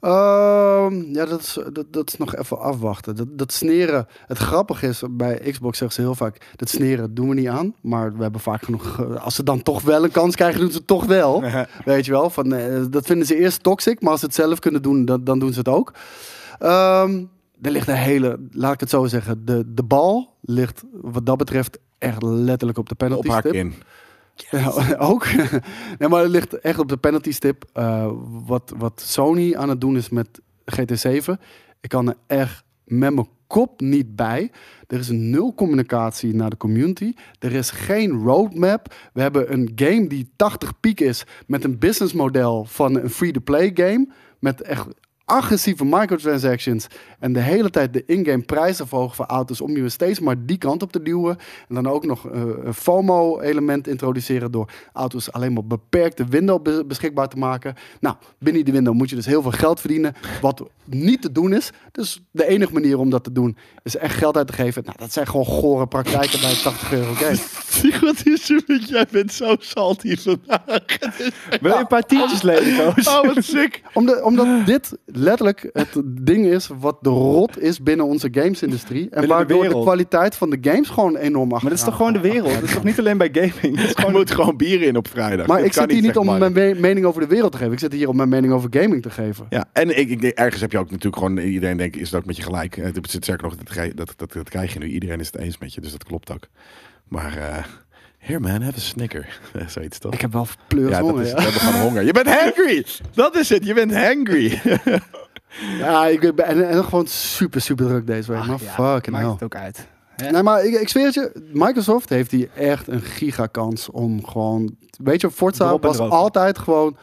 B: Ehm, ja, dat is, dat, dat is nog even afwachten. Dat, dat sneren, het grappige is, bij Xbox zeggen ze heel vaak, dat sneren doen we niet aan. Maar we hebben vaak genoeg, eh, als ze dan toch wel een kans krijgen, doen ze het toch wel.
C: *laughs*
B: Weet je wel, van, eh, dat vinden ze eerst toxic, maar als ze het zelf kunnen doen, dan, dan doen ze het ook. Ehm, er ligt een hele, laat ik het zo zeggen, de, de bal ligt wat dat betreft echt letterlijk op de
C: Op
B: penalty
C: haar
B: stip.
C: kin.
B: Ja, *laughs* ook. nee, maar het ligt echt op de penalty stip. Eh, wat, wat Sony aan het doen is met GT7. Ik kan er echt met mijn kop niet bij. Er is nul communicatie naar de community. Er is geen roadmap. We hebben een game die 80 piek is. Met een businessmodel van een free-to-play game. Met echt agressieve microtransactions. En de hele tijd de in-game prijzen verhogen voor auto's. Om je steeds maar die kant op te duwen. En dan ook nog eh, een FOMO-element introduceren. Door auto's alleen maar beperkte window be- beschikbaar te maken. Nou, binnen die window moet je dus heel veel geld verdienen. Wat niet te doen is. Dus de enige manier om dat te doen. Is echt geld uit te geven. Nou, dat zijn gewoon gore praktijken bij 80 euro game.
M: Zie wat is er met jij bent zo salty vandaag.
A: Wil je een paar tientjes lenen, Koos?
M: Oh, wat sick.
B: Omdat, omdat dit letterlijk het ding is wat de rot is binnen onze gamesindustrie. En
A: de
B: waardoor de,
A: wereld.
B: kwaliteit van de games gewoon enorm achter.
A: Maar dat is toch gewoon de wereld? Dat is toch niet alleen bij gaming? Dat is
C: *laughs* Je
A: gewoon
C: moet gewoon bier in op vrijdag. *laughs*
B: Maar
C: Dit
B: ik
C: kan
B: zit hier niet om
C: rechtmaken.
B: mijn me- mening over de wereld te geven. Ik zit hier om mijn mening over gaming te geven.
C: Ja, en ik, ik, denk, ergens heb je ook natuurlijk gewoon... Iedereen denkt, is het ook met je gelijk. Eh, Het zit zeker nog, dat, krijg- dat, dat, dat krijg je nu. Iedereen is het eens met je, dus dat klopt ook. Maar... eh here man, have a snicker. *laughs* Zoiets toch?
B: Ik heb wel pleurs
C: ja,
B: honger,
C: dat is,
B: ja. *laughs*
C: we hebben gewoon honger. Je bent hangry! Dat is het, je bent hangry.
B: Ja, ik ben en, en gewoon super, super druk deze week. Maar fucking
A: Ah, maakt
B: hell.
A: het ook uit. *laughs*
B: Nee, maar ik, ik zweer het je, Microsoft heeft hier echt een gigakans om gewoon... Weet je, Forza
A: Erop en
B: was
A: erop.
B: altijd gewoon...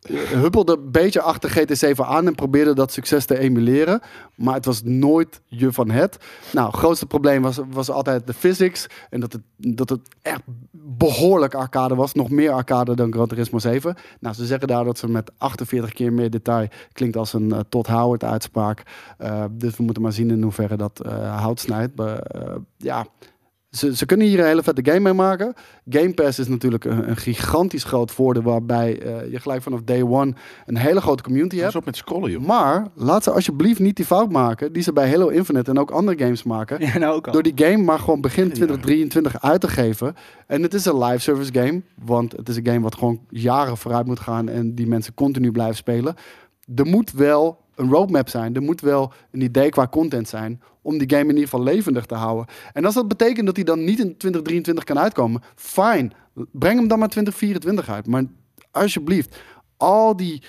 B: eh, Huppelde een beetje achter GT7 aan en probeerde dat succes te emuleren. Maar het was nooit je van het. Nou, het grootste probleem was, was altijd de physics. En dat het, dat het echt behoorlijk arcade was. Nog meer arcade dan Gran Turismo 7. Nou, ze zeggen daar dat ze met 48 keer meer detail... klinkt als een tot Todd Howard uitspraak. Eh, dus we moeten maar zien in hoeverre dat eh, hout snijdt. Maar, eh, ja, ze, ze kunnen hier een hele vette game mee maken. Game Pass is natuurlijk een, een gigantisch groot voordeel... waarbij eh, je gelijk vanaf day one een hele grote community hebt.
C: op met scrollen, joh.
B: Maar laat ze alsjeblieft niet die fout maken... die ze bij Halo Infinite en ook andere games maken.
A: Ja, nou ook al.
B: Door die game maar gewoon begin 2023 uit te geven. En het is een live service game. Want het is een game wat gewoon jaren vooruit moet gaan. En die mensen continu blijven spelen. Er moet wel een roadmap zijn. Er moet wel een idee qua content zijn. Om die game in ieder geval levendig te houden. En als dat betekent dat hij dan niet in 2023 kan uitkomen. Fine. Breng hem dan maar 2024 uit. Maar alsjeblieft. Al die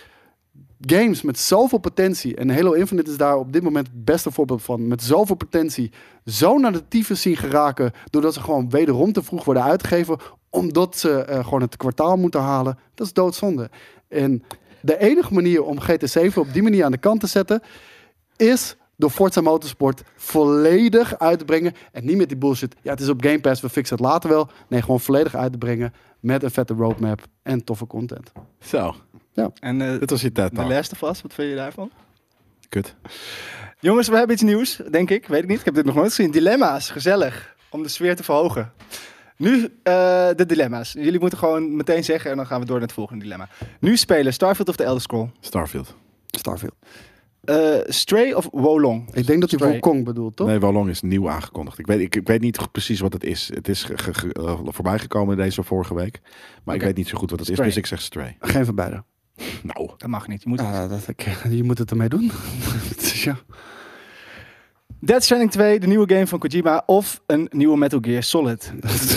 B: games met zoveel potentie. En Halo Infinite is daar op dit moment het beste voorbeeld van. Met zoveel potentie. Zo naar de tyfus zien geraken. Doordat ze gewoon wederom te vroeg worden uitgegeven. Omdat ze eh, gewoon het kwartaal moeten halen. Dat is doodzonde. En de enige manier om GT7 op die manier aan de kant te zetten. Is door Forza Motorsport volledig uit te brengen. En niet met die bullshit. Ja, het is op Game Pass. We fixen het later wel. Nee, gewoon volledig uit te brengen. Met een vette roadmap en toffe content.
C: Zo,
B: Ja.
A: En eh,
C: dit was je tijd
A: de
C: nou.
A: Last of Us, wat vind je daarvan?
C: Kut.
A: Jongens, we hebben iets nieuws, denk ik. Weet ik niet, ik heb dit nog nooit gezien. Dilemma's, gezellig, om de sfeer te verhogen. Nu eh, de dilemma's. Jullie moeten gewoon meteen zeggen en dan gaan we door naar het volgende dilemma. Nu spelen Starfield of de Elder Scroll?
C: Starfield.
B: Starfield.
A: Eh, Stray of Wolong?
B: Ik denk dat hij
A: Stray.
B: Hongkong bedoelt, toch?
C: Nee, Wolong is nieuw aangekondigd. Ik weet, ik, ik weet niet goed precies wat het is. Het is ge- ge- ge- eh, voorbijgekomen deze of vorige week. Maar ik weet niet zo goed wat het
A: Stray.
C: is, dus ik zeg
A: *laughs*
C: Stray.
B: Geen van beide.
C: Nou,
A: Dat mag niet. Je moet
B: Ja, Ah, dat, ik- *laughs* je moet het ermee doen. Dus ja.
A: Dead Stranding 2, de nieuwe game van Kojima of een nieuwe Metal Gear
B: *laughs*
A: Solid.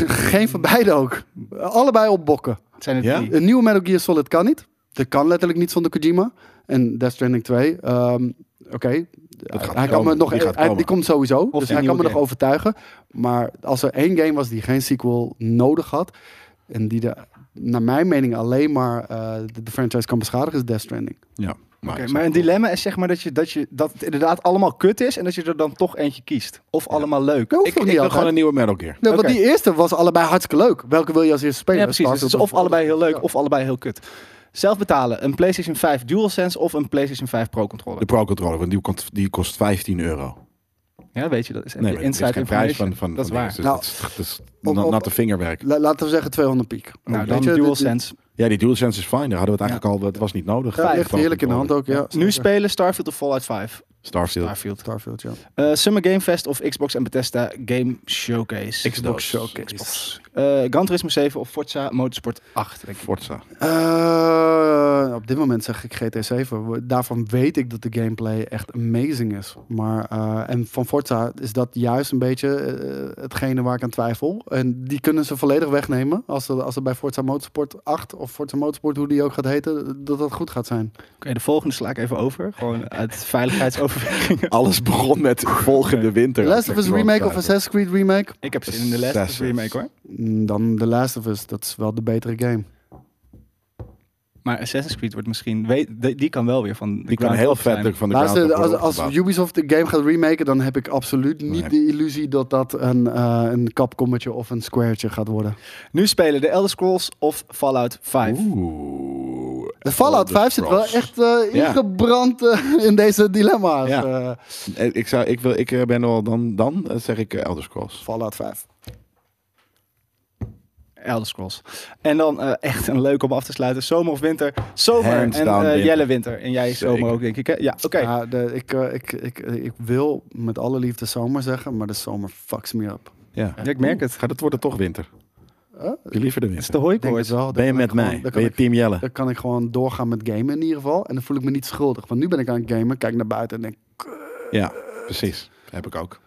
B: Geen van beide ook. Allebei op bokken.
A: Het zijn er
C: Ja?
A: drie.
B: Een nieuwe Metal Gear Solid kan niet. Dat kan letterlijk niet zonder Kojima. En Death Stranding 2, ehm, oké.
C: gaat
B: Hij kan
C: komen.
B: me nog
C: Die gaat
B: hij-
C: komen.
B: die komt sowieso. dus
A: een
B: hij kan
A: nieuwe
B: me nog
A: game.
B: overtuigen. Maar als er één game was die geen sequel nodig had. En die de, naar mijn mening alleen maar eh, de, de franchise kan beschadigen, is Death Stranding.
C: ja. nou, Maar,
A: Oké, maar een dilemma is zeg maar dat, je, dat, je, dat het inderdaad allemaal kut is en dat je er dan toch eentje kiest. Of allemaal leuk.
B: Dat hoeft
C: Ik,
B: ook niet
C: ik wil
B: altijd.
C: gewoon een nieuwe Metal Gear.
B: Nee,
A: Oké.
B: Want die eerste was allebei hartstikke leuk. Welke wil je als eerste spelen?
A: Ja, precies. Dus het
B: Starfield
A: is of
B: of-
A: allebei heel leuk of allebei heel kut. Zelf betalen. Een PlayStation 5 DualSense of een PlayStation 5 Pro
C: De
A: controller.
C: Pro Controller, want die kost, die kost 15 euro.
A: Ja, weet je, dat is
C: Nee,
A: de
C: maar dat is
A: inside
C: geen prijs van,
A: information.
C: van
A: Dat is
C: van
A: waar.
C: dingen.
B: Nou,
C: Dus dat is- dat is
B: op-
C: na-
B: op-
C: natte vingerwerk.
B: La- laten we zeggen 200 piek.
A: Nou,
B: Weet
A: dan
B: je, dit- dit-
A: DualSense.
C: Ja, die DualSense is fijn. Daar hadden we het eigenlijk al. Dat was niet nodig.
B: Ja, echt heerlijk in de hand ook. Ja,
A: Nu spelen Starfield of Fallout 5.
C: Starfield.
A: Starfield.
B: Starfield, ja.
A: Eh, Summer Game Fest of Xbox en Bethesda Game Showcase.
C: Xbox
A: Showcase. Eh Gran Turismo 7 of Forza Motorsport 8. Denk ik.
C: Forza.
B: Eh, op dit moment zeg ik GT7. Daarvan weet ik dat de gameplay echt amazing is. Maar, eh, en van Forza is dat juist een beetje eh, hetgene waar ik aan twijfel. En die kunnen ze volledig wegnemen. Als er, als er bij Forza Motorsport 8 of Forza Motorsport, hoe die ook gaat heten, dat dat goed gaat zijn.
A: Oké, de volgende sla ik even over.
C: *laughs*
A: Gewoon uit veiligheidsoverwegingen.
C: Alles begon met volgende winter.
B: The Last of Us remake of Assassin's Creed remake?
A: Ik heb zin in de Last of Us
C: Assassins.
A: remake hoor.
B: Mm, Dan The Last of Us, dat is wel de betere game.
A: Maar Assassin's Creed wordt misschien... Weet, die, die kan wel weer van de
C: Die kan
A: ground
C: heel
A: up zijn.
C: vet van de
B: Luister,
C: ground up
B: als,
C: worden
B: als
C: opgebouwd.
B: Ubisoft de game gaat remaken, dan heb ik absoluut niet de illusie dat dat een, eh, een kapkommetje of een squaretje gaat worden.
A: Nu spelen de Elder Scrolls of Fallout 5.
C: Oeh.
B: Oh, De Fallout 5 zit wel echt eh,
C: Ja.
B: ingebrand eh, in deze dilemma's.
C: Ja.
B: eh.
C: Eh, Ik, zou, ik, wil, ik eh, ben al dan, dan eh, zeg ik eh, Elder Scrolls.
B: Fallout 5.
A: Elder Scrolls. En dan eh, echt een leuk om af te sluiten. Zomer of winter? Zomer.
C: Hands
A: en
C: down
A: eh,
C: winter.
A: Jelle winter. En jij zomer
C: Zeker.
A: ook denk ik. Hè? Ja, oké.
B: Ja, de- ik, eh, ik, ik, ik wil met alle liefde zomer zeggen, maar de zomer fucks me up.
C: Ja.
A: Ja, ik merk het.
C: Gaat het worden toch winter?
B: Huh?
C: Heb je liever de winter?
A: Het is de hooikoorts.
B: Denk het wel. Dan
C: ben je
B: kan
C: met
B: ik gewoon-
C: mij?
B: dan kan
C: Ben je
B: ik-
C: team Jelle?
B: Dan kan ik gewoon doorgaan met gamen in ieder geval. En dan voel ik me niet schuldig. Want nu ben ik aan het gamen, kijk naar buiten en denk...
C: Ja, precies. Heb ik ook.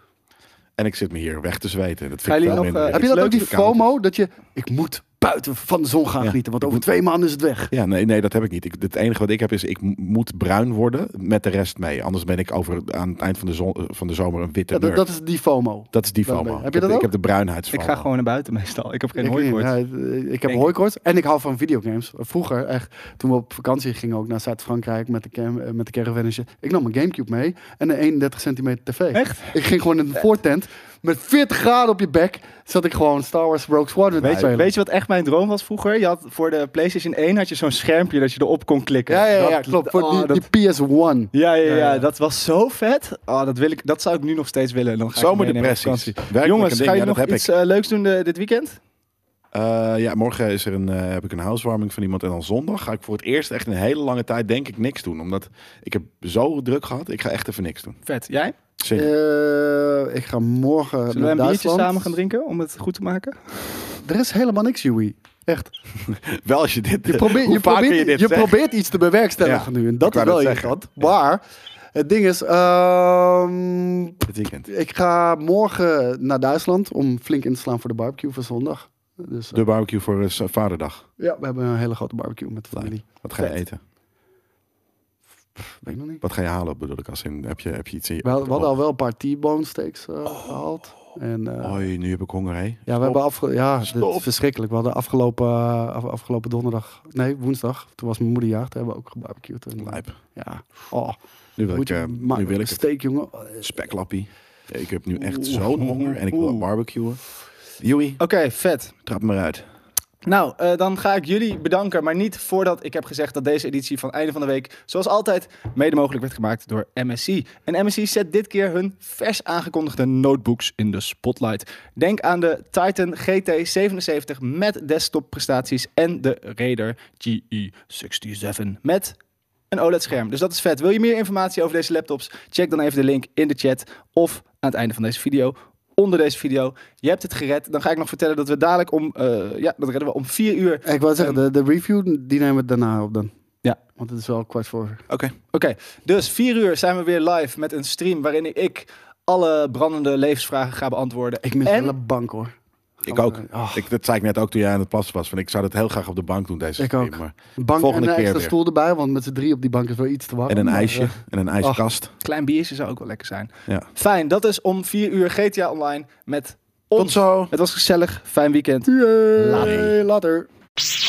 C: En ik zit me hier weg te zweten. Dat vind
A: Gaan
C: ik
A: jullie
C: veel
A: nog,
C: minder.
A: eh,
B: heb je
A: is
B: dat
A: leuk
B: ook, die
A: dat het koud
B: FOMO, dat je... Ik moet buiten van de zon gaan
C: Ja.
B: genieten, want
C: Ik
B: over
C: moet-
B: twee maanden is het weg.
C: Ja, nee, nee, dat heb ik niet. Ik, het enige wat ik heb is, ik m- moet bruin worden met de rest mee. Anders ben ik over, aan het eind van de, zon, eh, van de zomer een witte
B: Ja, dat,
C: nerd.
B: dat is die FOMO.
C: Dat is die
B: Dat
C: FOMO.
B: ben ik. Heb
C: Ik
B: je dat
C: Ik
B: ook?
C: heb de bruinheidsfomo.
A: Ik ga gewoon naar buiten meestal. Ik heb geen
B: Ik-
A: hooikoorts.
B: ja, eh, ik heb
A: Denk-
B: hooikoorts en ik hou van videogames. Vroeger, echt, toen we op vakantie gingen ook naar Zuid-Frankrijk met de, cam, eh, met de caravan en shit. Ik nam mijn Gamecube mee en een 31 centimeter tv.
A: Echt?
B: Ik ging gewoon in een voortent met 40 graden op je bek. Zat ik gewoon Star Wars Rogue Squadron te
A: Weet je,
B: spelen.
A: weet je wat echt mijn droom was vroeger? Je had voor de PlayStation 1 had je zo'n schermpje dat je erop kon klikken.
B: ja, ja, ja,
A: Dat-
B: klopt. Voor
A: oh,
B: die,
A: dat-
B: die PS1.
A: ja, ja, ja,
B: Ja, ja.
A: dat was zo vet. Oh, dat, wil ik, dat zou ik nu nog steeds willen. Dan ga ik
C: Zomerdepressies.
A: meenemen op vakantie.
C: Werkelijk een
A: Jongens,
C: ding,
A: ga je
C: ja, dat
A: nog
C: heb
A: iets eh, leuks doen eh, dit weekend?
C: Eh, ja, morgen is er een, eh, heb ik een housewarming van iemand. En dan zondag ga ik voor het eerst echt een hele lange tijd denk ik niks doen. Omdat ik heb zo druk gehad. Ik ga echt even niks doen.
A: Vet. Jij?
C: Zin.
B: Eh, ik ga morgen
A: Zullen
B: naar
A: we een biertje
B: Duitsland.
A: samen gaan drinken om het goed te maken?
B: Er is helemaal niks, Joey. Echt.
C: *laughs* Wel als je dit...
B: Je, probeert-
C: *laughs* hoe
B: je,
C: vaak
B: probeert,
C: kun je dit
B: je
C: zeggen?
B: probeert iets te bewerkstelligen
C: Ja,
B: nu. En
C: ik
B: dat is
C: wou
B: wel
C: net
B: irritant. Maar het ding is... ehm,
C: Dit weekend.
B: ik ga morgen naar Duitsland om flink in te slaan voor de barbecue van zondag. Dus eh,
C: De barbecue voor eh, vaderdag.
B: ja, we hebben een hele grote barbecue met de familie.
C: Wat ga je
B: Vet.
C: eten?
B: Weet ik nog niet.
C: Wat ga je halen bedoel ik? Als in, heb, je, heb je iets in je...
B: We, had- we hadden al wel een paar T-bone steaks eh,
C: Oh.
B: gehaald. En, eh,
C: Oei, nu heb ik honger, hè?
B: Ja, we hebben afge ja dit
C: Oh, Stop.
B: is verschrikkelijk. We hadden afgelopen, eh, af- afgelopen donderdag, nee woensdag, toen was mijn moeder jaagd, hebben we ook gebarbecued. En,
C: Lijp.
B: Ja, oh,
C: Nu wil
B: moet
C: ik,
B: je
C: eh,
B: maar
C: nu wil
B: een
C: ik het.
B: steek, jongen. Oh,
C: Speklappie. Ik heb nu echt zo'n honger en ik wil barbecuen. Joey,
A: Oké, vet.
C: trap maar uit.
A: Nou, eh, dan ga ik jullie bedanken, maar niet voordat ik heb gezegd dat deze editie van einde van de week, zoals altijd, mede mogelijk werd gemaakt door MSC. En MSC zet dit keer hun vers aangekondigde notebooks in de spotlight. Denk aan de Titan GT77 met desktopprestaties en de Raider GE67 met een OLED-scherm. Dus dat is vet. Wil je meer informatie over deze laptops? Check dan even de link in de chat of aan het einde van deze video. Onder deze video. Je hebt het gered. Dan ga ik nog vertellen dat we dadelijk om. eh, ja, dat redden we om vier uur.
B: Ik wou zeggen, de, de review, die nemen we daarna op dan.
A: Ja.
B: Want het is wel kwart voor.
C: Oké.
A: Oké, dus vier uur zijn we weer live met een stream waarin ik alle brandende levensvragen ga beantwoorden.
B: Ik mis
A: en
B: wel een bank hoor.
C: Ik ook.
B: Ah.
C: Ik, dat zei ik net ook toen jij aan het passen was. Van, ik zou dat heel graag op de bank doen deze
B: Ik
C: keer.
B: ook.
C: Maar
B: Een bank
C: volgende
B: en een
C: keer
B: extra
C: weer.
B: stoel erbij, want met z'n drie op die bank is wel iets te warm.
C: En een
B: maar,
C: ijsje.
B: eh,
C: En een ijskast.
A: klein biertje zou ook wel lekker zijn.
C: Ja.
A: Fijn, dat is om vier uur GTA Online met ons.
C: Tot zo.
A: Het was gezellig. Fijn weekend.
B: yay,
A: Later.
B: eh, later.